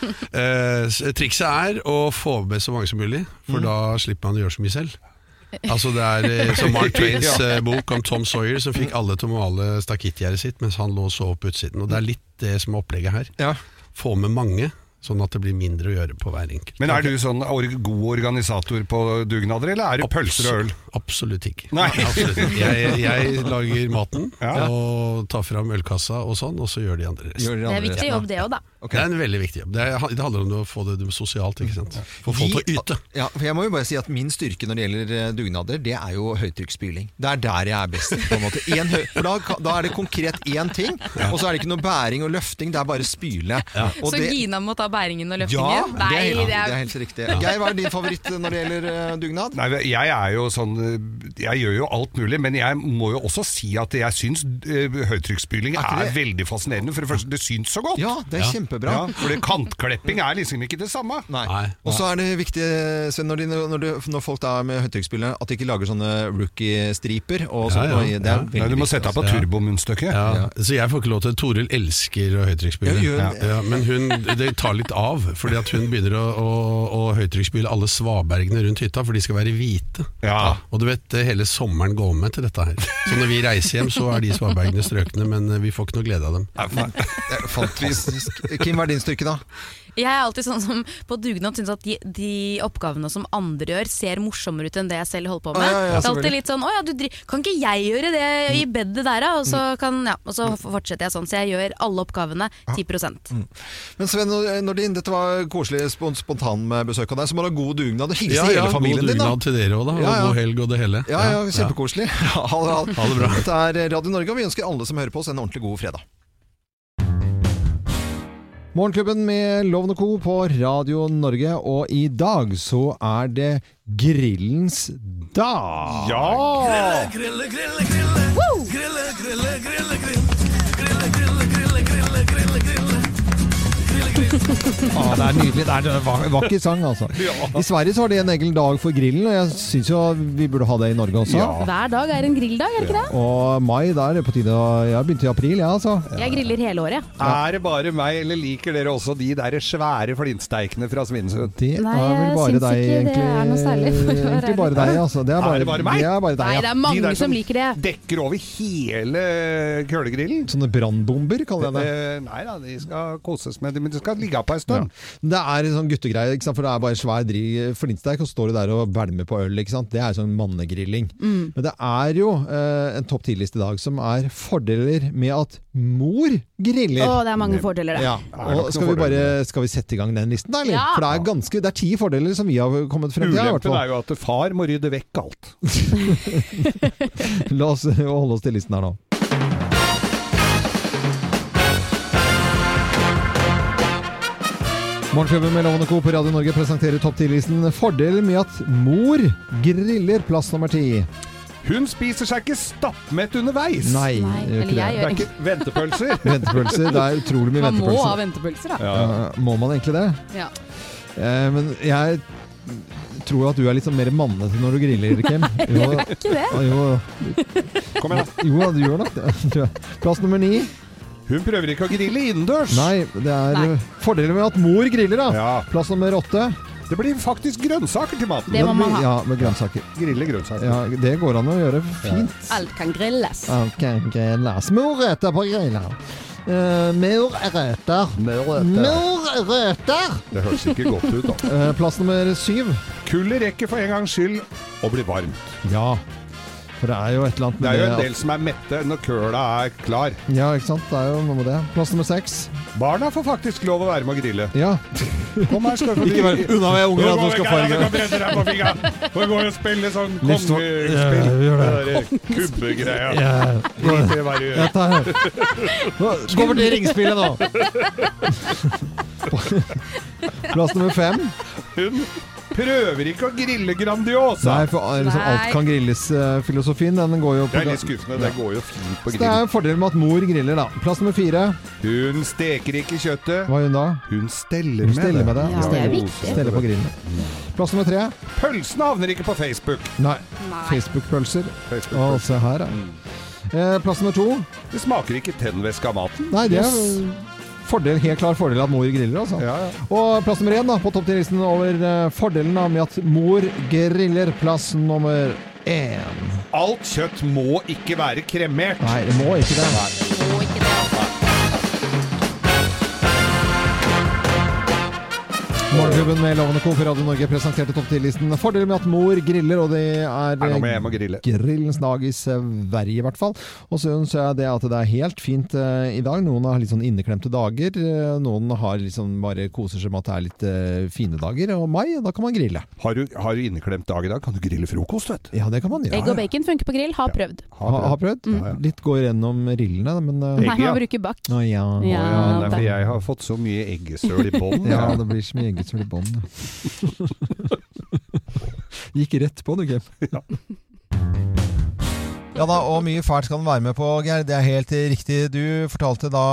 [SPEAKER 16] ja,
[SPEAKER 19] Eh, s- trikset er å få med så mange som mulig, for
[SPEAKER 16] Mm.
[SPEAKER 19] da slipper man å gjøre så mye selv. Altså Det er eh, som Mark Twains
[SPEAKER 5] Ja.
[SPEAKER 19] eh, bok om Tom Sawyer, som fikk alle til å male stakittgjerdet sitt mens han lå og sov på utsiden. Og Det er litt det som er opplegget her. Få med mange, sånn at det blir mindre å gjøre på hver enkelt.
[SPEAKER 5] Men er du sånn or god organisator på dugnader, eller er det pølser og øl?
[SPEAKER 19] Absolutt ikke.
[SPEAKER 5] Nei.
[SPEAKER 19] Absolutt. Jeg, jeg lager maten
[SPEAKER 5] Ja.
[SPEAKER 19] og tar fram ølkassa og sånn, og så gjør de andre resten.
[SPEAKER 16] Det er viktig jobb, det òg, da.
[SPEAKER 19] Det er en veldig viktig jobb. Det, er, det handler om å få det sosialt, ikke sant. Få folk til å yte.
[SPEAKER 4] Ja, for jeg må jo bare si at Min styrke når det gjelder eh, dugnader, det er jo høytrykksspyling. Det er der jeg er best. på en måte. En høy, for da, kan- da er det konkret én ting, og så er det ikke noe bæring og løfting, det er bare spyle. Og
[SPEAKER 20] Så
[SPEAKER 4] det,
[SPEAKER 20] Gina må ta bæringen og
[SPEAKER 4] ja,
[SPEAKER 20] løftingen?
[SPEAKER 4] det er, helt-
[SPEAKER 20] Nei,
[SPEAKER 4] det er helt riktig.
[SPEAKER 5] Ja.
[SPEAKER 4] Geir, hva er din favoritt eh, når det gjelder eh, dugnad?
[SPEAKER 5] Nei, jeg er jo sånn eh, Jeg gjør jo alt mulig, men jeg må jo også si at jeg syns eh, høytrykksspyling er,
[SPEAKER 4] ikke det-
[SPEAKER 5] veldig fascinerende. For det første, det syns så godt.
[SPEAKER 4] Ja, det er kjempebra.
[SPEAKER 5] for det, kantklepping er liksom ikke det samme.
[SPEAKER 4] Nei. Og så er det viktig Sven, når, de, når, du, når folk da er med høytrykksspillere, at de ikke lager sånne rookie-striper. Og sånt, og det er veldig viktig, altså.
[SPEAKER 5] turbomundstykket.
[SPEAKER 19] Ja.
[SPEAKER 4] Ja.
[SPEAKER 19] Så jeg får ikke lov til Toril elsker å høytrykksspyle.
[SPEAKER 4] Ja, gjør
[SPEAKER 19] Ja.
[SPEAKER 4] det.
[SPEAKER 19] Ja, men hun, det tar litt av, fordi at hun begynner å, å, å høytrykksspyle alle svabergene rundt hytta, for de skal være hvite. Og du vet, eh, hele sommeren går med til dette her. Så når vi reiser hjem, så er de svabergene strøkne, men eh, vi får ikke noe glede av dem.
[SPEAKER 4] Det er fantastisk. Kim, hva er din styrke, da?
[SPEAKER 7] Jeg er alltid sånn som på dugnad syns at de, de oppgavene som andre gjør, ser morsommere ut enn det jeg selv holder på med.
[SPEAKER 20] Å, ja, ja,
[SPEAKER 7] det er
[SPEAKER 20] selvfølgelig.
[SPEAKER 7] alltid litt sånn 'Å ja, du dri kan ikke jeg gjøre det i bedet der, da?' Og så, kan, ja, og så fortsetter jeg sånn. Så jeg gjør alle oppgavene 10
[SPEAKER 4] Men Sven når- Nordin, dette var koselig spon spontan med besøk av deg, så må du ha god dugnad og hilse
[SPEAKER 19] Ja, ja,
[SPEAKER 4] hele familien
[SPEAKER 19] god
[SPEAKER 4] din. da.
[SPEAKER 19] dugnad til dere òg, da. Og
[SPEAKER 4] Ja, ja.
[SPEAKER 19] god helg og det hele.
[SPEAKER 4] Ja, ja, kjempekoselig. Ha det, ha det.
[SPEAKER 19] Ha det bra.
[SPEAKER 4] Dette er Radio Norge, og vi ønsker alle som hører på oss en ordentlig god fredag. Morgenklubben med Loven og Co. på Radio Norge, og i dag så er det grillens dag.
[SPEAKER 12] Grille, grille, grille, grille. Grille, grille, grille, grille. Grille, grille, grille, grille, grille, grille.
[SPEAKER 4] Ja, det er nydelig. Det er en va- vakker sang, altså. I Sverige så har de en egen dag for grillen, og jeg syns jo vi burde ha det i Norge også.
[SPEAKER 16] Hver dag er en grilldag, er det ikke det?
[SPEAKER 4] Og mai, da er det på tide å Jeg begynte i april, jeg, ja, altså.
[SPEAKER 16] Jeg griller hele året.
[SPEAKER 5] Er det bare meg, eller liker dere også de der svære flintsteikene fra Svinesund?
[SPEAKER 4] Det
[SPEAKER 16] Nei, er vel jeg bare syns deg, ikke det egentlig. er noe særlig, for å være
[SPEAKER 4] Egentlig bare deg, altså. Det er bare,
[SPEAKER 5] er det bare meg?
[SPEAKER 4] Det er bare deg, ja.
[SPEAKER 5] De der
[SPEAKER 16] liker det.
[SPEAKER 5] Dekker over hele kølegrillen.
[SPEAKER 4] Sånne brannbomber, kaller jeg det.
[SPEAKER 5] Eh, Nei da, de skal koses med det, men de skal ligge på ei
[SPEAKER 4] Ja.
[SPEAKER 5] stund.
[SPEAKER 4] Det er en sånn guttegreie, ikke sant? for det er bare svær dri- flintsteik, og så står du der og bælmer på øl. Ikke sant? Det er sånn mannegrilling.
[SPEAKER 12] Mm.
[SPEAKER 4] Men det er jo eh, en topp 10-liste i dag som er fordeler med at mor griller.
[SPEAKER 16] Å, det er mange fordeler, det.
[SPEAKER 4] Ja.
[SPEAKER 16] Det er
[SPEAKER 4] Og
[SPEAKER 16] nok
[SPEAKER 4] skal
[SPEAKER 16] noen
[SPEAKER 4] vi, bare, skal vi sette i gang den listen, da? Eller?
[SPEAKER 16] Ja.
[SPEAKER 4] For det er, ganske, det er ti fordeler som vi har kommet frem til. her, i hvert
[SPEAKER 5] Ulempen
[SPEAKER 4] fall.
[SPEAKER 5] er jo at far må rydde vekk alt.
[SPEAKER 4] La oss eh, holde oss til listen her nå. Morgenklubben med Lovende Co. på Radio Norge presenterer topp 10-listen. Fordelen med at mor griller plass nummer ti.
[SPEAKER 5] Hun spiser seg ikke stappmett underveis.
[SPEAKER 4] Nei, Nei, gjør ikke eller det. jeg
[SPEAKER 5] det
[SPEAKER 4] gjør
[SPEAKER 5] er ikke ventepølser.
[SPEAKER 4] Ventepølser. Det er utrolig mye
[SPEAKER 20] Man må
[SPEAKER 4] ventepølser.
[SPEAKER 20] ha ventepølser, da.
[SPEAKER 4] Ja, må man egentlig det?
[SPEAKER 20] Ja.
[SPEAKER 4] Eh, men jeg tror at du er litt sånn mer mannete når du griller, Kim. Jo,
[SPEAKER 12] Jeg er ikke det.
[SPEAKER 4] Jo. Kom igjen, da. Jo da, du gjør nok det. tror jeg. Plass nummer ni.
[SPEAKER 5] Hun prøver ikke å grille innendørs.
[SPEAKER 4] Nei, det er
[SPEAKER 5] Nei.
[SPEAKER 4] fordelen med at mor griller, da. Plass nummer åtte.
[SPEAKER 5] Det blir faktisk grønnsaker til maten.
[SPEAKER 4] Da blir- Ja, med grønnsaker.
[SPEAKER 5] Grille grønnsaker.
[SPEAKER 4] Ja, det går an å gjøre fint.
[SPEAKER 20] Alt kan grilles.
[SPEAKER 4] Ok, grilles. Morøtter på grilla. Uh, Morøtter. Morøtter!
[SPEAKER 5] Det høres ikke godt ut, da.
[SPEAKER 4] Eh, plass nummer syv.
[SPEAKER 5] Kullet rekker for en gangs skyld å bli varmt.
[SPEAKER 4] Ja. For det er jo et eller annet
[SPEAKER 5] Det
[SPEAKER 4] med
[SPEAKER 5] er jo en
[SPEAKER 4] at-
[SPEAKER 5] del som er mette når køla er klar.
[SPEAKER 4] Ja, ikke sant. Det er jo noe med det. Plass nummer seks.
[SPEAKER 5] Barna får faktisk lov å være med å grille.
[SPEAKER 4] Ja.
[SPEAKER 5] Kom her, skal du
[SPEAKER 4] Ikke vær unna med unger,
[SPEAKER 5] Nå
[SPEAKER 4] at du
[SPEAKER 5] går
[SPEAKER 4] skal
[SPEAKER 5] vi,
[SPEAKER 4] få en
[SPEAKER 5] Gerda, du kan brenne deg på fingra. Får gå og spille sånn
[SPEAKER 4] Livs-
[SPEAKER 5] kongespill.
[SPEAKER 4] Ja, vi gjør det.
[SPEAKER 5] der kubbegreia.
[SPEAKER 4] Ja.
[SPEAKER 5] Drit i hva du gjør.
[SPEAKER 4] Jeg tar- Nå- Gå over til ringspillet nå. Plass nummer fem.
[SPEAKER 5] Hun prøver ikke å grille Grandiosa.
[SPEAKER 4] Nei, for liksom, alt kan grilles-filosofien, den går jo på
[SPEAKER 5] Det er litt skuffende. Det går jo fint på
[SPEAKER 4] Så det er
[SPEAKER 5] grill.
[SPEAKER 4] en fordel med at mor griller, da. Plass nummer fire.
[SPEAKER 5] Hun steker ikke kjøttet.
[SPEAKER 4] Hva gjør hun da?
[SPEAKER 5] Hun steller
[SPEAKER 4] Hun
[SPEAKER 5] med
[SPEAKER 4] steller med det.
[SPEAKER 5] Ja,
[SPEAKER 4] Steller på grillen. Plass nummer tre.
[SPEAKER 5] Pølsen havner ikke på Facebook.
[SPEAKER 4] Nei. Facebook-pølser. Å, se her,
[SPEAKER 5] Mm.
[SPEAKER 4] da. Eh, plass nummer to.
[SPEAKER 5] Det smaker ikke tennvæske av maten.
[SPEAKER 4] Nei, det er fordel, helt klar fordel at mor griller, altså. Og plass nummer én da, på topp 10-listen over eh, fordelen da, med at mor griller. Plass nummer én.
[SPEAKER 5] Alt kjøtt må ikke være kremert.
[SPEAKER 4] Nei, det må ikke det. Morgenklubben med Lovende Co. på Radio Norge presenterte topp 10-listen. Fordelen med at mor griller, og det er eh,
[SPEAKER 5] nå må jeg hjem og grille.
[SPEAKER 4] grillens dag i Sverige i hvert fall. Og så syns jeg det at det er helt fint eh, i dag. Noen har litt sånn inneklemte dager. eh, Noen har liksom bare koser seg med at det er litt eh, fine dager. Og mai, da kan man grille.
[SPEAKER 5] Har du, har du inneklemt dag i dag, kan du grille frokost, vet du.
[SPEAKER 4] Ja, det kan man gjøre.
[SPEAKER 16] Egg og bacon funker på grill, har prøvd.
[SPEAKER 4] Ha, har prøvd? Litt går gjennom rillene, men eh,
[SPEAKER 16] Nei, man bruker bakk.
[SPEAKER 4] Å ja.
[SPEAKER 16] Ja, Å ja, nei, for da.
[SPEAKER 5] jeg har fått så mye eggesøl i bånn,
[SPEAKER 4] ja,
[SPEAKER 5] jeg.
[SPEAKER 4] det blir så mye eggesøl i bånn. ja. Gikk rett på du, Kev.
[SPEAKER 17] Ja da, og mye fælt skal den være med på, Geir. Det er helt riktig. Du fortalte da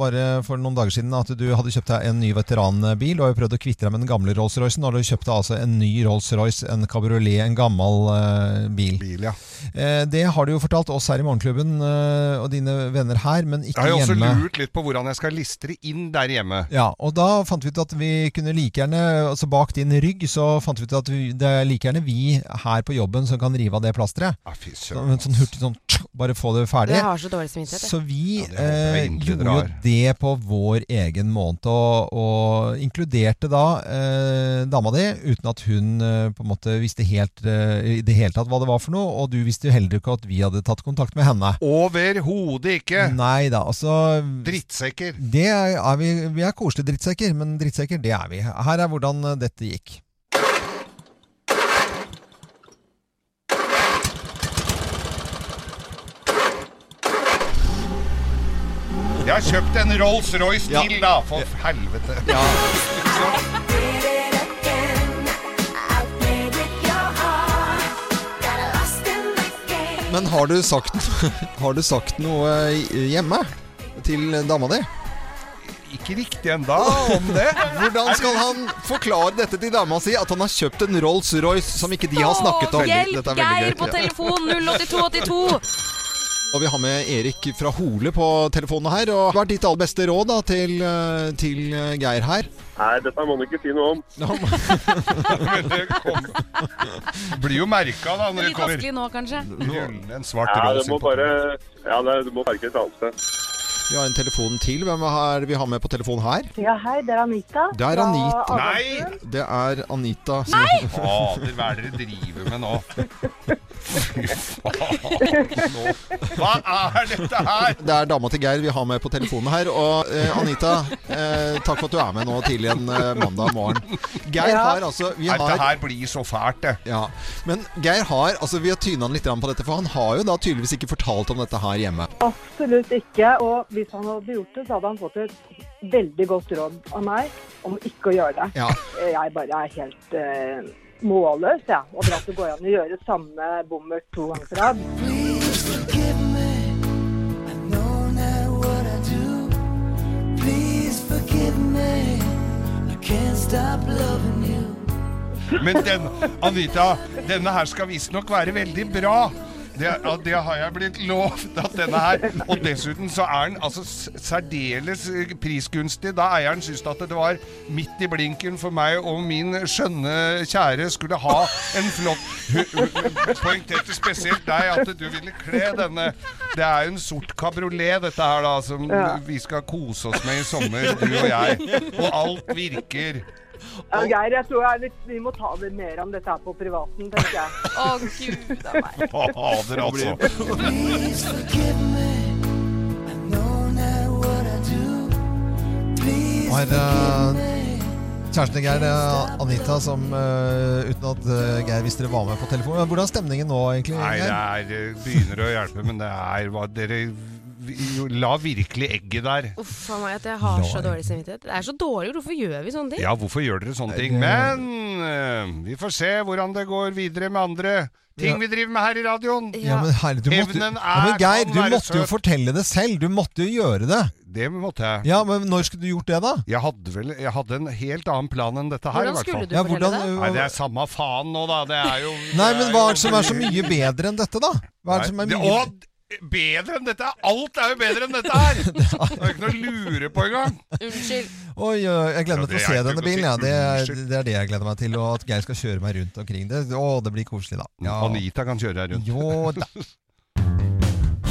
[SPEAKER 17] bare for noen dager siden at du hadde kjøpt deg en ny veteranbil. Du har jo prøvd å kvitte deg med den gamle Rolls-Roycen. Nå har du kjøpt deg altså en ny Rolls-Royce, en kabriolet, en gammel eh, bil. eh, det har du jo fortalt oss her i Morgenklubben eh, og dine venner her, men
[SPEAKER 5] Jeg
[SPEAKER 17] ikke
[SPEAKER 5] har jo også
[SPEAKER 17] hjemme.
[SPEAKER 5] lurt litt på hvordan jeg skal listre inn der hjemme.
[SPEAKER 17] Ja, og da fant vi ut at vi kunne like gjerne altså Bak din rygg så fant vi ut at vi, det er like gjerne vi her på jobben som kan rive av det plasteret.
[SPEAKER 5] søren.
[SPEAKER 17] Sånn- sånn hurtig sånn tsk, Bare få det ferdig.
[SPEAKER 7] Jeg har så dårlig samvittighet, jeg.
[SPEAKER 17] Så vi
[SPEAKER 5] jeg
[SPEAKER 17] eh,
[SPEAKER 5] egentlig
[SPEAKER 17] gjorde
[SPEAKER 5] dere
[SPEAKER 17] jo
[SPEAKER 5] har.
[SPEAKER 17] det på vår egen måned, og, og inkluderte da eh, dama di, uten at hun eh, på en måte visste helt eh, i det hele tatt hva det var for noe, og du visste jo heller ikke at vi hadde tatt kontakt med henne.
[SPEAKER 5] Overhodet ikke!
[SPEAKER 17] Nei da, altså
[SPEAKER 5] Drittsekker.
[SPEAKER 17] Det er er vi, vi er koselige drittsekker, men drittsekker det er vi. Her er hvordan eh, dette gikk.
[SPEAKER 5] Jeg har kjøpt en Rolls-Royce til, da! For helvete.
[SPEAKER 4] Men har du sagt, har du sagt noe hjemme til dama di?
[SPEAKER 5] Ikke riktig enda om det.
[SPEAKER 4] Hvordan skal han forklare dette til dama si, at han har kjøpt en Rolls-Royce som ikke de har snakket om?
[SPEAKER 7] Hjelp,
[SPEAKER 4] Dette er veldig
[SPEAKER 7] Geir
[SPEAKER 4] gøy.
[SPEAKER 7] på telefon 08282!
[SPEAKER 4] Og vi har med Erik fra Hole på telefonen her. Og hva er ditt aller beste råd da, til, eh, til eh, Geir her?
[SPEAKER 21] Nei, dette må du ikke si noe om.
[SPEAKER 5] Blir jo merka da når det
[SPEAKER 7] Litt
[SPEAKER 5] kommer.
[SPEAKER 7] vanskelig nå, kanskje.
[SPEAKER 5] En svart
[SPEAKER 21] Ja,
[SPEAKER 5] Rolls
[SPEAKER 21] du må bare Ja, nei, du må parkere et annet sted.
[SPEAKER 4] Vi har en telefon til. Hvem er det vi har med på telefon her?
[SPEAKER 10] Ja, hei, det er Anita.
[SPEAKER 4] Det er
[SPEAKER 10] fra
[SPEAKER 4] Anita.
[SPEAKER 10] Arendalsbuen.
[SPEAKER 4] Det er Anita.
[SPEAKER 10] Nei!
[SPEAKER 5] Fader, hva er det dere driver med nå? Fy faen nå. Hva er dette her?
[SPEAKER 4] Det er dama til Geir vi har med på telefonen her. Og eh, Anita, eh, takk for at du er med nå tidlig en eh, mandag morgen. Geir
[SPEAKER 5] Ja.
[SPEAKER 4] har altså vi
[SPEAKER 5] Dette
[SPEAKER 4] har,
[SPEAKER 5] her blir så fælt, det.
[SPEAKER 4] Ja. Men Geir har altså Vi har tyna han litt grann på dette, for han har jo da tydeligvis ikke fortalt om dette her hjemme.
[SPEAKER 10] Absolutt ikke. Og hvis han hadde gjort det, så hadde han fått et veldig godt råd av meg om ikke å gjøre det.
[SPEAKER 4] Ja.
[SPEAKER 10] Jeg bare er helt eh, målløs, jeg. Ja. Over at det går an å gjøre samme bommert to ganger på rad.
[SPEAKER 5] Men den, Anita, denne her skal visstnok være veldig bra. Det, ja, det har jeg blitt lovt at denne her. Og dessuten så er den altså s- særdeles eh, prisgunstig. Da eieren syntes at det var midt i blinken for meg og min skjønne kjære skulle ha en flott Hun- hun Poengterte spesielt deg at du ville kle denne. Det er jo en sort kabriolet dette her, da, som
[SPEAKER 10] Ja.
[SPEAKER 5] vi skal kose oss med i sommer, du og jeg. Og alt virker.
[SPEAKER 10] Ja, Geir, jeg tror jeg er litt, vi må ta det mer om dette her på privaten, tenker jeg. Å, gud a meg.
[SPEAKER 5] Fader, altså.
[SPEAKER 17] Og her er
[SPEAKER 4] eh,
[SPEAKER 17] kjæresten til Geir, det er Anita, som eh, uten at eh, Geir visste det var med på telefonen. Men Hvordan er stemningen nå, egentlig?
[SPEAKER 5] Nei,
[SPEAKER 17] Geir?
[SPEAKER 5] det er, begynner å hjelpe, men det er hva dere vi- la virkelig egget der.
[SPEAKER 7] Uff a meg, at jeg har så dårlig samvittighet. Det er så dårlig, hvorfor gjør vi sånne ting?
[SPEAKER 5] Ja, hvorfor gjør dere sånne ting? Men eh, vi får se hvordan det går videre med andre ting
[SPEAKER 4] Ja.
[SPEAKER 5] vi driver med her i radioen.
[SPEAKER 4] Ja, men herre, du måtte,
[SPEAKER 5] Evnen
[SPEAKER 4] ja, men
[SPEAKER 5] er-
[SPEAKER 4] Geir,
[SPEAKER 5] kan
[SPEAKER 4] du
[SPEAKER 5] være
[SPEAKER 4] måtte jo
[SPEAKER 5] søt.
[SPEAKER 4] fortelle det selv. Du måtte jo gjøre det.
[SPEAKER 5] Det måtte jeg.
[SPEAKER 4] Ja, men når skulle du gjort det, da?
[SPEAKER 5] Jeg hadde vel jeg hadde en helt annen plan enn dette her.
[SPEAKER 4] Hvordan
[SPEAKER 5] i hvert
[SPEAKER 4] skulle
[SPEAKER 5] fall.
[SPEAKER 4] du Ja, fortelle hvordan- eh, det?
[SPEAKER 5] Nei, det er samme faen nå, da. Det er jo
[SPEAKER 4] Nei, men hva er det
[SPEAKER 5] jo-
[SPEAKER 4] som er så mye bedre enn dette, da? Hva er det som er mye
[SPEAKER 5] Nei, og bedre enn dette! Alt er jo bedre enn dette her! Det er jo ikke noe å lure på engang.
[SPEAKER 7] Unnskyld.
[SPEAKER 4] Oi, ø, jeg gleder
[SPEAKER 5] Ja,
[SPEAKER 4] meg til å
[SPEAKER 5] det er
[SPEAKER 4] se
[SPEAKER 5] ikke
[SPEAKER 4] denne
[SPEAKER 5] noe å si.
[SPEAKER 4] bilen. Ja. Det, er,
[SPEAKER 5] Unnskyld.
[SPEAKER 4] det er det jeg gleder meg til. Og at Geir skal kjøre meg rundt omkring det. Å, det blir koselig, da. Ja.
[SPEAKER 5] Anita kan kjøre her rundt.
[SPEAKER 4] Jo da.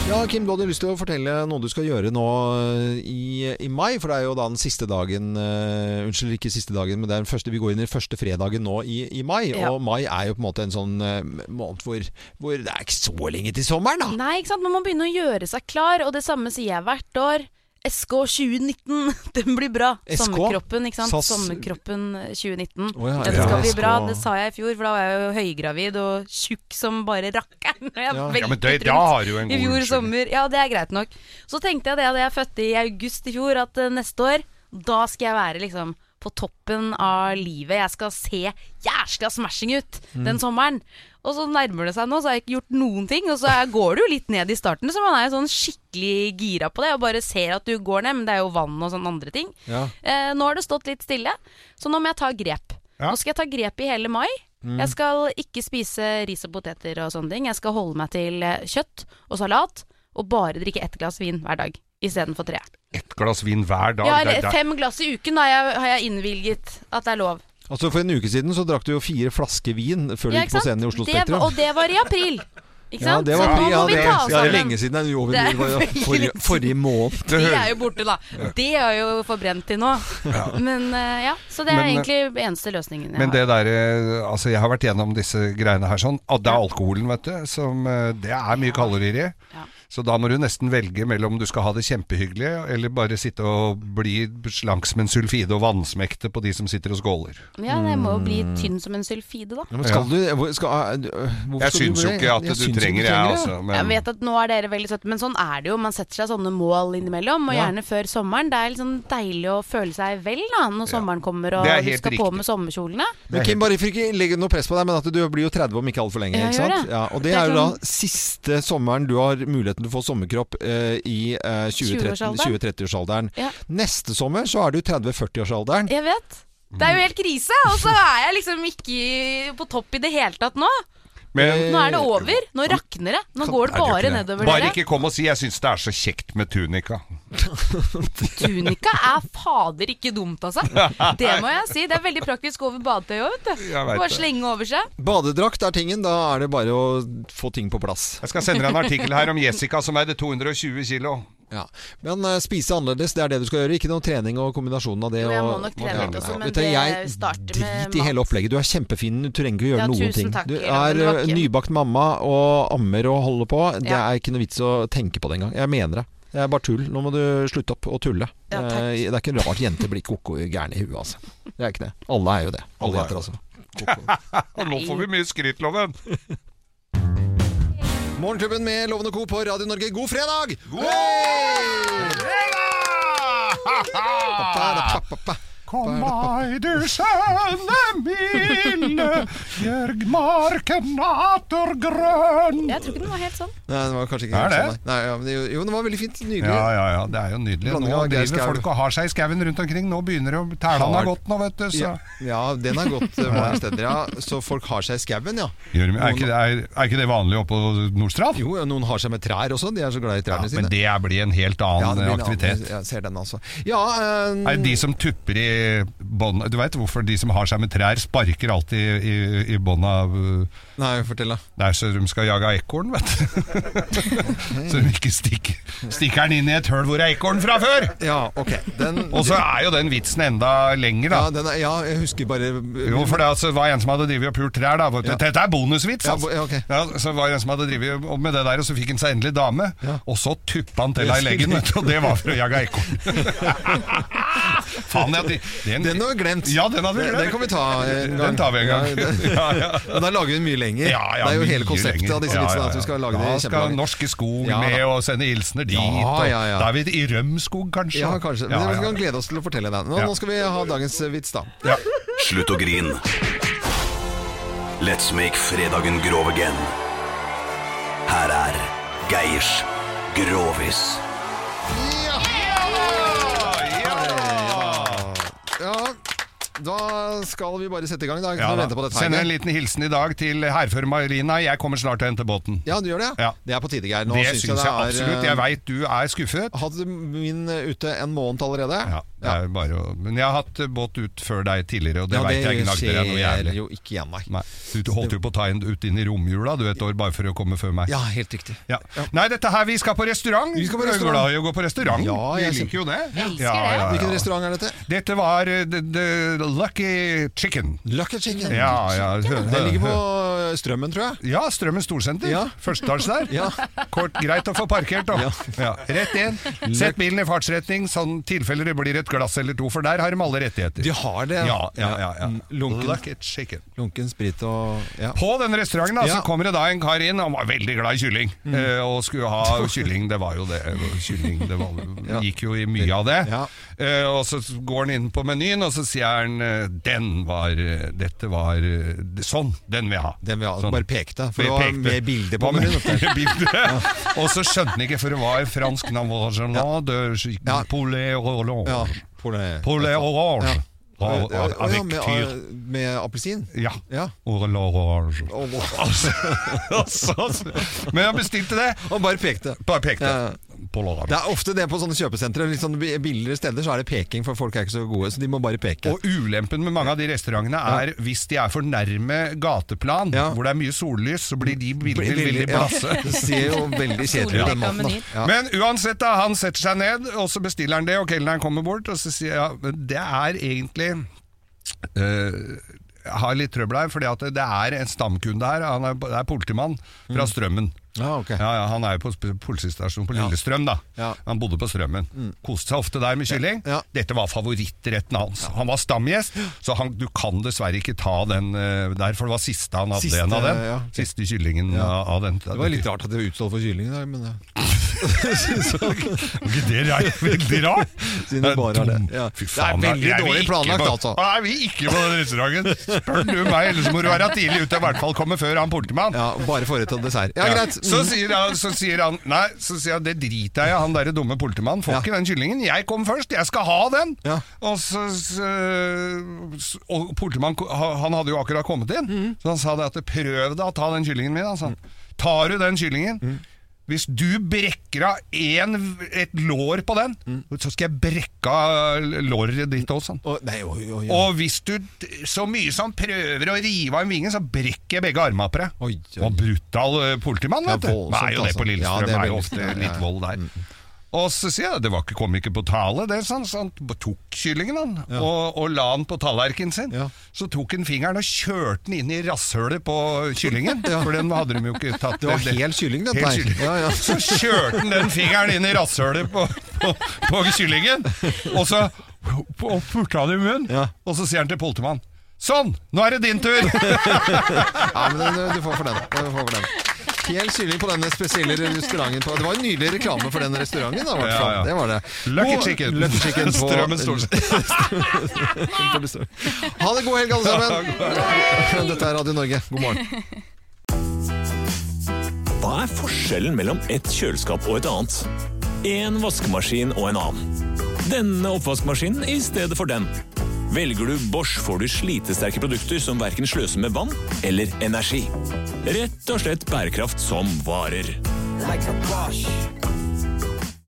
[SPEAKER 4] Ja, Kim, du hadde lyst til å fortelle noe du skal gjøre nå eh, i, i mai, for det er jo da den siste dagen eh, Unnskyld, ikke siste dagen, men det er den første, vi går inn i den første fredagen nå i, i mai.
[SPEAKER 7] Ja.
[SPEAKER 4] Og mai er jo på en måte en sånn eh, måned hvor, hvor det er ikke så lenge til sommeren, da.
[SPEAKER 7] Nei, ikke sant? Man må begynne å gjøre seg klar, og det samme sier jeg hvert år. SK 2019, den blir bra.
[SPEAKER 4] SK?
[SPEAKER 7] Sommerkroppen, ikke sant.
[SPEAKER 4] SAS?
[SPEAKER 7] Sommerkroppen 2019.
[SPEAKER 4] Å ja,
[SPEAKER 7] den
[SPEAKER 4] ja.
[SPEAKER 7] skal bli
[SPEAKER 4] SK.
[SPEAKER 7] bra. Det sa jeg i fjor, for da var jeg jo høygravid og tjukk som bare rakkeren. Og jeg
[SPEAKER 5] Ja.
[SPEAKER 7] veltet
[SPEAKER 5] Ja, men det- da
[SPEAKER 7] rundt
[SPEAKER 5] har du jo en
[SPEAKER 7] I
[SPEAKER 5] god
[SPEAKER 7] fjor
[SPEAKER 5] unnskyldning.
[SPEAKER 7] sommer. Ja, det er greit nok. Så tenkte jeg det da jeg fødte i august i fjor, at eh, neste år, da skal jeg være liksom på toppen av livet. Jeg skal se jæskla smashing ut
[SPEAKER 1] Mm.
[SPEAKER 7] den sommeren. Og så nærmer det seg nå, så har jeg ikke gjort noen ting. Og så er- går det jo litt ned i starten, så man er jo sånn skikkelig gira på det og bare ser at du går ned. Men det er jo vann og sånne andre ting.
[SPEAKER 15] Ja.
[SPEAKER 7] Eh, nå har det stått litt stille, så nå må jeg ta grep. Nå skal jeg ta grep i hele mai.
[SPEAKER 15] Mm.
[SPEAKER 7] Jeg skal ikke spise ris og poteter og sånne ting. Jeg skal holde meg til eh, kjøtt og salat, og bare drikke ett glass vin hver dag istedenfor tre.
[SPEAKER 5] Et glass vin hver dag. det
[SPEAKER 7] Ja,
[SPEAKER 5] er-
[SPEAKER 7] eller
[SPEAKER 5] det er-
[SPEAKER 7] fem glass i uken har jeg, har jeg innvilget at det er lov.
[SPEAKER 4] Altså For en uke siden så drakk du jo fire flasker vin før du
[SPEAKER 7] Ja,
[SPEAKER 4] gikk
[SPEAKER 7] ikke
[SPEAKER 4] på
[SPEAKER 7] sant?
[SPEAKER 4] scenen i Oslo
[SPEAKER 7] Det-
[SPEAKER 4] Spektrum.
[SPEAKER 7] Og det var i april. Ikke
[SPEAKER 4] Ja,
[SPEAKER 7] sant?
[SPEAKER 4] det var
[SPEAKER 7] så nå
[SPEAKER 4] pri-
[SPEAKER 7] må
[SPEAKER 4] ja,
[SPEAKER 7] vi
[SPEAKER 4] det,
[SPEAKER 7] ta oss
[SPEAKER 4] ja, det er
[SPEAKER 7] sammen.
[SPEAKER 4] lenge siden. Jo,
[SPEAKER 7] Det er
[SPEAKER 4] det var
[SPEAKER 7] veldig
[SPEAKER 4] jo forrige,
[SPEAKER 7] lenge
[SPEAKER 4] forrige måned.
[SPEAKER 7] De er jo borte, da. De er jo forbrent til nå. Men eh, ja, så det er
[SPEAKER 5] Men, eh,
[SPEAKER 7] egentlig eneste løsningen jeg
[SPEAKER 5] Men
[SPEAKER 7] har.
[SPEAKER 5] det der, eh, altså jeg har vært gjennom disse greiene her sånn, og det er alkoholen, vet du, som eh, det er mye kalorier i. Så da må du nesten velge mellom du skal ha det kjempehyggelig, eller bare sitte og bli slank som en sulfide og vannsmekte på de som sitter og skåler.
[SPEAKER 7] Ja, jeg må jo bli
[SPEAKER 4] Mm.
[SPEAKER 7] tynn som en sylfide, da.
[SPEAKER 4] Ja, men skal du, hvor- skal, øh, hvorfor
[SPEAKER 5] Jeg
[SPEAKER 4] skal
[SPEAKER 5] syns
[SPEAKER 4] du det? altså.
[SPEAKER 5] jo ikke at
[SPEAKER 4] Jeg
[SPEAKER 5] du
[SPEAKER 4] syns
[SPEAKER 5] trenger det, jeg også, men-
[SPEAKER 7] Jeg vet at nå er dere veldig søte, men sånn er det jo. Man setter seg sånne mål innimellom, og
[SPEAKER 5] Ja.
[SPEAKER 7] gjerne før sommeren. Det er litt sånn deilig å føle seg vel da, når sommeren kommer og
[SPEAKER 4] Det er
[SPEAKER 7] du
[SPEAKER 4] helt
[SPEAKER 7] skal på
[SPEAKER 4] riktig.
[SPEAKER 7] med sommerkjolene.
[SPEAKER 4] Men Kim, bare for ikke legge noe press på deg, men at du blir jo 30 om ikke altfor lenge.
[SPEAKER 7] Ja, jeg
[SPEAKER 4] Ikke
[SPEAKER 7] gjør
[SPEAKER 4] sant?
[SPEAKER 7] det.
[SPEAKER 4] Ja, og det
[SPEAKER 7] Det er
[SPEAKER 4] er jo da
[SPEAKER 7] sånn-
[SPEAKER 4] siste sommeren du har muligheten til å få sommerkropp eh, i eh, 20-30
[SPEAKER 7] 20-årsalderen.
[SPEAKER 4] 20-30-årsalderen.
[SPEAKER 7] Ja.
[SPEAKER 4] Neste sommer så er du 30-40-årsalderen.
[SPEAKER 7] Jeg vet. Det er jo helt krise, og så er jeg liksom ikke på topp i det hele tatt nå. Nå er det over. Nå rakner det. Nå går det bare nedover
[SPEAKER 5] Bare
[SPEAKER 7] dere.
[SPEAKER 5] ikke kom og si 'jeg syns det er så kjekt med tunika'.
[SPEAKER 7] Tunika er fader ikke dumt, altså. Det må jeg si. Det er veldig praktisk over badetøyet òg, vet du.
[SPEAKER 4] Jeg vet
[SPEAKER 7] Bare
[SPEAKER 4] det.
[SPEAKER 7] slenge over seg.
[SPEAKER 4] Badedrakt er tingen, da er det bare å få ting på plass.
[SPEAKER 5] Jeg skal sende deg en artikkel her om Jessica som veide 220 kilo.
[SPEAKER 4] Ja. Men eh, spise annerledes, det er det du skal gjøre. Ikke noe trening og kombinasjonen av det.
[SPEAKER 7] Jo, jeg må
[SPEAKER 4] og-
[SPEAKER 7] nok trene litt også, men
[SPEAKER 4] Vet du,
[SPEAKER 7] det
[SPEAKER 4] jeg
[SPEAKER 7] starter med
[SPEAKER 4] Drit i hele opplegget. Du er kjempefin. Du trenger ikke å gjøre
[SPEAKER 7] Ja,
[SPEAKER 4] noen
[SPEAKER 7] tusen
[SPEAKER 4] ting.
[SPEAKER 7] takk,
[SPEAKER 4] Du
[SPEAKER 7] Ida, men
[SPEAKER 4] er
[SPEAKER 7] det var
[SPEAKER 4] eh,
[SPEAKER 7] ikke-
[SPEAKER 4] nybakt mamma og ammer og holder på. Det
[SPEAKER 7] Ja.
[SPEAKER 4] er ikke noe vits å tenke på det engang. Jeg mener det. Det er bare tull. Nå må du slutte opp å tulle. Eh, det er ikke rart jenter blir koko gærne i huet, altså. Det er ikke det. Alle er jo det. Alle jenter, altså.
[SPEAKER 5] Og nå får vi mye skryt, Loven.
[SPEAKER 4] Morgenklubben med Lovende Co på Radio Norge, god fredag! God fredag!
[SPEAKER 5] Kom meg, du skjønne milde, gjørg marken atter grønn.
[SPEAKER 7] Jeg tror ikke den var helt sånn.
[SPEAKER 4] Nei, det var kanskje ikke
[SPEAKER 5] Er
[SPEAKER 4] helt
[SPEAKER 5] det?
[SPEAKER 4] sånn. Nei, Nei, ja, men det, jo, det var veldig fint. Nydelig.
[SPEAKER 5] Ja, ja, ja, det er jo nydelig.
[SPEAKER 4] Blanding
[SPEAKER 5] Nå
[SPEAKER 4] av Geir
[SPEAKER 5] driver
[SPEAKER 4] Skau.
[SPEAKER 5] folk og har seg i skauen rundt omkring. Nå begynner det å Tælene har gått nå, vet du. Så.
[SPEAKER 4] Ja, ja, den har gått eh, mange steder, ja. Så folk har seg i skauen, ja.
[SPEAKER 5] Gjør de- er, ikke, det- er, er ikke det vanlig oppe på Nordstrand?
[SPEAKER 4] Jo, ja, noen har seg med trær også. De er så glad i trærne
[SPEAKER 5] Men
[SPEAKER 4] sine.
[SPEAKER 5] det er- blir en helt
[SPEAKER 4] Ja,
[SPEAKER 5] annen
[SPEAKER 4] det blir en
[SPEAKER 5] aktivitet.
[SPEAKER 4] annen- Jeg ser den, altså. Ja, eh,
[SPEAKER 5] Er det de som tupper i bånd Du veit hvorfor de som har seg med trær, sparker alltid i, i, i bånd av uh,
[SPEAKER 4] Nei, fortell da.
[SPEAKER 5] Det er så de skal jage ekorn, vet du. så de ikke stikker, stikker den inn i et høl hvor det er ekorn fra før!
[SPEAKER 4] Ja, ok
[SPEAKER 5] Og så er jo den vitsen enda lenger, da.
[SPEAKER 4] Ja, den er, ja, jeg husker bare
[SPEAKER 5] Jo, for det altså, var en som hadde drivet og pult trær. Da. Hvor-
[SPEAKER 4] Ja.
[SPEAKER 5] Dette er bonusvits!
[SPEAKER 4] Ja,
[SPEAKER 5] Altså.
[SPEAKER 4] bo- ja, ok.
[SPEAKER 5] Ja, så var det en som hadde drivet og- med det der, og så fikk han seg endelig dame. Og så tuppa han til deg i leggen, vet du, og det var for å jage ekorn. Faen, jeg, den,
[SPEAKER 4] Den har vi glemt.
[SPEAKER 5] Ja, den hadde vi
[SPEAKER 4] Den-
[SPEAKER 5] glemt.
[SPEAKER 4] den kan vi ta en gang.
[SPEAKER 5] Den tar vi en gang.
[SPEAKER 4] Ja,
[SPEAKER 5] Ja, ja.
[SPEAKER 4] Men da lager vi den mye lenger.
[SPEAKER 5] Ja, ja,
[SPEAKER 4] det er jo
[SPEAKER 5] mye
[SPEAKER 4] hele konseptet
[SPEAKER 5] lenger.
[SPEAKER 4] av disse
[SPEAKER 5] Ja,
[SPEAKER 4] vitsene.
[SPEAKER 5] ja,
[SPEAKER 4] At vi skal
[SPEAKER 5] ja.
[SPEAKER 4] lage det
[SPEAKER 5] Da skal
[SPEAKER 4] kjempelange.
[SPEAKER 5] Norske Skog
[SPEAKER 4] Ja, da.
[SPEAKER 5] med og sende Ilsner dit.
[SPEAKER 4] Ja,
[SPEAKER 5] og
[SPEAKER 4] ja, ja.
[SPEAKER 5] Da er vi i Rømskog, kanskje.
[SPEAKER 4] Ja, kanskje. Men
[SPEAKER 5] Ja, ja.
[SPEAKER 4] vi kan glede oss til å fortelle den. Nå,
[SPEAKER 5] Ja.
[SPEAKER 4] nå skal vi ha dagens eh, vits, da.
[SPEAKER 9] Slutt å grin. Let's make fredagen grov again. Her er Geirs Grovis.
[SPEAKER 4] Ja, da skal vi bare sette i gang. Da. Kan
[SPEAKER 5] Ja,
[SPEAKER 4] vi
[SPEAKER 5] da.
[SPEAKER 4] vente på dette her,
[SPEAKER 5] Sender en
[SPEAKER 4] Geir?
[SPEAKER 5] liten hilsen i dag til hærfører Marina. Jeg kommer snart og henter båten.
[SPEAKER 4] Ja, du gjør det?
[SPEAKER 5] Ja.
[SPEAKER 4] Det er på tide, Geir. Nå
[SPEAKER 5] Det
[SPEAKER 4] syns jeg
[SPEAKER 5] syns
[SPEAKER 4] det
[SPEAKER 5] jeg
[SPEAKER 4] er,
[SPEAKER 5] absolutt.
[SPEAKER 4] eh,
[SPEAKER 5] Jeg veit du er skuffet.
[SPEAKER 4] Hadde min eh, ute en måned allerede? Ja.
[SPEAKER 5] Det er bare å, men jeg har hatt eh, båt ut før deg tidligere, og det
[SPEAKER 4] Ja,
[SPEAKER 5] veit jeg
[SPEAKER 4] det
[SPEAKER 5] gnagde deg noe
[SPEAKER 4] skjer
[SPEAKER 5] jævlig.
[SPEAKER 4] jo ikke igjen, nei.
[SPEAKER 5] Du holdt jo på å ta en ut inn i romjula du et år bare for å komme før meg.
[SPEAKER 4] Ja, helt riktig.
[SPEAKER 5] Ja. Nei, dette her, vi skal på restaurant.
[SPEAKER 4] Vi skal på
[SPEAKER 5] er
[SPEAKER 4] restaurant.
[SPEAKER 5] glad i å gå på restaurant.
[SPEAKER 4] Ja, jeg
[SPEAKER 5] vi liker jo det.
[SPEAKER 4] Jeg elsker det. Hvilken restaurant er dette?
[SPEAKER 5] Dette var eh, The, the Lucky Chicken.
[SPEAKER 4] Lucky Chicken?
[SPEAKER 5] Ja, ja.
[SPEAKER 4] Den ligger på Strømmen, tror jeg.
[SPEAKER 5] Ja, Strømmen storsenter.
[SPEAKER 4] Ja.
[SPEAKER 5] Førsteetasje der. Kort, greit å få parkert, da. Ja. Rett inn. Sett bilen i fartsretning, sånn tilfeller det blir et glass eller to, for der har de alle rettigheter.
[SPEAKER 4] De har det,
[SPEAKER 5] Ja, ja, ja, ja.
[SPEAKER 4] Mm, Lunken,
[SPEAKER 5] Lucky Chicken.
[SPEAKER 4] lunken sprit og ja.
[SPEAKER 5] På den restauranten da,
[SPEAKER 4] Ja. Mm.
[SPEAKER 5] så kommer det da en kar inn, han var veldig glad i kylling. eh, Og skulle ha kylling, det var jo det. Kylling, det var, gikk jo i mye av det. Eh, Og så går han inn på menyen, og så sier han eh, Den var eh, Dette var eh, Sånn, den vil jeg ha.
[SPEAKER 4] Den vil jeg ha.
[SPEAKER 5] Sånn.
[SPEAKER 4] Bare pekte, for
[SPEAKER 5] Vi
[SPEAKER 4] det var
[SPEAKER 5] pekte.
[SPEAKER 4] mer bilder på
[SPEAKER 5] Var
[SPEAKER 4] menyen,
[SPEAKER 5] mer
[SPEAKER 4] vet du.
[SPEAKER 5] bilder. Og så skjønte han ikke, for det var fransk navargeland de poulet orange. Poulet orange. Av-
[SPEAKER 4] Ja,
[SPEAKER 5] av-
[SPEAKER 4] ja,
[SPEAKER 5] Avec
[SPEAKER 4] med,
[SPEAKER 5] tyr.
[SPEAKER 4] med appelsin?
[SPEAKER 5] Ja.
[SPEAKER 4] Ja.
[SPEAKER 5] Orel orange.
[SPEAKER 4] Altså,
[SPEAKER 5] Altså, Men han bestilte det.
[SPEAKER 4] Og bare pekte.
[SPEAKER 5] Bare pekte. Polaroid.
[SPEAKER 4] Det er ofte det på sånne kjøpesentre. Litt sånne bi- billigere steder så er det peking, for folk er ikke så gode, så de må bare peke.
[SPEAKER 5] Og ulempen med mange av de restaurantene er hvis de er for nærme gateplan, hvor det er mye sollys, så blir de bildene
[SPEAKER 4] Blir
[SPEAKER 5] veldig
[SPEAKER 4] veldig- ja,
[SPEAKER 5] blasse.
[SPEAKER 4] det ser jo veldig kjedelig ut, den Soldekka maten, da. menyer. Ja.
[SPEAKER 5] Men uansett, da, han setter seg ned, og så bestiller han det, og kelneren kommer bort, og så sier jeg ja, men det er egentlig eh, jeg har litt trøbbel her, fordi at det er en stamkunde her. Han er, det er politimann
[SPEAKER 4] Mm.
[SPEAKER 5] fra Strømmen.
[SPEAKER 4] Ja, ok.
[SPEAKER 5] Ja, ja, han er jo på sp- politistasjonen på Lillestrøm, da. Han bodde på Strømmen.
[SPEAKER 4] Mm.
[SPEAKER 5] Koste seg ofte der med kylling. Dette var favorittretten hans. Han var stamgjest, så han, du kan dessverre ikke ta den eh, der, for det var siste han hadde
[SPEAKER 4] Siste,
[SPEAKER 5] en av den.
[SPEAKER 4] ja, ok.
[SPEAKER 5] Siste kyllingen av- av den.
[SPEAKER 4] Det var litt rart at det var utsolgt for kylling i dag, men ja.
[SPEAKER 5] Ikke Det er veldig rart!
[SPEAKER 4] Siden det bare er det.
[SPEAKER 5] Dum.
[SPEAKER 4] Ja.
[SPEAKER 5] Fy
[SPEAKER 4] Det er
[SPEAKER 5] faen,
[SPEAKER 4] veldig
[SPEAKER 5] er vi
[SPEAKER 4] dårlig
[SPEAKER 5] ikke
[SPEAKER 4] planlagt,
[SPEAKER 5] på-
[SPEAKER 4] altså.
[SPEAKER 5] Er vi ikke på den restauranten? Spør du meg, ellers må du være tidlig ute. I hvert fall komme før han politimann.
[SPEAKER 4] Ja, bare forrett og dessert. Ja, greit.
[SPEAKER 5] Så
[SPEAKER 4] Mm.
[SPEAKER 5] sier han, så sier han Nei, så sier han, det driter jeg i, han derre dumme politimannen. Får ikke den kyllingen. Jeg kom først, jeg skal ha den! Og så så- Og politimannen ko- ha- Han hadde jo akkurat kommet inn,
[SPEAKER 4] Mm.
[SPEAKER 5] så han sa det at prøv deg å ta den kyllingen min. Han sa tar du den kyllingen
[SPEAKER 4] Mm.
[SPEAKER 5] Hvis du brekker av en, et lår på den,
[SPEAKER 4] Mm.
[SPEAKER 5] så skal jeg brekke av låret ditt også.
[SPEAKER 4] Og, nei, oi, oi, oi.
[SPEAKER 5] og hvis du t- så mye som prøver å rive av en vinge, så brekker jeg begge armene på deg. Og brutal eh, politimann, vet du.
[SPEAKER 4] Ja, voldsomt,
[SPEAKER 5] det er jo
[SPEAKER 4] altså.
[SPEAKER 5] det på
[SPEAKER 4] Ja,
[SPEAKER 5] Lillestrøm.
[SPEAKER 4] det er
[SPEAKER 5] det er jo
[SPEAKER 4] veldig- ja,
[SPEAKER 5] ofte
[SPEAKER 4] ja, Mm. ja.
[SPEAKER 5] litt vold der. Og så sier jeg det var ikke, kom ikke på tale, det, sånn, så han b- tok kyllingen han, og, og la den på tallerkenen sin. Så tok han fingeren og kjørte den inn i rasshølet på kyllingen, for den hadde de jo ikke tatt.
[SPEAKER 4] Det var hel kylling, dette
[SPEAKER 5] Hel
[SPEAKER 4] her.
[SPEAKER 5] kylling.
[SPEAKER 4] Ja, ja.
[SPEAKER 5] Så kjørte han den fingeren inn i rasshølet på, på, på kyllingen, og så og purta han i munnen, og så sier han til politimannen Sånn, nå er det din tur!
[SPEAKER 4] Ja, men du, du får for den. Du får for den. Hel kylling på denne spesielle restauranten. På. Det var en nydelig reklame for den restauranten. Da, i hvert fall.
[SPEAKER 5] Ja, ja.
[SPEAKER 4] Det var det.
[SPEAKER 5] Lucky
[SPEAKER 4] God-
[SPEAKER 5] Chicken.
[SPEAKER 4] Lucky chicken på,
[SPEAKER 5] Strømmen Storsenter.
[SPEAKER 4] ha det god helg, alle
[SPEAKER 12] Ja, god
[SPEAKER 4] sammen. Dette er Radio Norge. God morgen.
[SPEAKER 22] Hva er forskjellen mellom et kjøleskap og et annet? En vaskemaskin og en annen. Denne oppvaskmaskinen i stedet for den. Velger du Bosch, får du slitesterke produkter som verken sløser med vann eller energi. Rett og slett bærekraft som varer.
[SPEAKER 12] Like a Bosch.